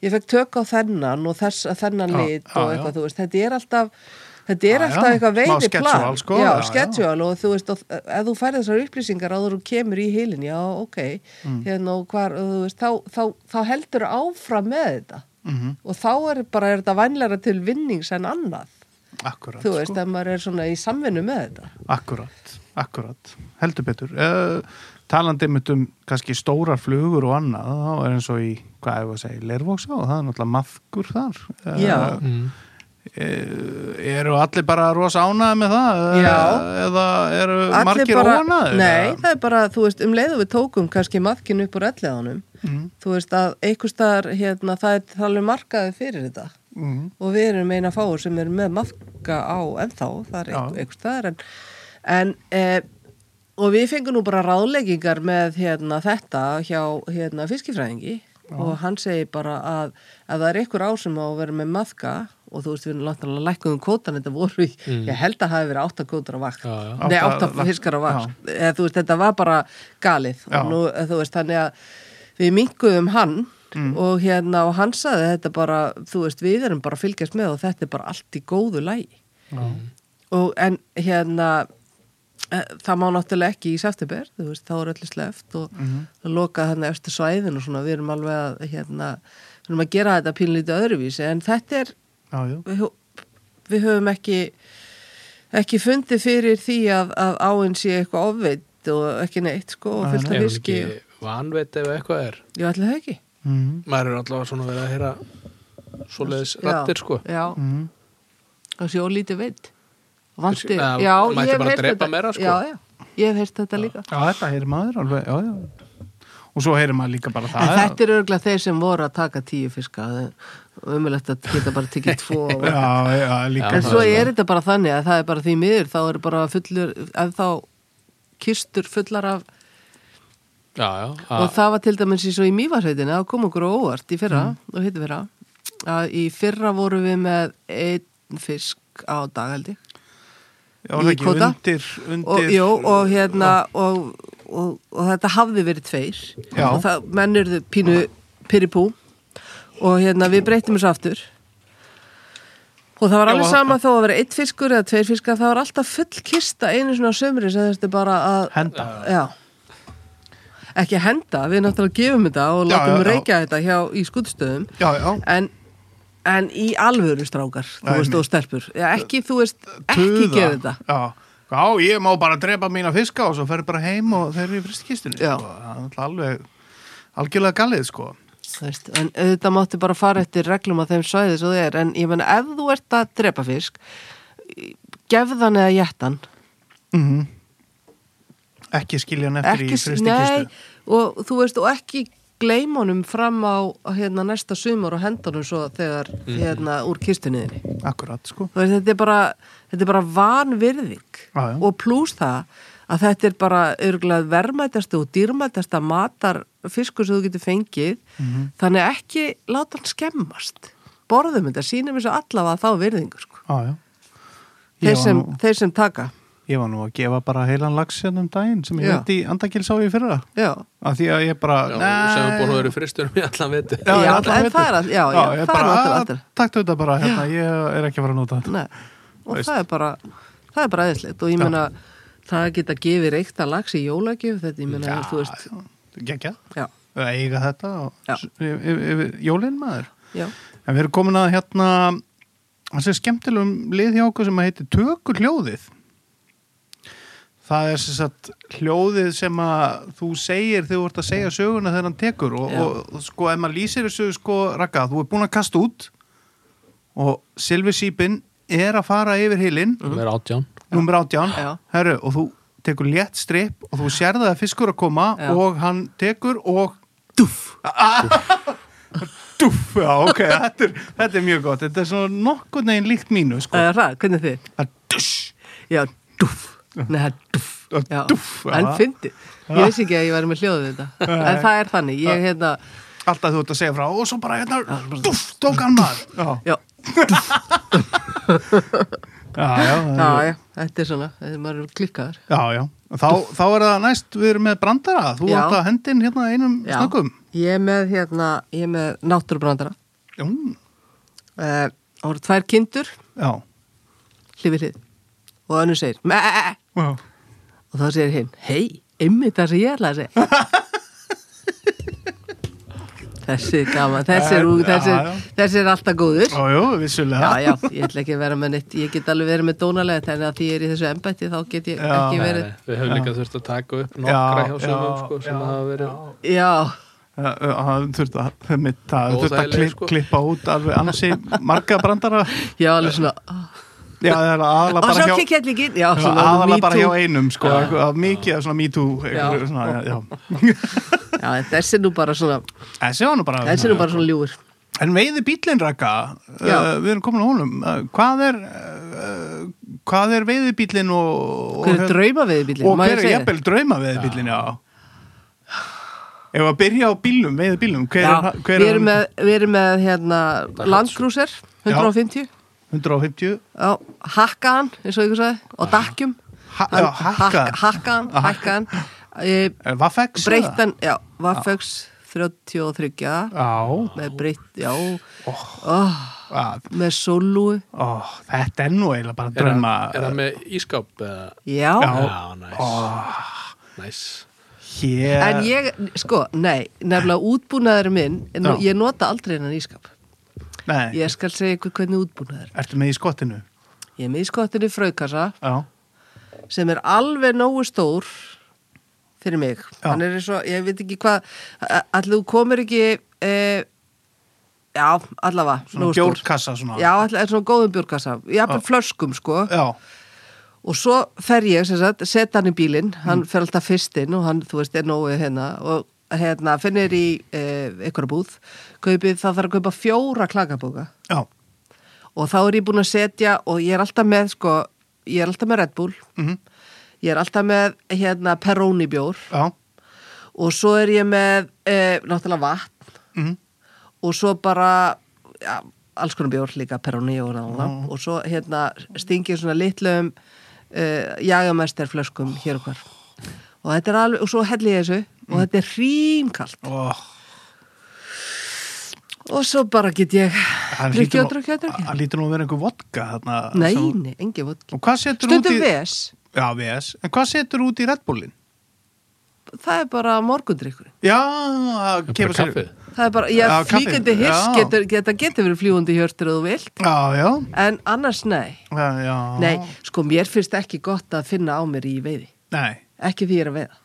Speaker 3: ég fekk tök á þennan og þess, þennan
Speaker 1: Já,
Speaker 3: lit
Speaker 1: já,
Speaker 3: og
Speaker 1: já.
Speaker 3: eitthvað, þú veist, þetta er alltaf þetta er
Speaker 1: Já,
Speaker 3: alltaf
Speaker 1: já,
Speaker 3: eitthvað
Speaker 1: smá
Speaker 3: veiðiplan
Speaker 1: schedule, sko,
Speaker 3: já,
Speaker 1: já, já.
Speaker 3: schedule og þú veist, og, ef þú færið þessar upplýsingar áður og kemur í hilin, já, ok
Speaker 1: Mm.
Speaker 3: hérna og hvar, og þú veist, þá, þá, þá, heldur áfram með þetta
Speaker 1: mhm,
Speaker 3: og þá er bara, er þetta vænlega til vinnings en annað,
Speaker 1: akkurat
Speaker 3: þú veist,
Speaker 1: sko.
Speaker 3: ef maður er svona í samvinnu með þetta
Speaker 1: akkurat, akkurat heldur betur uh, talandi einmitt um kannski stórar flugur og annað, þá er eins og í hvað er það að segja, Lervóksá, það er náttúrulega maðgur þar Eh,
Speaker 3: Já.
Speaker 2: mm.
Speaker 1: eru allir bara rosa ánæði með það eh,
Speaker 3: Já.
Speaker 1: eða eru
Speaker 3: Allir
Speaker 1: margir
Speaker 3: bara,
Speaker 1: óanæði
Speaker 3: Nei, það er bara, þú veist, um leið og við tókum kannski maðkinn upp úr elliðanum
Speaker 1: mm,
Speaker 3: þú veist að einhvers staðar, hérna, það er það er alveg markaði fyrir þetta
Speaker 1: mm,
Speaker 3: og við erum eina fáur sem erum með maðka á ennþá, það er
Speaker 1: Já.
Speaker 3: einhver- einhvers staðar en, en e, og við fengum nú bara ráðleggingar með hérna, þetta hjá hérna, fiskifræðingi og hann segir bara að ef það er einhver ár sem á að vera með maðka og þú veist, við erum langt að lækka um kótan þetta voru, í, ég held að hafi verið átta kótar á vakt
Speaker 2: já, já.
Speaker 3: Nei,
Speaker 1: Átta-
Speaker 3: átta fiskar á vakt eða, þú veist, þetta var bara galið
Speaker 1: Já.
Speaker 3: og nú, eða, þú veist, þannig að við minkuðum hann og hérna og hann saði þetta bara, þú veist, við erum bara að fylgjast með og þetta er bara allt í góðu lægi og en hérna eh, það má náttúrulega ekki í september þú veist, þá er öllu sleft og mm lokað þannig eftir svæðin og svona við erum alveg að hérna, við erum að gera þetta pínlítið öðruvísi en þetta er
Speaker 1: já, já,
Speaker 3: við, við höfum ekki ekki fundið fyrir því að, að áinn sé eitthvað ofveitt og ekki neitt sko og fullt
Speaker 2: er
Speaker 3: af
Speaker 2: hún
Speaker 3: viski
Speaker 2: ekki vanveit ef eitthvað er
Speaker 3: ég ætla það ekki
Speaker 1: mm,
Speaker 2: maður er allavega svona verið að heyra svoleiðis rattir
Speaker 3: já,
Speaker 2: sko
Speaker 3: já,
Speaker 1: mm,
Speaker 3: það sé ólítið veitt vanti,
Speaker 2: Eða,
Speaker 3: já,
Speaker 2: mætti
Speaker 3: ég hef
Speaker 2: bara
Speaker 3: heyrt
Speaker 2: drepa
Speaker 3: þetta
Speaker 2: meira, sko.
Speaker 3: já, já, ég hef heyrt þetta líka
Speaker 1: já, þetta heyrir maður alveg, já, já og svo heyrir maður líka bara
Speaker 3: en
Speaker 1: það
Speaker 3: þetta er örgulega þeir sem voru að taka tíu fiska umulegt að geta bara tekið tvo og
Speaker 1: já, já, líka
Speaker 3: En
Speaker 1: það,
Speaker 3: svo
Speaker 1: sko.
Speaker 3: er þetta bara þannig að það er bara því miður þá er bara fullur, ef þá kistur fullar af
Speaker 2: já, já, að,
Speaker 3: og það var til dæmis eins og í mývarsveitinu það kom okkur á óvart í fyrra
Speaker 1: Mm.
Speaker 3: og hittu fyrra að í fyrra vorum við með einn fisk á dag held ég
Speaker 1: já, var það
Speaker 3: í
Speaker 1: ekki
Speaker 3: kvóta.
Speaker 1: undir, undir
Speaker 3: og, jó, og hérna og, og, og þetta hafði verið tveir
Speaker 1: Já.
Speaker 3: og það mennurðu pínu pyrripú og hérna við breytum þessu aftur og það var
Speaker 1: Já,
Speaker 3: alveg
Speaker 1: og-
Speaker 3: sama þó að vera eitt fiskur eða tveir fiskar það var alltaf full kista einu svona á sömri sem þetta er bara að
Speaker 1: henda,
Speaker 3: Já Ekki að henda, við náttúrulega gefum þetta og
Speaker 1: Já,
Speaker 3: látum
Speaker 1: já, já.
Speaker 3: reykja þetta hjá, í skutstöðum
Speaker 1: já, já
Speaker 3: en, en í alvöru strákar þú
Speaker 1: Nei,
Speaker 3: veist
Speaker 1: nei.
Speaker 3: og stelpur já, ekki, þú veist, ekki
Speaker 1: Tuða.
Speaker 3: gera þetta
Speaker 1: já, já, ég má bara drepa mína fiska og svo fer bara heim og þeir eru í fristkistunni
Speaker 3: Já.
Speaker 1: sko. það er náttúrulega alveg algjörlega galið, sko
Speaker 3: þú veist, en auðvitað mátti bara fara eftir reglum á þeim svæði svo þið er en ég menna ef þú ert að drepa fisk gefðan eða jættan
Speaker 1: mm ekki skilja hann eftir
Speaker 3: Mhm. ekki,
Speaker 1: í
Speaker 3: nei,
Speaker 1: fristikkistu
Speaker 3: og þú veist, og ekki gleyma honum fram á hérna næsta sumar og henda honum svo þegar hérna úr kistunniðinni
Speaker 1: akkurat, sko
Speaker 3: Þú veist, þetta er bara, þetta er bara vanvirðing
Speaker 1: Já, já.
Speaker 3: og pluss það að þetta er bara örgulega verðmætasta og dýrmætasta matar fiskur sem þú getur fengið
Speaker 1: Mhm.
Speaker 3: þannig ekki láta hann skemmast borðum þetta, sínum þessu allavega þá virðingu sko.
Speaker 1: já, já Ég
Speaker 3: þeir,
Speaker 1: var
Speaker 3: sem,
Speaker 1: nú-
Speaker 3: þeir sem taka
Speaker 1: Ég var nú að gefa bara heilan lags hérna um daginn sem ég
Speaker 3: Já.
Speaker 1: veit í andakil sá ég fyrra
Speaker 3: já,
Speaker 1: af því að ég bara
Speaker 2: já,
Speaker 1: nei,
Speaker 2: sem er búin að vera fristur í allan viti
Speaker 1: já,
Speaker 3: Já,
Speaker 1: ég allan
Speaker 3: en
Speaker 1: veit
Speaker 3: það er að- já, já,
Speaker 1: ég
Speaker 3: það er
Speaker 1: bara,
Speaker 3: náttúrulega alltaf.
Speaker 1: Taktu þetta bara, hérna, ég er ekki að fara að nota þetta
Speaker 3: nei og
Speaker 1: Veist.
Speaker 3: það er bara það er bara aðeinslegt og ég
Speaker 1: Já.
Speaker 3: meina það að geta gefið reykta lags í jólagjöf þetta, ég meina,
Speaker 1: Já,
Speaker 3: þú veist
Speaker 1: geggjað.
Speaker 3: já,
Speaker 1: Að eiga þetta og
Speaker 3: Já.
Speaker 1: s- yfir- yfir yfir jólin maður
Speaker 3: já,
Speaker 1: En við erum komin að hérna það sé skemmtilegum lið hjá okkur sem að heiti Tökur hljóðið það er sem sagt hljóðið sem að þú segir þegar þú ert að segja söguna þegar hann tekur og,
Speaker 3: Já.
Speaker 1: og sko ef maður lýsir þessu sko rakka þú er búin að kasta út og Silvi Sýpin er að fara yfir hilin
Speaker 3: Mm. Mhm.
Speaker 2: það er átján
Speaker 1: nummer 18
Speaker 3: Já.
Speaker 1: herru, og þú tekur létt strip og þú sérði að það er fiskur að koma
Speaker 3: Já.
Speaker 1: og hann tekur og duff duff, já ok þetta er, þetta er mjög gott, þetta er svona nokkurn veginn líkt mínu sko
Speaker 3: Það er ræð, Eh, hvernig þið?
Speaker 1: það er duss
Speaker 3: Já, duff. Nei, það er duff.
Speaker 1: Það er
Speaker 3: Já,
Speaker 1: dúff, já.
Speaker 3: En fyndi. Ég veist ekki að ég væri með hljóðið þetta. En það er þannig. Ég, hérna,
Speaker 1: alltaf þú ert að segja frá og svo bara hérna, duff, tók hann maður já,
Speaker 3: já,
Speaker 1: já, já,
Speaker 3: já, já, þetta er svona, þetta er maður klikkaður.
Speaker 1: já, já. Þá, þá er það næst við erum með brandara, þú
Speaker 3: Já.
Speaker 1: ert að hendin hérna einum
Speaker 3: Já.
Speaker 1: snöggum
Speaker 3: Ég er með, hérna, ég er með náttúrubrandara.
Speaker 1: já,
Speaker 3: Eh, Það voru tvær kindur,
Speaker 1: já,
Speaker 3: hlifið hlið. Og önnur segir, meee.
Speaker 1: já.
Speaker 3: eh." Og þá segir hinn, hei, ymmið það sem ég ætla að segja. þessi er gaman, þessi er,
Speaker 1: Já,
Speaker 3: þessi,
Speaker 1: já.
Speaker 3: þessi er alltaf góður.
Speaker 1: já, já, vissulega
Speaker 3: Já, já, ég ætla ekki að vera með neitt, ég get alveg verið með dónalega þannig að því ég er í þessu embætti þá get ég
Speaker 1: Já.
Speaker 3: ekki
Speaker 2: Nei,
Speaker 3: verið.
Speaker 2: nei, við höfum líka þurft að taka upp nokkra hjá sögum sko, sem hafa verið
Speaker 3: Já,
Speaker 1: Já, já, það þurft að, einmitt, það þurft að
Speaker 2: Óþægileg,
Speaker 1: klipp,
Speaker 2: sko.
Speaker 1: klippa út alveg annars í marga brandara já,
Speaker 3: já, alveg svona,
Speaker 1: það er aðalega
Speaker 3: og
Speaker 1: bara
Speaker 3: svo
Speaker 1: hjá
Speaker 3: kikk ég allir ekki, já,
Speaker 1: já,
Speaker 3: svona,
Speaker 1: aðalega
Speaker 3: me
Speaker 1: bara
Speaker 3: too.
Speaker 1: hjá einum sko, eitthvað- að mikið af svona me too eitthvað
Speaker 3: Já.
Speaker 1: svona, já, já.
Speaker 3: Já, en þessi er nú bara svona,
Speaker 1: þessi var nú bara
Speaker 3: þessi er nú bara svona ljúfur.
Speaker 1: En veiði bílinn rakka,
Speaker 3: Já.
Speaker 1: uh, við erum komin á honum, uh, hvað er, uh, hvað er veiði bílinn og, og,
Speaker 3: Hver er drauma við bílinn?
Speaker 1: og hver er jafnvel drauma veiði bílinn, já. Ef að byrja á bílum, veiði bílum, hver
Speaker 3: Já,
Speaker 1: er, hann- hver
Speaker 3: við
Speaker 1: er
Speaker 3: erum með, við erum með, hérna,
Speaker 2: er
Speaker 3: Land Cruiser, 150,
Speaker 1: 150,
Speaker 3: já, hakkaðan, eins og ykkur sagði, og dakkjum.
Speaker 1: Ah. Ha- já, Ah. hakkaðan.
Speaker 3: Hakkaðan, hakkaðan, eh,
Speaker 1: er Vafex?
Speaker 3: breyttan, já, Vafex 33,
Speaker 1: Já,
Speaker 3: með breytt, já, oh.
Speaker 1: að,
Speaker 3: með sólúi,
Speaker 1: ó, þetta er nú eiginlega bara
Speaker 2: er hann,
Speaker 1: drauma.
Speaker 2: er hann með ískáp eða
Speaker 3: já.
Speaker 1: Já.
Speaker 2: Já, næs Næs
Speaker 1: Hér,
Speaker 3: En ég, sko, nei, nefnilega útbúnaður minn, nú,
Speaker 1: Já.
Speaker 3: ég nota aldrei hennan ískap.
Speaker 1: nei,
Speaker 3: Ég skal segja ykkur hvernig útbúnaður. er.
Speaker 1: ertu með í skottinu?
Speaker 3: Ég er með í skottinu fröykassa
Speaker 1: Já,
Speaker 3: sem er alveg nógu stór fyrir mig.
Speaker 1: Já.
Speaker 3: Hann er eins og, ég veit ekki hvað, a- allir þú komir ekki, e, já, allavega,
Speaker 1: svona
Speaker 3: nógu stór.
Speaker 1: gjórkassa svona.
Speaker 3: Já, allir svona góðum bjórkassa. Ég hafði flöskum, sko.
Speaker 1: Já,
Speaker 3: Og svo fer ég, sem sagt, set hann í bílinn, hann fer alltaf fyrst inn og hann, þú veist, er nógu hérna og hérna, finnir í eh, einhverja búð, kaupið, þá þarf að kaupa fjóra klakabóka
Speaker 1: já,
Speaker 3: og þá er ég búin að setja og ég er alltaf með, sko, ég er alltaf með Red Bull,
Speaker 1: Mhm.
Speaker 3: ég er alltaf með, hérna, Peroni bjór
Speaker 1: já,
Speaker 3: og svo er ég með, eh, náttúrulega vatn
Speaker 1: mhm,
Speaker 3: og svo bara, ja, alls konar bjór líka, Peroni og nála
Speaker 1: Mhm.
Speaker 3: og svo, hérna, stingið svona litlum uh, jagamesterflöskum hér og hvar og þetta er alveg, og svo helli ég þessu og
Speaker 1: Mhm.
Speaker 3: þetta er hrímkalt
Speaker 1: ó,
Speaker 3: og svo bara get ég
Speaker 1: Hann
Speaker 3: drukki
Speaker 1: hlýtur
Speaker 3: og
Speaker 1: nú-
Speaker 3: drukki og drukki
Speaker 1: Hann lítur nú að vera einhver vodka þarna.
Speaker 3: Nei,
Speaker 1: sem-
Speaker 3: nei, engi vodki
Speaker 1: Og hvað setur
Speaker 3: Stundum
Speaker 1: út í...
Speaker 3: ves,
Speaker 1: Já, VS. En hvað setur út í Red Bullin?
Speaker 3: það er bara morgundrykkur
Speaker 1: Já, að
Speaker 2: Bara
Speaker 1: kepa sér...
Speaker 2: kaffið
Speaker 3: Það er bara, já,
Speaker 1: Já, kaffi.
Speaker 3: flíkandi hiss
Speaker 1: Já.
Speaker 3: getur, þetta getur verið fljúandi hjörtur og þú vilt,
Speaker 1: Já, já.
Speaker 3: en annars nei.
Speaker 1: Já, já.
Speaker 3: Nei, sko, mér finnst ekki gott að finna á mér í veiði.
Speaker 1: Nei,
Speaker 3: Ekki því ég er að veiða.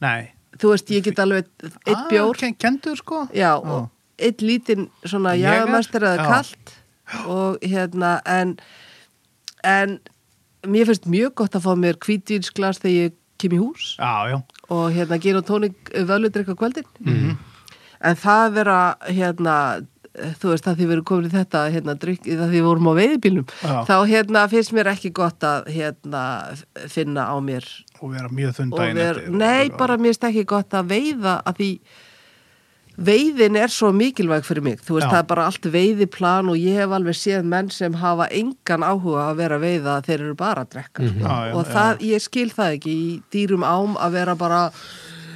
Speaker 1: nei.
Speaker 3: Þú veist, ég get alveg eitt bjór,
Speaker 1: Ah, kendur sko?
Speaker 3: já, og eitt lítinn svona
Speaker 1: Ég er-
Speaker 3: jagamæstur eða
Speaker 1: já.
Speaker 3: kalt og hérna, en, en mér finnst mjög gott að fá mér hvítvínsglas þegar ég kem í hús
Speaker 1: Já, já.
Speaker 3: og hérna gin og tónik vöðludrykka kvöldin -hmm.
Speaker 1: Mhm.
Speaker 3: en það vera hérna þú veist að því við erum komin í þetta hérna drykk, það því við vorum á veiðbílnum
Speaker 1: Já.
Speaker 3: þá hérna finnst mér ekki gott að hérna finna á mér
Speaker 1: Og vera mjög þunn Um
Speaker 3: og
Speaker 1: daginn
Speaker 3: ver,
Speaker 1: eftir.
Speaker 3: nei
Speaker 1: Og-
Speaker 3: bara mér finnst ekki gott að veiða að því veiðin er svo mikilvæg fyrir mig þú veist
Speaker 1: Já.
Speaker 3: það er bara allt veiðiplan og ég hef alveg séð menn sem hafa engan áhuga að vera að veiða þeir eru bara að drekka
Speaker 1: Já, Mhm. já,
Speaker 3: og
Speaker 1: já.
Speaker 3: það, ég skil það ekki í dýrum ám að vera bara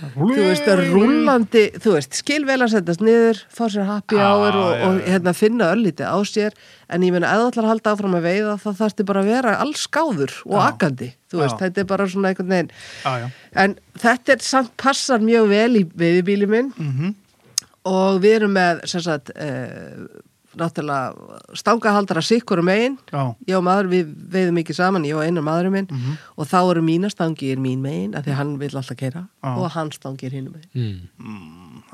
Speaker 3: þú veist, rúlandi, þú veist, skil vel að setjast niður, fá sér happy
Speaker 1: Já,
Speaker 3: hour og,
Speaker 1: já,
Speaker 3: og
Speaker 1: já.
Speaker 3: hérna, finna örlítið á sér, en ég meina, eða allar halda áfram að veiða, þá þarfti bara að vera alls skáður og
Speaker 1: Já.
Speaker 3: akkandi, þú
Speaker 1: Já.
Speaker 3: veist, þetta er bara svona einhvern veginn.
Speaker 1: Já, já.
Speaker 3: En þetta er samt passar mjög vel í veiðibíli minn
Speaker 1: Mhm.
Speaker 3: og við erum með, sem sagt, uh, náttúrulega stangahaldara sikkur um einn
Speaker 1: já,
Speaker 3: ég og maður, við veiðum ekki saman, ég og einar maðurinn minn
Speaker 1: Mhm.
Speaker 3: og þá eru mína stangir mín megin af því að hann vil alltaf keira
Speaker 1: Já.
Speaker 3: og hans stangir hinn megin
Speaker 2: mm.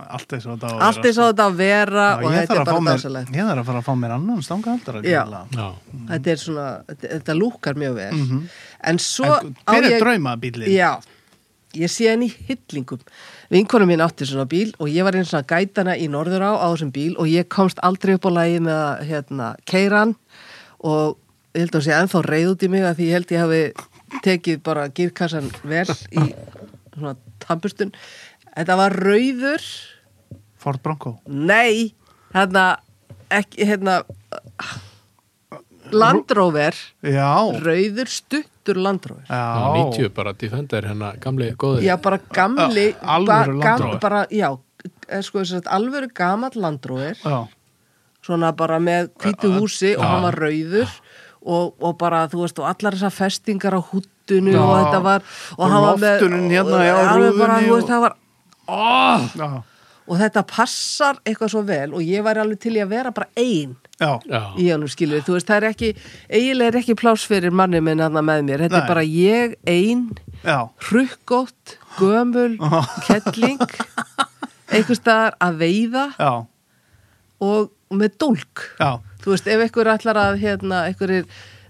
Speaker 1: allt eins og þetta á að
Speaker 3: allt
Speaker 1: vera, sko.
Speaker 3: eins og þetta að vera
Speaker 1: Já,
Speaker 3: og
Speaker 1: ég
Speaker 3: þetta
Speaker 1: þarf
Speaker 3: er
Speaker 1: að fá
Speaker 3: bara
Speaker 1: mér-
Speaker 3: dásalegt
Speaker 1: ég þarf að fara að fá mér annan stangahaldara
Speaker 3: Já.
Speaker 1: greinilega.
Speaker 2: já,
Speaker 3: þetta er svona, þetta, þetta lúkar mjög vel
Speaker 1: Mhm.
Speaker 3: en svo
Speaker 1: En hver er draumabílinn?
Speaker 3: Já, ég sé henni í hyllingum. Vinkonu mín átti svona bíl og ég var einn svona gætana í norður á á þessum bíl og ég komst aldrei upp á lagi með að hérna, keira hann og ég held að hún sé ennþá reyð út í mig að því ég held ég hafi tekið bara gírkassan vel í svona tampustun. Þetta var rauður,
Speaker 1: Ford Bronco
Speaker 3: nei, hérna, ekki, hérna, landróver,
Speaker 1: já,
Speaker 3: rauður stuttur landróver.
Speaker 2: já,
Speaker 1: já
Speaker 2: 90 bara Defender hérna gamli góði
Speaker 3: Já, bara gamli
Speaker 1: Ö, alvöru
Speaker 3: ba-
Speaker 1: Land
Speaker 3: gam-
Speaker 1: Rover.
Speaker 3: bara, Já, eh, sko, þess að alvöru gamall landróðir
Speaker 1: já,
Speaker 3: svona bara með hvítu húsi og
Speaker 2: Já.
Speaker 3: hann var rauður og, og bara, þú veist, og allar þessar festingar á húttunu
Speaker 1: Já.
Speaker 3: og þetta var og,
Speaker 1: Og
Speaker 3: hann var með
Speaker 1: loftunin hérna,
Speaker 3: og,
Speaker 1: já,
Speaker 3: alveg bara,
Speaker 1: rúðunni
Speaker 3: þú
Speaker 1: og-
Speaker 3: veist, það var
Speaker 1: já,
Speaker 3: og þetta passar eitthvað svo vel og ég væri alveg til í að vera bara ein
Speaker 1: já.
Speaker 2: já,
Speaker 3: í honum skilur, þú veist, það er ekki eiginlega er ekki pláss fyrir manni minn hann með mér, þetta
Speaker 1: Nei.
Speaker 3: er bara ég ein
Speaker 1: já.
Speaker 3: hrukkótt, gömul, kettling, einhvers staðar að veiða
Speaker 1: já.
Speaker 3: og með dólk.
Speaker 1: Já.
Speaker 3: Þú veist, ef einhver ætlar að, hérna, einhverjir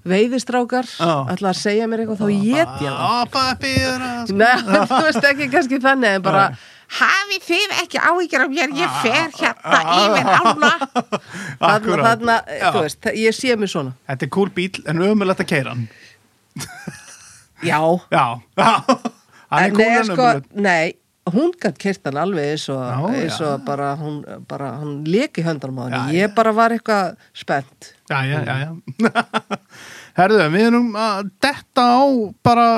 Speaker 3: veiðistrákar
Speaker 1: Já.
Speaker 3: ætlar að segja mér eitthvað, þá get ég
Speaker 1: Ah,
Speaker 3: það.
Speaker 1: Apaðbýður
Speaker 3: Nei, þú veist ekki kannski þannig, en bara,
Speaker 4: hafið þið ekki áhyggjur af mér, ég fer hérna yfir ána.
Speaker 3: þarna, þarna,
Speaker 1: Ah. Já.
Speaker 3: þú veist, ég sé mér svona.
Speaker 1: Þetta er cool bíl en ömulegt að keira hann
Speaker 3: Já.
Speaker 1: Já, já Hann er
Speaker 3: En
Speaker 1: cool
Speaker 3: nei,
Speaker 1: en
Speaker 3: sko,
Speaker 1: ömulegt
Speaker 3: nei, hún gætt kert hann alveg eins og,
Speaker 1: Já,
Speaker 3: eins og bara, hún, bara, hann leki höndanum á hann.
Speaker 1: Já,
Speaker 3: Ég bara var eitthvað spennt.
Speaker 1: Já, já, já, já Herðu, við erum að detta á bara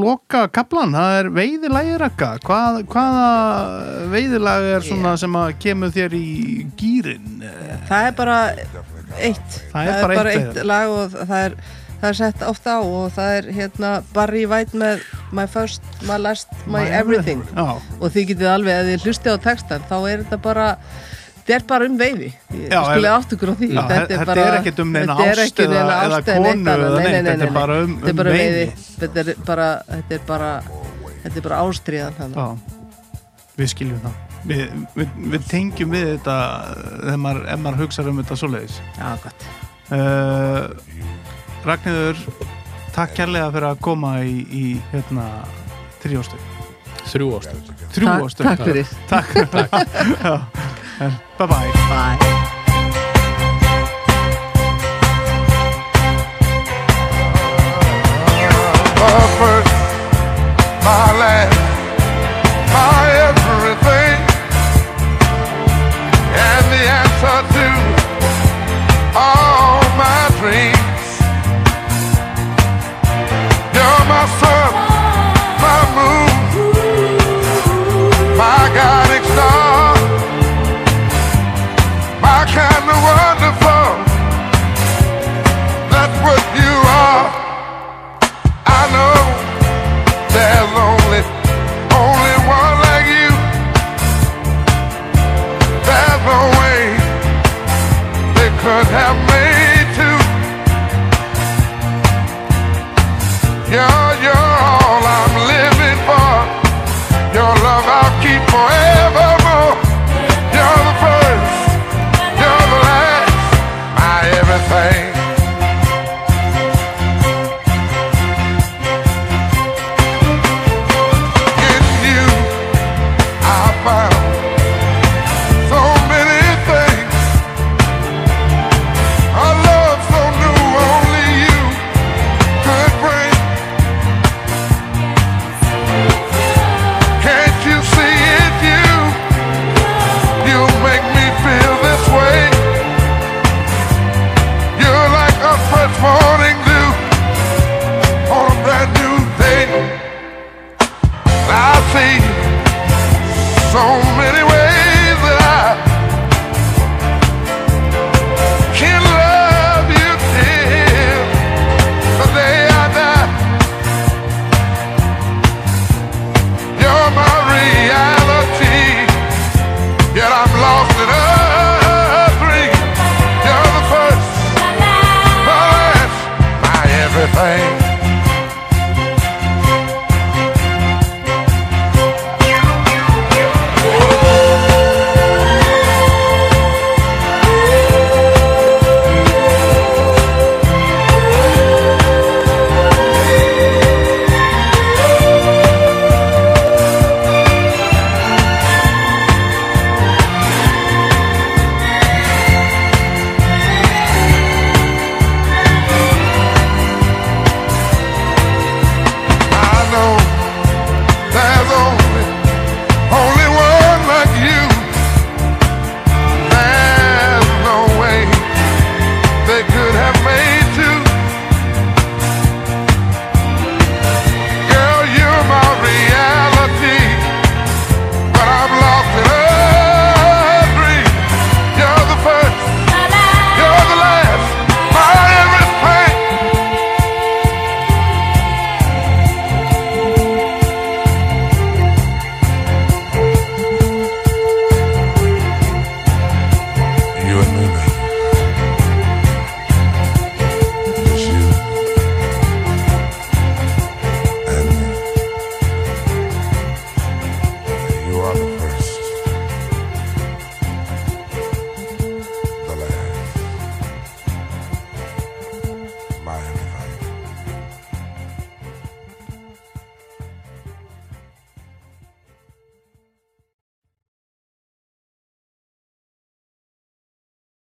Speaker 1: loka kaplan, það er veiðilagirakka Hvað, hvaða veiðilag er svona sem að kemur þér í gýrin
Speaker 3: Það er bara eitt
Speaker 1: Það er bara eitt
Speaker 3: eitt lag og það er, það er sett ofta á og það er hérna Barry White með My First, My Last, My, Everything
Speaker 1: Já,
Speaker 3: og þið getið alveg að þið hlusti á textan þá er þetta bara þetta er bara um veiði, ég
Speaker 1: Já,
Speaker 3: skilja
Speaker 1: ef-
Speaker 3: átt ykkur á því
Speaker 1: Já, þetta er ekkert um neina
Speaker 3: þetta er
Speaker 1: ást
Speaker 3: ekki um
Speaker 1: eða-
Speaker 3: neina
Speaker 1: eða
Speaker 3: ást eða neitt
Speaker 1: konu
Speaker 3: annað.
Speaker 1: eða
Speaker 3: Nei,
Speaker 1: neitt,
Speaker 3: nei, nei,
Speaker 1: þetta er
Speaker 3: nei,
Speaker 1: bara um-
Speaker 3: þetta er
Speaker 1: um
Speaker 3: bara
Speaker 1: veiði.
Speaker 3: þetta er bara, þetta er bara þetta er bara ástriðan þannig
Speaker 1: já Við skiljum það Við, við, við tengjum við þetta ef maður, ef maður hugsar um þetta svoleiðis
Speaker 3: já, gott,
Speaker 1: uh, Ragnhildur takk kærlega fyrir að koma í, í hérna, þrjóstu
Speaker 2: þrjú ástu
Speaker 3: takk,
Speaker 1: þrjóstu
Speaker 3: takk fyrir
Speaker 1: takk. Já. bye bye
Speaker 3: bye
Speaker 5: my first, my last, my everything. And the answer to all my dreams. You're my sun, my moon, my guiding star. My kind of wonderful, that's what you are. I know there's only, only one like you. There's no way they could have made two. You're, you're all I'm living for. Your love I'll keep forevermore. You're the first, you're the last, my everything. In you, I found so many things. A love so new, only you could bring. Can't you see it? You, you make me feel this way. You're like a fresh morning dew on a brand new day. I see so many ways. uh,